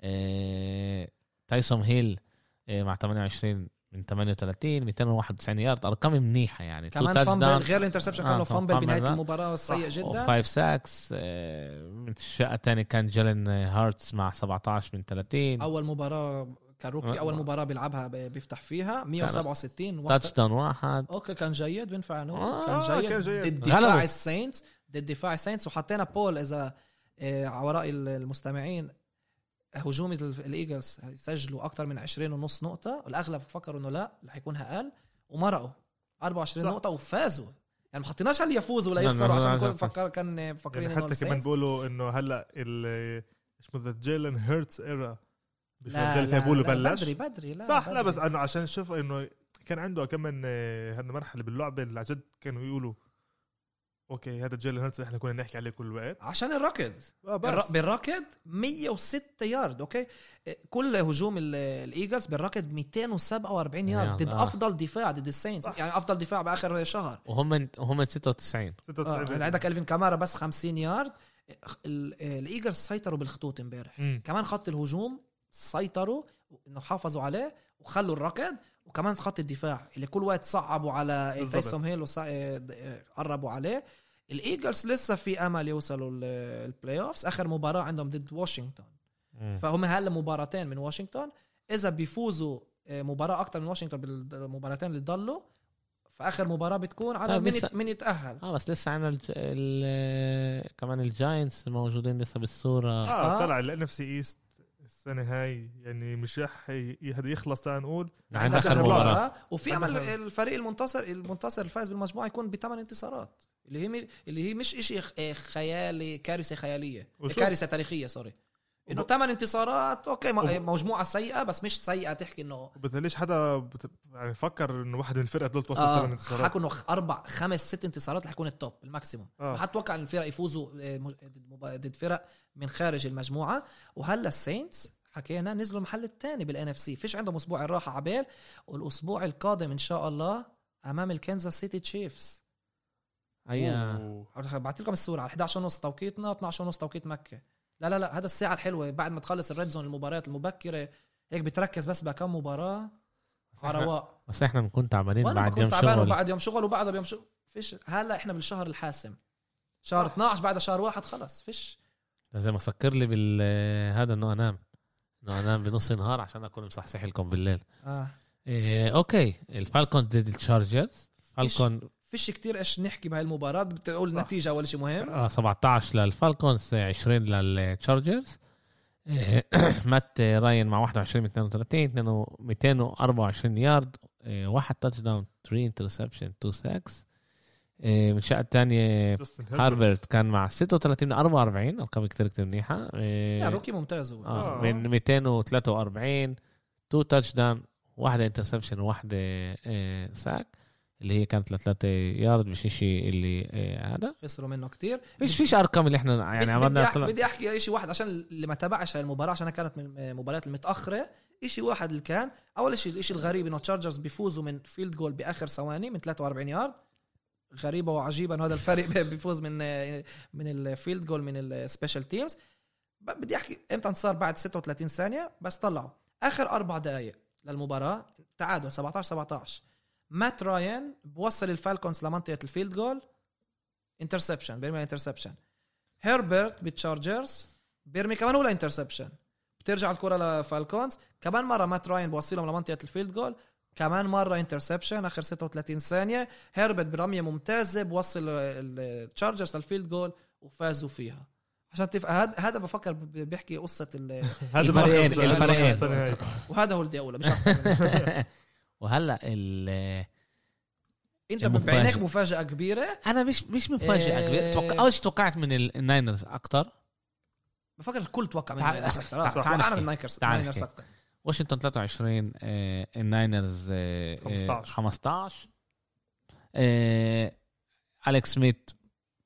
Speaker 1: آه، تايسون هيل آه، مع 28 من 38 291 يارد ارقام منيحه يعني
Speaker 3: كمان فامبل غير الانترسبشن كان له
Speaker 1: آه، Oh،
Speaker 3: فامبل
Speaker 1: فامبل
Speaker 3: بنهايه
Speaker 1: ده.
Speaker 3: المباراه سيء جدا
Speaker 1: 5 ساكس آه، من الشقه الثانيه كان جيلن هارتس مع 17 من 30
Speaker 3: اول مباراه كروكي اول مباراه بيلعبها ب- بيفتح فيها 167 واحد-
Speaker 1: تاتش داون واحد
Speaker 3: اوكي كان جيد بينفع انه
Speaker 1: آه،
Speaker 3: كان جيد
Speaker 2: كان جيد.
Speaker 3: ضد دفاع
Speaker 1: غلبوا.
Speaker 3: الساينتس ضد دفاع الساينتس وحطينا بول اذا آه، على وراء ال- المستمعين هجوم ال- الايجلز سجلوا اكثر من 20 ونص نقطه الاغلب فكروا انه لا رح يكون اقل ومرقوا 24
Speaker 2: صح.
Speaker 3: نقطه وفازوا يعني ما حطيناش هل يفوزوا ولا
Speaker 1: لا، لا،
Speaker 3: يخسروا
Speaker 1: لا، لا،
Speaker 3: عشان كل
Speaker 1: لا.
Speaker 3: فكر كان فاكرين
Speaker 2: يعني حتى
Speaker 3: انه
Speaker 2: كمان
Speaker 3: الساينتس
Speaker 2: بيقولوا انه هلا ال ايش بدها جيلن هيرتس ايرا
Speaker 3: لا
Speaker 2: بفيلادلفيا
Speaker 3: لا
Speaker 2: بيقولوا
Speaker 3: لا
Speaker 2: بلش
Speaker 3: بدري بدري لا
Speaker 2: صح لا
Speaker 3: بدري.
Speaker 2: بس انه عشان شوف انه كان عنده كمان آه، هذا مرحله باللعبه اللي عن جد كانوا يقولوا اوكي هذا جيلن هيرتس احنا كنا نحكي عليه كل الوقت
Speaker 3: عشان الركض
Speaker 2: اه
Speaker 3: بالر-
Speaker 2: بس
Speaker 3: بالراكد 106 يارد اوكي كل هجوم ال- الايجلز بالراكد 247 يارد
Speaker 1: يارد،
Speaker 3: ضد
Speaker 1: آه.
Speaker 3: افضل دفاع ضد الساينتس
Speaker 2: صح.
Speaker 3: يعني افضل دفاع باخر شهر
Speaker 1: وهم وهم 96
Speaker 3: آه.
Speaker 2: 96
Speaker 3: عندك الفين كامارا بس 50 يارد إيه، ال- الايجرز سيطروا بالخطوط امبارح
Speaker 2: مم.
Speaker 3: كمان خط الهجوم سيطروا انه حافظوا عليه وخلوا الركض وكمان خط الدفاع اللي كل وقت صعبوا على
Speaker 2: بالضبط.
Speaker 3: تايسون هيل آه، وقربوا عليه الايجلز لسه في امل يوصلوا ال- البلاي اوفز اخر مباراه عندهم ضد واشنطن
Speaker 2: مم.
Speaker 3: فهم هلا مباراتين من واشنطن اذا بيفوزوا آه، مباراه اكتر من واشنطن بالمباراتين اللي ضلوا فاخر مباراه بتكون على
Speaker 1: طيب
Speaker 3: مين
Speaker 1: لسه-
Speaker 3: مين يتاهل
Speaker 1: اه بس لسه عنا الج... ال... كمان الجاينتس موجودين لسه بالصوره
Speaker 2: اه
Speaker 3: آه.
Speaker 2: طلع الان اف سي ايست السنه هاي يعني مش رح ي- هذا يخلص تعال نقول
Speaker 1: عن
Speaker 2: آخر
Speaker 1: اخر
Speaker 2: مباراة.
Speaker 1: مباراه
Speaker 3: وفي
Speaker 2: عندنا
Speaker 3: امل
Speaker 2: آخر-
Speaker 3: الفريق المنتصر المنتصر الفائز بالمجموعه يكون بثمان انتصارات اللي هي م- اللي هي مش شيء خيالي كارثه خياليه
Speaker 2: وشوف-
Speaker 3: كارثه تاريخيه سوري انه
Speaker 2: وب-
Speaker 3: ثمان انتصارات اوكي ما-
Speaker 2: وب-
Speaker 3: مجموعه سيئه بس مش سيئه تحكي انه
Speaker 2: بتخليش حدا بت... يعني فكر انه واحد من الفرقه دول توصل
Speaker 3: آه،
Speaker 2: ثمان انتصارات
Speaker 3: حكوا انه اربع خمس ست انتصارات رح يكون التوب الماكسيموم
Speaker 2: آه.
Speaker 3: آه. حتوقع ان الفرق يفوزوا آه، م- ضد مبا- ضد فرق من خارج المجموعه وهلا السينتس حكينا نزلوا المحل الثاني بالان اف سي فيش عندهم اسبوع الراحه عبال والاسبوع القادم ان شاء الله امام الكنزاس سيتي تشيفز
Speaker 1: هيا
Speaker 2: أوه.
Speaker 3: بعت لكم الصوره على 11 ونص توقيتنا 12 ونص توقيت مكه لا لا لا هذا الساعه الحلوه بعد ما تخلص الريد زون المباريات المبكره هيك بتركز بس بكم مباراه على رواق
Speaker 1: بس احنا بنكون تعبانين
Speaker 3: وانا
Speaker 1: بعد يوم
Speaker 3: كنت تعبان
Speaker 1: شغل
Speaker 3: وبعد يوم شغل وبعدها بيوم شغل فيش هلا احنا بالشهر الحاسم شهر 12 بعد شهر واحد خلص فيش
Speaker 1: لازم اسكر لي بال هذا انه انام انه انام بنص النهار عشان اكون مصحصح لكم بالليل
Speaker 3: اه
Speaker 1: إيه اوكي الفالكون ضد التشارجرز فالكون
Speaker 3: فيش كتير ايش نحكي بهاي المباراه بتقول
Speaker 2: صح.
Speaker 3: نتيجه اول شيء مهم
Speaker 1: آه 17 للفالكونز 20 للتشارجرز إيه، مات راين مع 21 من 32 اتنين- 224 يارد إيه، واحد تاتش داون 3 انترسبشن 2 ساكس آه، من الشقه الثانيه
Speaker 2: جاستن هيربرت.
Speaker 1: طيب. هارفرد كان مع 36 ل 44 ارقام كتير كتير منيحه إيه،
Speaker 3: لا روكي ممتاز هو
Speaker 1: آه.
Speaker 2: آه.
Speaker 1: من 243 تو تاتش داون واحدة انترسبشن وواحدة آه، ساك اللي هي كانت لثلاثة يارد مش شيء اللي آه، هذا
Speaker 3: خسروا منه كتير
Speaker 1: مش فيش ارقام اللي احنا يعني
Speaker 3: بدي-
Speaker 1: عملنا
Speaker 3: بدي
Speaker 1: طلع-
Speaker 3: احكي, بدي أحكي شيء واحد عشان اللي ما تابعش هاي المباراه عشان كانت من المباريات المتاخره شيء واحد اللي كان اول شيء الشيء الغريب انه تشارجرز بيفوزوا من فيلد جول باخر ثواني من 43 يارد غريبه وعجيبه انه هذا الفريق بيفوز من من الفيلد جول من السبيشال تيمز بدي احكي امتى صار بعد 36 ثانيه بس طلعوا اخر اربع دقائق للمباراه تعادل 17 17 مات راين بوصل الفالكونز لمنطقه الفيلد جول انترسبشن بيرمي انترسبشن هيربرت بالتشارجرز بيرمي كمان ولا انترسبشن بترجع الكره لفالكونز كمان مره مات راين بوصلهم لمنطقه الفيلد جول كمان مره انترسبشن اخر 36 ثانيه هيربرت برميه ممتازه بوصل التشارجرز للفيلد جول وفازوا فيها عشان تفهم هذا هذا بفكر ب- بيحكي قصه ال...
Speaker 2: هذا
Speaker 1: الفريقين-
Speaker 2: بلخص- هذا بلخص
Speaker 1: الفريقين.
Speaker 2: السنة هاي.
Speaker 3: وهذا هو اللي اقوله مش أكتر منه.
Speaker 1: وهلا ال-
Speaker 3: انت
Speaker 1: المفاجأة.
Speaker 3: بعينيك مفاجاه كبيره
Speaker 1: انا مش مش مفاجئ
Speaker 3: إيه.
Speaker 1: كبير توقع اول شيء توقعت من ال- الناينرز اكثر
Speaker 3: بفكر الكل توقع من
Speaker 1: تعال-
Speaker 3: الناينرز اكثر
Speaker 1: تعال-
Speaker 3: آه،
Speaker 1: تعال
Speaker 3: توقعنا
Speaker 1: نحكي.
Speaker 3: من الناينرز
Speaker 1: تعال
Speaker 3: الناينرز
Speaker 1: نحكي.
Speaker 3: اكثر
Speaker 1: واشنطن 23 آه، الناينرز آه، آه،
Speaker 2: 15.
Speaker 1: 15 آه، اليكس سميث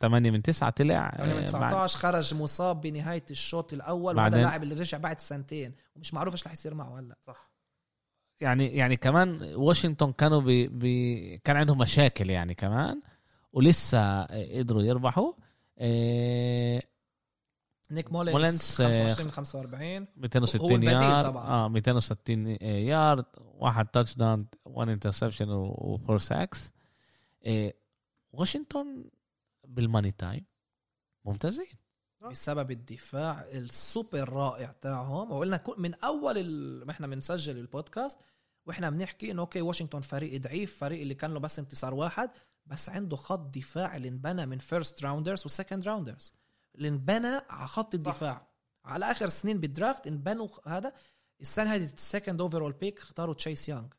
Speaker 1: 8 من 9 طلع آه،
Speaker 3: 8 من
Speaker 1: بعد-
Speaker 3: 19 خرج مصاب بنهايه الشوط الاول وهذا
Speaker 1: بعدين؟
Speaker 3: اللاعب اللي رجع بعد سنتين ومش معروف ايش رح يصير معه هلا
Speaker 1: يعني يعني كمان واشنطن كانوا بي بي كان عندهم مشاكل يعني كمان ولسه قدروا يربحوا إيه،
Speaker 3: نيك مولينز
Speaker 1: مولينز، آه،
Speaker 3: 25 من 45 هو
Speaker 1: 260
Speaker 3: البديل
Speaker 1: يارد
Speaker 3: طبعاً.
Speaker 1: اه 260 يارد واحد تاتش داون 1 انترسبشن وفور ساكس إيه، واشنطن بالماني تايم ممتازين
Speaker 3: آه. بسبب الدفاع السوبر رائع تاعهم وقلنا كل- من اول ال... ما احنا بنسجل البودكاست واحنا بنحكي انه اوكي واشنطن فريق ضعيف فريق اللي كان له بس انتصار واحد بس عنده خط دفاع اللي انبنى من فيرست راوندرز وسكند راوندرز اللي انبنى على خط الدفاع على اخر سنين بالدرافت انبنوا خ- هذا السنه هذه السكند اوفرول بيك اختاروا تشيس يانج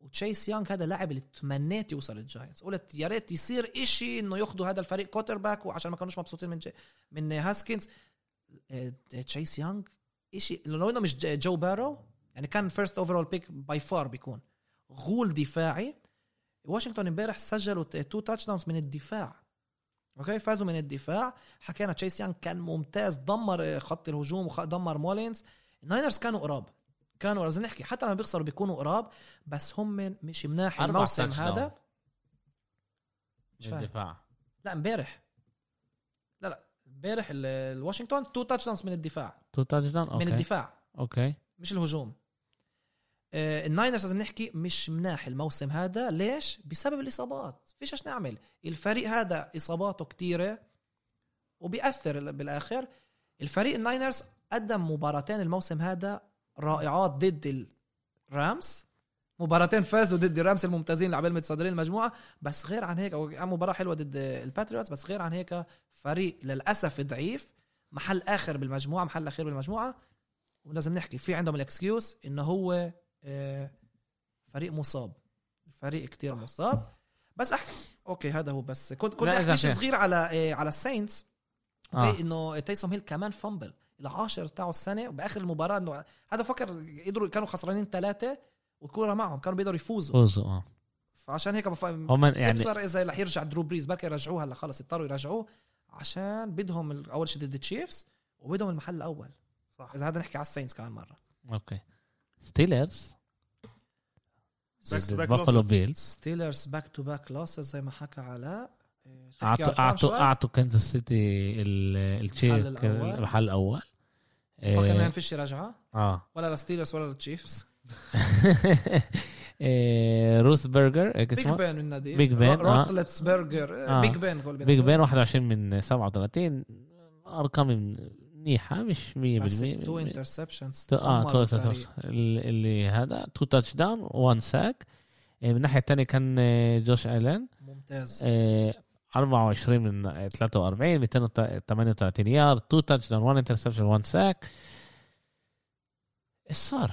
Speaker 3: وتشيس يانج هذا لاعب اللي تمنيت يوصل الجاينتس قلت يا ريت يصير إشي انه ياخذوا هذا الفريق كوتر باك وعشان ما كانوش مبسوطين من جي من هاسكنز آه، تشيس يانج إشي لو انه مش ج- جو بارو يعني كان فيرست اوفرول بيك باي فار بيكون غول دفاعي واشنطن امبارح سجلوا ت- تو تاتش داونز من الدفاع اوكي فازوا من الدفاع حكينا تشيس يانج كان ممتاز دمر آه، خط الهجوم ودمر مولينز الناينرز كانوا قراب كانوا لازم نحكي حتى لما بيخسروا بيكونوا قراب بس هم من- مش مناح
Speaker 1: أربع
Speaker 3: الموسم
Speaker 1: touchdown.
Speaker 3: هذا مش
Speaker 1: من
Speaker 3: فاهم.
Speaker 1: الدفاع
Speaker 3: لا امبارح لا لا امبارح ال- الواشنطن تو تاتش داونز من الدفاع
Speaker 1: تو تاتش داون
Speaker 3: من
Speaker 1: اوكي
Speaker 3: الدفاع
Speaker 1: اوكي
Speaker 3: مش الهجوم آه، الناينرز لازم نحكي مش مناح الموسم هذا ليش بسبب الاصابات فيش ايش نعمل الفريق هذا اصاباته كتيره وبيأثر بالاخر الفريق الناينرز قدم مباراتين الموسم هذا رائعات ضد الرامز مباراتين فازوا ضد الرامز الممتازين اللي عبال متصدرين المجموعه بس غير عن هيك أو مباراه حلوه ضد الباتريوتس بس غير عن هيك فريق للاسف ضعيف محل اخر بالمجموعه محل اخير بالمجموعه ولازم نحكي في عندهم الاكسكيوز انه هو آه، فريق مصاب الفريق كتير مصاب بس احكي اوكي هذا هو بس كنت كنت
Speaker 1: لا، إذا
Speaker 3: احكي شيء
Speaker 1: في-
Speaker 3: صغير على آه، على الساينتس
Speaker 1: آه.
Speaker 3: اوكي انه تايسون هيل كمان فامبل العاشر تاعه السنه وباخر المباراه انه هذا فكر قدروا كانوا خسرانين ثلاثه والكوره معهم كانوا بيقدروا يفوزوا
Speaker 1: فوزوا اه
Speaker 3: فعشان هيك بف...
Speaker 1: هم
Speaker 3: يعني
Speaker 1: يعني
Speaker 3: ابصر اذا رح يرجع درو بريز بركي يرجعوه هلا خلص اضطروا يرجعوه عشان بدهم ال- اول شيء ضد التشيفز وبدهم المحل الاول
Speaker 2: صح
Speaker 3: اذا هذا نحكي على الساينز كمان مره
Speaker 1: اوكي ستيلرز
Speaker 2: Back to back
Speaker 1: بافلو
Speaker 2: losses.
Speaker 1: بيلز
Speaker 3: ستيلرز باك تو باك لوسز زي ما حكى علاء إيه، تحكي
Speaker 1: اعطوا
Speaker 3: أرقام
Speaker 1: اعطوا
Speaker 3: شوي؟
Speaker 1: اعطوا كانزاس سيتي ال- التشيف
Speaker 3: الأول.
Speaker 1: كان- المحل الاول
Speaker 3: فكر ما
Speaker 1: إيه،
Speaker 3: فيش رجعه
Speaker 1: اه
Speaker 3: ولا لستيلرز ولا للتشيفز
Speaker 1: إيه، روث برجر إيه،
Speaker 3: بيج
Speaker 1: اسمه
Speaker 3: بان من نادي
Speaker 1: بيج بان، آه.
Speaker 3: روتلتس برجر
Speaker 1: آه.
Speaker 3: بيج بان هو اللي
Speaker 1: بيج
Speaker 3: بينادوه.
Speaker 1: بان 21 من 37 ارقام من- منيحه مش 100%
Speaker 3: بس تو
Speaker 1: من-
Speaker 3: انترسبشنز
Speaker 1: تو- اه تو تاتش اللي هذا تو تاتش داون وان ساك من الناحيه الثانيه كان آه، جوش الين
Speaker 3: ممتاز
Speaker 1: آه، 24 من آه، 43 238 يارد تو تاتش داون 1 انترسبشن 1 ساك ايش صار؟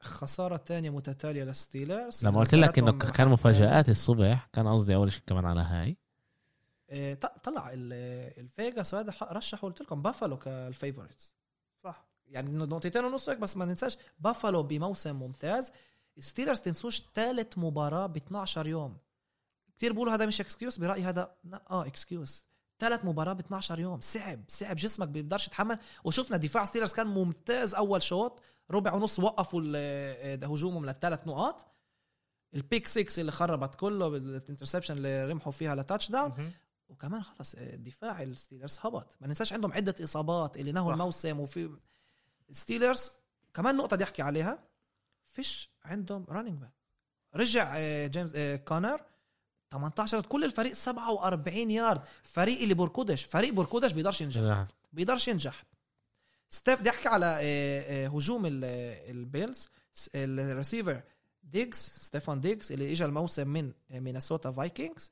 Speaker 3: خساره ثانيه متتاليه للستيلرز
Speaker 1: لما قلت لك انه
Speaker 3: نزلتهم-
Speaker 1: كان مفاجات الصبح كان قصدي اول شيء كمان على هاي
Speaker 3: إيه، ط- طلع ال- الفيجاس هذا ح- رشحوا قلت لكم بافالو كالفيفوريتس
Speaker 2: صح
Speaker 3: يعني إنه نقطتين ونص هيك بس ما ننساش بافالو بموسم ممتاز ستيلرز تنسوش ثالث مباراه ب 12 يوم كثير بيقولوا هذا مش اكسكيوز برايي هذا لا، اه اكسكيوز ثلاث مباراه ب 12 يوم صعب صعب جسمك بيقدرش يتحمل وشفنا دفاع ستيلرز كان ممتاز اول شوط ربع ونص وقفوا ال- آه، هجومهم للثلاث نقاط البيك 6 اللي خربت كله بالانترسبشن اللي رمحوا فيها لتاتش داون
Speaker 2: مهم.
Speaker 3: وكمان خلص آه، دفاع الستيلرز هبط ما ننساش عندهم عده اصابات اللي نهوا
Speaker 2: صح.
Speaker 3: الموسم وفي ستيلرز كمان نقطه بدي احكي عليها فيش عندهم رانينج باك رجع آه، جيمس آه، كونر 18 كل الفريق 47 يارد فريق اللي بركودش فريق بركودش بيقدرش ينجح بيقدرش ينجح ستيف بدي احكي على آه، آه، هجوم ال- آه، البيلز س- الريسيفر ديجز ستيفان ديجز اللي اجى الموسم من آه، مينيسوتا فايكنجز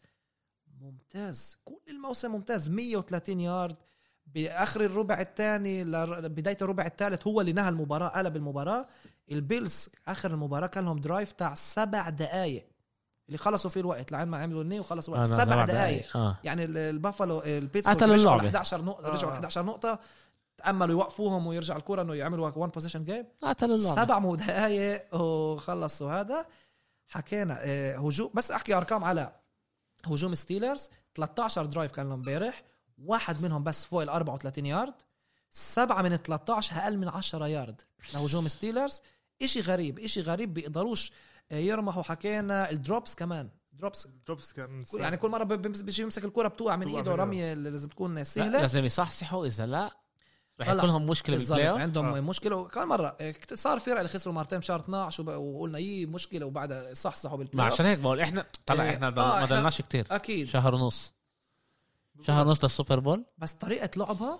Speaker 3: ممتاز كل الموسم ممتاز 130 يارد باخر الربع الثاني لبدايه الربع الثالث هو اللي نهى المباراه قلب المباراه البيلز اخر المباراه كان لهم درايف تاع سبع دقائق اللي خلصوا فيه الوقت لعين ما عملوا النيه وخلصوا
Speaker 1: آه،
Speaker 3: الوقت سبع دقائق
Speaker 1: اه
Speaker 3: يعني ال- البافالو البيتسبورغ
Speaker 1: قتلوا
Speaker 3: رجعوا
Speaker 1: اللعبة.
Speaker 3: ل 11 نقطة
Speaker 2: آه.
Speaker 3: رجعوا ل 11 نقطة تأملوا يوقفوهم ويرجع الكرة انه يعملوا وان بوزيشن جيم
Speaker 1: قتلوا اللعبه
Speaker 3: سبع مو دقايق وخلصوا هذا حكينا آه، هجوم بس احكي ارقام على هجوم ستيلرز 13 درايف كان لهم امبارح واحد منهم بس فوق ال 34 يارد سبعة من 13 اقل من 10 يارد لهجوم ستيلرز اشي غريب اشي غريب بيقدروش آه، يرمحوا حكينا الدروبس كمان دروبس
Speaker 2: دروبس كان
Speaker 3: كل- يعني كل مره بي- بيمس- بيجي يمسك الكره بتوقع من
Speaker 2: بتوقع
Speaker 3: ايده
Speaker 2: منه.
Speaker 3: رميه اللي لازم تكون
Speaker 1: لا،
Speaker 3: سهله
Speaker 1: لازم يصحصحوا اذا لا رح
Speaker 3: طلع.
Speaker 1: يكون لهم مشكله
Speaker 3: بالظبط
Speaker 1: بالبلاي اوف
Speaker 3: عندهم
Speaker 2: آه.
Speaker 3: آه. مشكله وكمان مره إيه، كت- صار فرق اللي خسروا مرتين بشهر 12 وب- وقلنا يي مشكله وبعدها صحصحوا
Speaker 1: ما
Speaker 3: بالبلاي أوف.
Speaker 1: عشان هيك بقول احنا طلع
Speaker 3: طيب. إيه.
Speaker 1: احنا ضل-
Speaker 3: آه،
Speaker 1: ما
Speaker 3: إحنا-
Speaker 1: ضلناش كتير
Speaker 3: اكيد
Speaker 1: شهر ونص شهر ونص للسوبر بول
Speaker 3: بس طريقه لعبها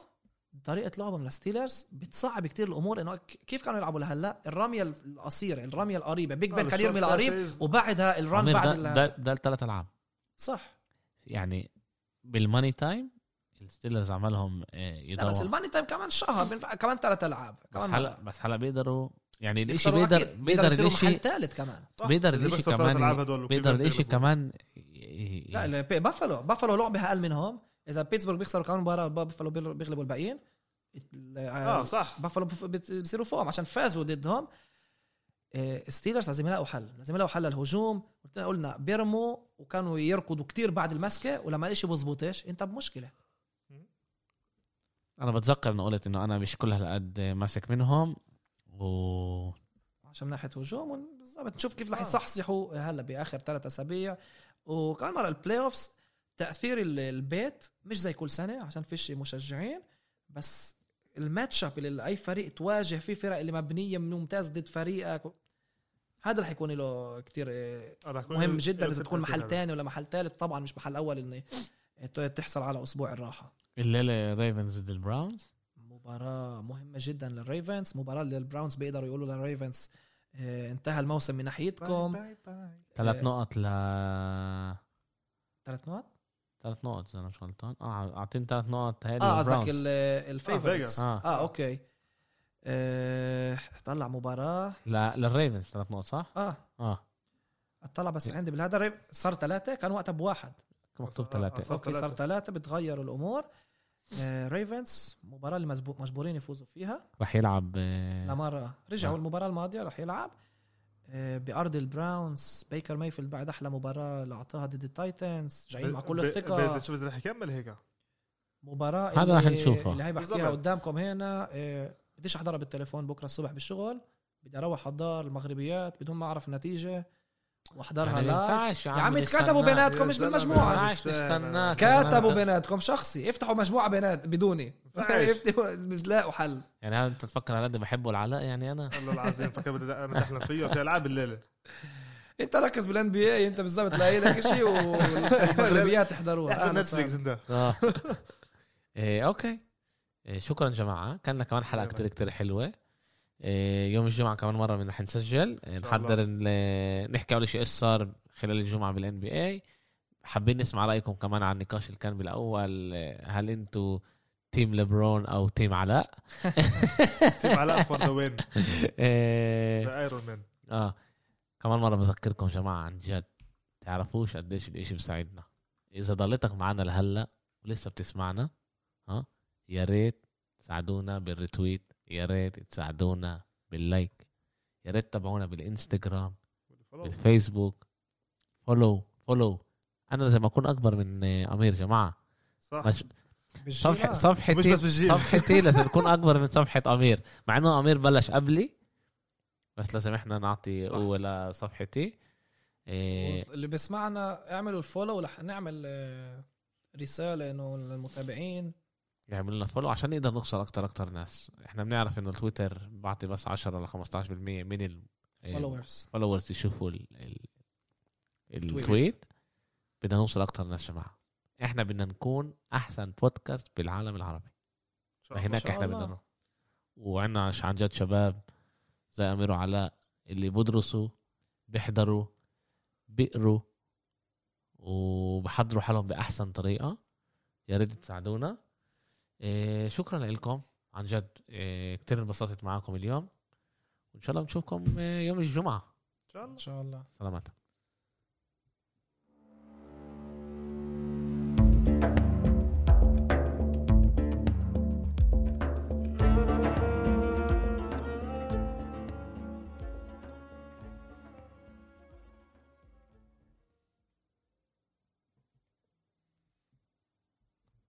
Speaker 3: طريقه لعبهم للستيلرز بتصعب كتير الامور انه ك- كيف كانوا يلعبوا لهلا الرميه القصيره الرميه القريبه بيج
Speaker 2: آه،
Speaker 3: بن كان يرمي
Speaker 2: الشورت
Speaker 3: القريب
Speaker 2: passes.
Speaker 3: وبعدها الرن
Speaker 1: عمير
Speaker 3: بعد
Speaker 1: ده,
Speaker 3: ال-
Speaker 1: ده, ده الثلاث العاب
Speaker 3: صح
Speaker 1: يعني بالماني تايم الستيلرز عملهم آه،
Speaker 3: لا بس
Speaker 1: يضربوا
Speaker 3: الماني تايم كمان شهر بينفع كمان ثلاث العاب
Speaker 1: بس
Speaker 3: كمان
Speaker 1: هلا بس هلا بيقدروا يعني الاشي
Speaker 3: يخسروا
Speaker 1: بيقدر
Speaker 3: أكيد.
Speaker 1: بيقدر
Speaker 3: يصيروا محل
Speaker 1: الاشي
Speaker 3: ثالث كمان يعني
Speaker 2: صح.
Speaker 1: بيقدر
Speaker 2: إذا
Speaker 1: الاشي
Speaker 2: بيخسر ثلاث
Speaker 1: كمان
Speaker 2: ألعاب هدول وكيف
Speaker 1: بيقدر الاشي
Speaker 2: بيغلبوا.
Speaker 1: كمان ي- ي-
Speaker 3: لا ال- بي- بافلو بافلو لعبه اقل منهم اذا بيتسبرغ بيخسروا كمان مباراه بافلو بيل- بيغلبوا الباقيين ال- آه،
Speaker 2: اه صح
Speaker 3: بافلو بف- بت- بصيروا فوقهم عشان فازوا ضدهم إيه، ستيلرز لازم يلاقوا حل لازم يلاقوا حل للهجوم قلت- قلنا بيرموا وكانوا يركضوا كتير بعد المسكه ولما الاشي بزبطش انت بمشكله
Speaker 1: انا بتذكر انه قلت انه انا مش كل هالقد ماسك منهم و
Speaker 3: عشان من ناحيه هجوم ون-
Speaker 2: آه.
Speaker 3: بالضبط نشوف كيف رح يصحصحوا هلا باخر ثلاث اسابيع وكمان مره البلاي اوفز تاثير ال- البيت مش زي كل سنه عشان فيش مشجعين بس الماتش اب اللي اي فريق تواجه فيه فرق اللي مبنيه من ممتاز ضد فريقك هذا رح يكون له كتير إيه،
Speaker 2: آه، رح يكون
Speaker 3: مهم
Speaker 2: ال-
Speaker 3: جدا اذا
Speaker 2: الفكرة
Speaker 3: تكون محل
Speaker 2: هذا.
Speaker 3: تاني ولا محل تالت طبعا مش محل اول انه ت- تحصل على اسبوع الراحه
Speaker 1: الليله ريفنز ضد البراونز
Speaker 3: مباراة مهمة جدا للريفنز مباراة للبراونز بيقدروا يقولوا للريفنز آه، انتهى الموسم من
Speaker 2: باي
Speaker 3: ناحيتكم
Speaker 2: باي باي.
Speaker 1: ثلاث
Speaker 3: إيه.
Speaker 1: نقط ل
Speaker 3: ثلاث نقط
Speaker 1: ثلاث نقط اذا انا مش غلطان اه اعطيني ثلاث نقط هاي
Speaker 3: اه قصدك
Speaker 1: للبراونز.
Speaker 3: الفيفورتس
Speaker 2: Vegas.
Speaker 3: آه,
Speaker 1: آه.
Speaker 3: اه اوكي آه، طلع مباراة
Speaker 1: ل- للريفنز ثلاث نقط صح؟
Speaker 3: اه
Speaker 1: اه
Speaker 3: اطلع بس عندي بالهذا الريف- صار ثلاثة كان وقتها بواحد
Speaker 1: مكتوب
Speaker 2: آه،
Speaker 1: ثلاثه
Speaker 2: صح. صار
Speaker 3: اوكي صار
Speaker 2: ثلاثة.
Speaker 3: ثلاثة بتغير الامور ريفنز مباراة اللي مزبو- مجبورين يفوزوا فيها
Speaker 1: رح يلعب آه،
Speaker 3: لمرة رجعوا
Speaker 2: نعم.
Speaker 1: آه.
Speaker 3: المباراة الماضية راح يلعب آه، بأرض البراونز بيكر مايفيلد بعد أحلى مباراة اللي أعطاها ضد التايتنز جايين مع كل
Speaker 2: ب- ب-
Speaker 3: طيب، الثقة
Speaker 2: شوف اذا رح يكمل هيك
Speaker 3: مباراة
Speaker 1: هذا
Speaker 3: اللي-
Speaker 1: راح نشوفه.
Speaker 3: اللي هي بحكيها
Speaker 2: بالضبط.
Speaker 3: قدامكم هنا آه، بديش أحضرها بالتليفون بكرة الصبح بالشغل بدي أروح أحضر المغربيات بدون ما أعرف النتيجة وأحضرها
Speaker 1: يعني
Speaker 3: لايف
Speaker 1: ينفعش يا
Speaker 3: يا عم
Speaker 1: نستناك.
Speaker 3: اتكتبوا بيناتكم
Speaker 2: يا
Speaker 3: مش
Speaker 2: زلمة.
Speaker 3: بالمجموعة
Speaker 1: عايش نستناك.
Speaker 3: كتبوا بيناتكم شخصي افتحوا مجموعة بينات بدوني
Speaker 2: عايش.
Speaker 3: افتحوا- بتلاقوا حل
Speaker 1: يعني هل انت تفكر على قد بحبه العلاء يعني انا
Speaker 2: الله العظيم فكر بدي انا احلم فيه في العاب الليله
Speaker 3: انت ركز بالان بي اي انت بالظبط لاقي لك شيء والمغربيات احضروها أهلا
Speaker 2: نتفلكس
Speaker 3: وسهلا.
Speaker 2: انت
Speaker 1: آه. إيه اوكي إيه شكرا جماعه كان لنا كمان حلقه
Speaker 2: يلا.
Speaker 1: كتير كتير حلوه إيه يوم الجمعه كمان مره من رح نسجل إيه
Speaker 2: شاء الله.
Speaker 1: نحضر ال- آه، نحكي اول شيء ايش صار خلال الجمعه بالان بي اي حابين نسمع رايكم كمان عن النقاش اللي كان بالاول إيه، هل انتوا تيم ليبرون او تيم علاء
Speaker 2: تيم علاء فور ذا وين
Speaker 1: إيه
Speaker 2: ذا ايرون مان
Speaker 1: اه كمان مره بذكركم جماعه عن جد تعرفوش قديش الاشي بيساعدنا اذا ضليتك معنا لهلا ولسه بتسمعنا ها يا ريت تساعدونا بالريتويت يا ريت تساعدونا باللايك يا ريت تتابعونا بالانستغرام بالفيسبوك فولو فولو انا لازم اكون اكبر من آه، امير جماعه
Speaker 2: صح
Speaker 1: مش- صفح
Speaker 3: بالجيران.
Speaker 2: مش
Speaker 1: صفحتي
Speaker 2: بس بالجيل
Speaker 1: صفحتي إيه؟ لازم تكون اكبر من صفحه امير مع انه امير بلش قبلي بس لازم احنا نعطي
Speaker 2: صح.
Speaker 1: قوه لصفحتي إيه
Speaker 3: اللي بيسمعنا اعملوا الفولو رح نعمل آه، رساله انه للمتابعين
Speaker 1: يعمل لنا فولو عشان نقدر نوصل اكتر اكتر ناس احنا بنعرف انه التويتر بعطي بس 10 ل 15% من إيه.
Speaker 3: فولورز
Speaker 1: الفولورز يشوفوا ال- ال-
Speaker 3: التويت.
Speaker 1: التويت بدنا نوصل اكتر ناس جماعه احنا بدنا نكون احسن بودكاست بالعالم العربي
Speaker 3: ما
Speaker 1: هناك
Speaker 3: شاء
Speaker 1: احنا
Speaker 3: الله.
Speaker 1: بدنا نروح وعندنا عش- عن جد شباب زي امير وعلاء اللي بدرسوا بيحضروا بيقروا وبحضروا حالهم باحسن طريقه يا ريت تساعدونا إيه شكرا لكم عن جد إيه كتير انبسطت معاكم اليوم وان شاء الله بنشوفكم إيه، يوم الجمعه
Speaker 2: ان شاء الله
Speaker 3: ان شاء الله
Speaker 1: سلامات